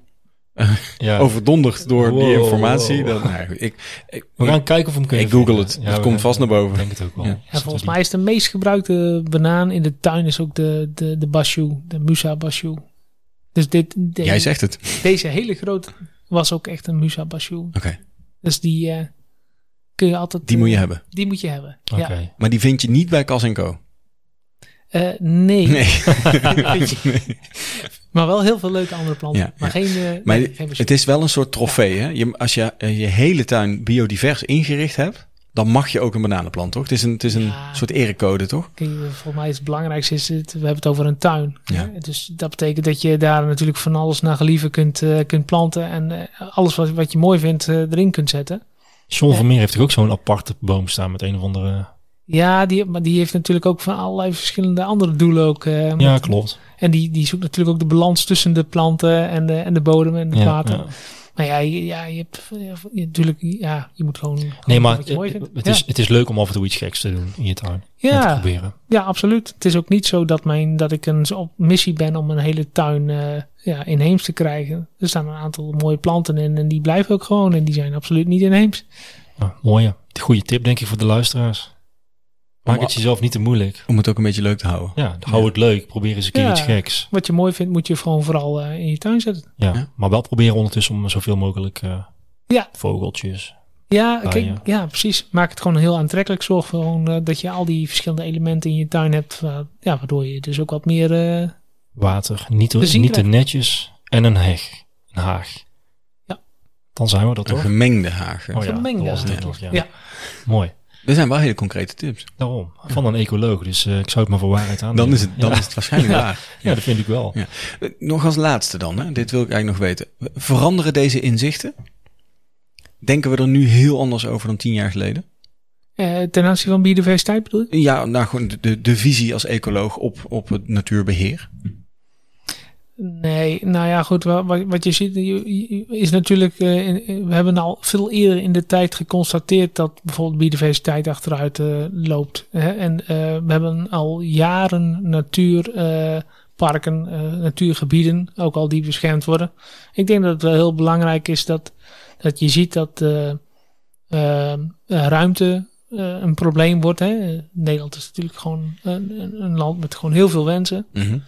[SPEAKER 2] ja.
[SPEAKER 1] overdonderd door die
[SPEAKER 2] Wow,
[SPEAKER 1] informatie.
[SPEAKER 2] wow.
[SPEAKER 1] Dat, nou, ja, goed, ik, ik,
[SPEAKER 2] We gaan kijken of we hem kunnen
[SPEAKER 1] ik google
[SPEAKER 2] vinden.
[SPEAKER 1] het.
[SPEAKER 2] Ja,
[SPEAKER 1] het
[SPEAKER 2] we-
[SPEAKER 1] komt vast naar
[SPEAKER 2] Ik
[SPEAKER 1] boven.
[SPEAKER 2] denk het ook wel.
[SPEAKER 1] Ja.
[SPEAKER 3] En volgens mij is de meest gebruikte banaan in de tuin is ook de, de, de bashu, de Musa bashu. Dus dit, de-
[SPEAKER 1] Jij zegt het.
[SPEAKER 3] deze hele grote was ook echt een Musa bashu.
[SPEAKER 1] Oké,
[SPEAKER 3] Dus die eh, kun je altijd...
[SPEAKER 1] die moet je
[SPEAKER 3] eh,
[SPEAKER 1] hebben.
[SPEAKER 3] Die moet je hebben,
[SPEAKER 2] Oké.
[SPEAKER 3] ja.
[SPEAKER 1] Maar die vind je niet bij Cas Co.
[SPEAKER 3] Eh, nee,
[SPEAKER 1] Nee.
[SPEAKER 3] maar wel heel veel leuke andere planten.
[SPEAKER 1] Ja,
[SPEAKER 3] maar
[SPEAKER 1] ja.
[SPEAKER 3] geen, eh,
[SPEAKER 1] Maar
[SPEAKER 3] nee, geen
[SPEAKER 1] het is wel een soort trofee. Hè? Je, als je eh, je hele tuin biodivers ingericht hebt, dan mag je ook een bananenplant, toch? Het is een, het is een
[SPEAKER 3] Ja.
[SPEAKER 1] soort erecode, toch?
[SPEAKER 3] Kijk, Volgens mij is het belangrijkste, is het, we hebben het over een tuin.
[SPEAKER 1] Ja.
[SPEAKER 3] Dus dat betekent dat je daar natuurlijk van alles naar gelieven kunt, eh, kunt planten. En eh, alles wat, wat je mooi vindt eh, erin kunt zetten.
[SPEAKER 2] John Vermeer heeft toch ook zo'n aparte boom staan met een of andere...
[SPEAKER 3] Ja, die, maar die heeft natuurlijk ook van allerlei verschillende andere doelen ook. eh,
[SPEAKER 2] Ja,
[SPEAKER 3] met-
[SPEAKER 2] klopt.
[SPEAKER 3] En die, die zoekt natuurlijk ook de balans tussen de planten en de, en de bodem en het
[SPEAKER 2] Ja,
[SPEAKER 3] water.
[SPEAKER 2] ja.
[SPEAKER 3] Maar ja, je, ja, je hebt je- natuurlijk, ja, je moet gewoon.
[SPEAKER 2] Nee, maar
[SPEAKER 3] wat je mooi
[SPEAKER 2] het,
[SPEAKER 3] vindt.
[SPEAKER 2] het
[SPEAKER 3] Ja.
[SPEAKER 2] is, het is leuk om af en toe iets geks te doen in je tuin. En te
[SPEAKER 3] Ja,
[SPEAKER 2] proberen.
[SPEAKER 3] ja, absoluut. Het is ook niet zo dat, mijn, dat ik een op missie ben om een hele tuin eh, ja, inheems te krijgen. Er staan een aantal mooie planten in en die blijven ook gewoon en die zijn absoluut niet inheems.
[SPEAKER 2] Ja, Nou, mooi. ja. Goede tip, denk ik, voor de luisteraars. Maak
[SPEAKER 1] Om-
[SPEAKER 2] het jezelf niet te moeilijk.
[SPEAKER 1] Om het ook een beetje leuk te houden.
[SPEAKER 2] Ja, hou het leuk. Probeer eens een keer
[SPEAKER 3] Ja.
[SPEAKER 2] iets geks.
[SPEAKER 3] Wat je mooi vindt, moet je gewoon vooral eh, in je tuin zetten.
[SPEAKER 2] Ja.
[SPEAKER 1] Ja.
[SPEAKER 2] Maar wel proberen ondertussen om zoveel mogelijk eh,
[SPEAKER 3] Ja.
[SPEAKER 2] vogeltjes.
[SPEAKER 3] Ja,
[SPEAKER 2] Ah,
[SPEAKER 3] kijk,
[SPEAKER 2] ja.
[SPEAKER 3] ja. precies. Maak het gewoon heel aantrekkelijk. Zorg gewoon eh, dat je al die verschillende elementen in je tuin hebt. eh, ja, waardoor je dus ook wat meer eh,
[SPEAKER 2] Oh Water. Niet, te-
[SPEAKER 3] Plezier
[SPEAKER 2] niet te
[SPEAKER 3] krijgen.
[SPEAKER 2] netjes. En een heg. Een haag.
[SPEAKER 3] Ja.
[SPEAKER 2] Dan zijn we dat
[SPEAKER 1] Een
[SPEAKER 2] toch? Oh,
[SPEAKER 1] gemengde hagen.
[SPEAKER 2] ja,
[SPEAKER 3] gemengde
[SPEAKER 2] dat was het
[SPEAKER 1] haag.
[SPEAKER 2] toch, ja.
[SPEAKER 3] Ja.
[SPEAKER 2] Mooi.
[SPEAKER 1] Er zijn wel hele concrete tips.
[SPEAKER 2] Daarom. Van een ecoloog. Dus eh, ik zou het maar voor waarheid aan.
[SPEAKER 1] Dan is het, dan
[SPEAKER 2] ja.
[SPEAKER 1] is het waarschijnlijk
[SPEAKER 2] Ja.
[SPEAKER 1] waar.
[SPEAKER 2] ja, dat vind ik wel.
[SPEAKER 1] Ja. Eh, Nog als laatste dan, hè? dit wil ik eigenlijk nog weten. Veranderen deze inzichten? Denken we er nu heel anders over dan tien jaar geleden?
[SPEAKER 3] eh, ten aanzien van biodiversiteit bedoel je?
[SPEAKER 1] Ja, nou gewoon de, de, de visie als ecoloog op, op het natuurbeheer.
[SPEAKER 3] Nee, nou ja, goed. wa- Wat, wat je ziet je- je- is natuurlijk. eh, in- in- we hebben al veel eerder in de tijd geconstateerd dat bijvoorbeeld biodiversiteit achteruit eh, loopt. Hè? En eh, we hebben al jaren natuurparken, eh, natuurgebieden, ook al die beschermd worden. Ik denk dat het wel heel belangrijk is dat, dat je ziet dat eh, eh, eh, ruimte eh, een probleem wordt. Hè? Nederland is natuurlijk gewoon een, een- een land met gewoon heel veel wensen.
[SPEAKER 2] Mhm.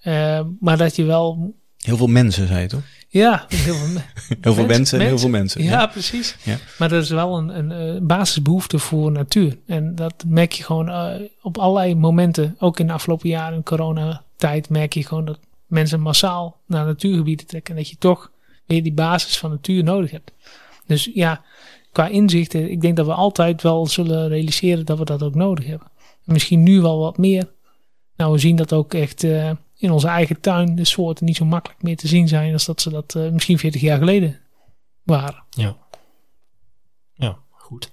[SPEAKER 3] Eh, maar dat je wel.
[SPEAKER 1] Heel veel mensen, zei je toch?
[SPEAKER 3] Ja, heel veel, me-
[SPEAKER 1] Heel veel
[SPEAKER 3] Mensen,
[SPEAKER 1] mensen en heel
[SPEAKER 3] mensen.
[SPEAKER 1] veel mensen.
[SPEAKER 3] ja, precies.
[SPEAKER 1] Ja.
[SPEAKER 3] Maar dat is wel een, een eh, basisbehoefte voor natuur. En dat merk je gewoon eh, op allerlei momenten. Ook in de afgelopen jaren, in coronatijd, merk je gewoon dat mensen massaal naar natuurgebieden trekken. En dat je toch weer die basis van natuur nodig hebt. Dus ja, qua inzichten, ik denk dat we altijd wel zullen realiseren dat we dat ook nodig hebben. En misschien nu wel wat meer. Nou, we zien dat ook echt eh, in onze eigen tuin de soorten niet zo makkelijk meer te zien zijn als dat ze dat eh, misschien 40 jaar geleden waren.
[SPEAKER 2] Ja, goed.
[SPEAKER 1] Ik,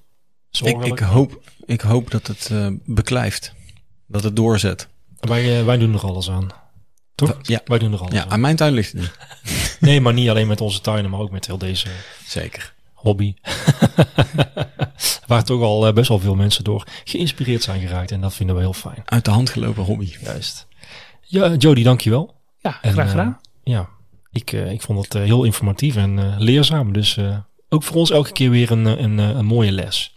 [SPEAKER 1] ik,
[SPEAKER 2] Zorgelijk.
[SPEAKER 1] hoop, ik hoop dat het eh, beklijft. Dat het doorzet.
[SPEAKER 2] Wij, eh, wij doen er alles aan. Toch?
[SPEAKER 1] Ja.
[SPEAKER 2] Wij doen er alles
[SPEAKER 1] Ja,
[SPEAKER 2] aan.
[SPEAKER 1] aan mijn tuin ligt het niet.
[SPEAKER 2] Nee, maar niet alleen met onze tuinen, maar ook met heel deze
[SPEAKER 1] Zeker.
[SPEAKER 2] hobby. Waar toch al eh, best wel veel mensen door geïnspireerd zijn geraakt. En dat vinden we heel fijn.
[SPEAKER 1] Uit de hand gelopen hobby.
[SPEAKER 2] Juist. Ja, Jody, dankjewel.
[SPEAKER 3] Ja,
[SPEAKER 2] En,
[SPEAKER 3] graag
[SPEAKER 2] eh,
[SPEAKER 3] gedaan.
[SPEAKER 2] ja, ik, eh, ik vond het eh, heel informatief en eh, leerzaam. Dus eh, ook voor ons elke keer weer een, eh, een, eh, een mooie les.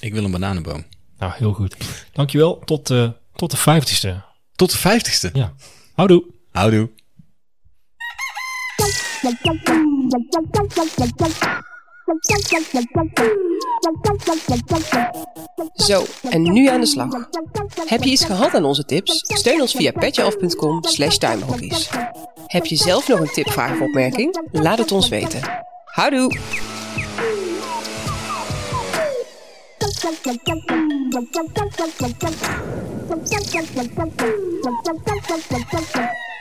[SPEAKER 1] Ik wil een bananenboom.
[SPEAKER 2] Nou, heel goed. Dankjewel. Tot, eh tot de vijftigste.
[SPEAKER 1] Tot de vijftigste.
[SPEAKER 2] Ja. Houdoe.
[SPEAKER 1] Houdoe.
[SPEAKER 4] Zo, en nu aan de slag. Heb je iets gehad aan onze tips? Steun ons via petjeaf.com slash tuinbroekies. Heb je zelf nog een tip, vraag of opmerking? Laat het ons weten. Houdoe!
[SPEAKER 5] Thank you.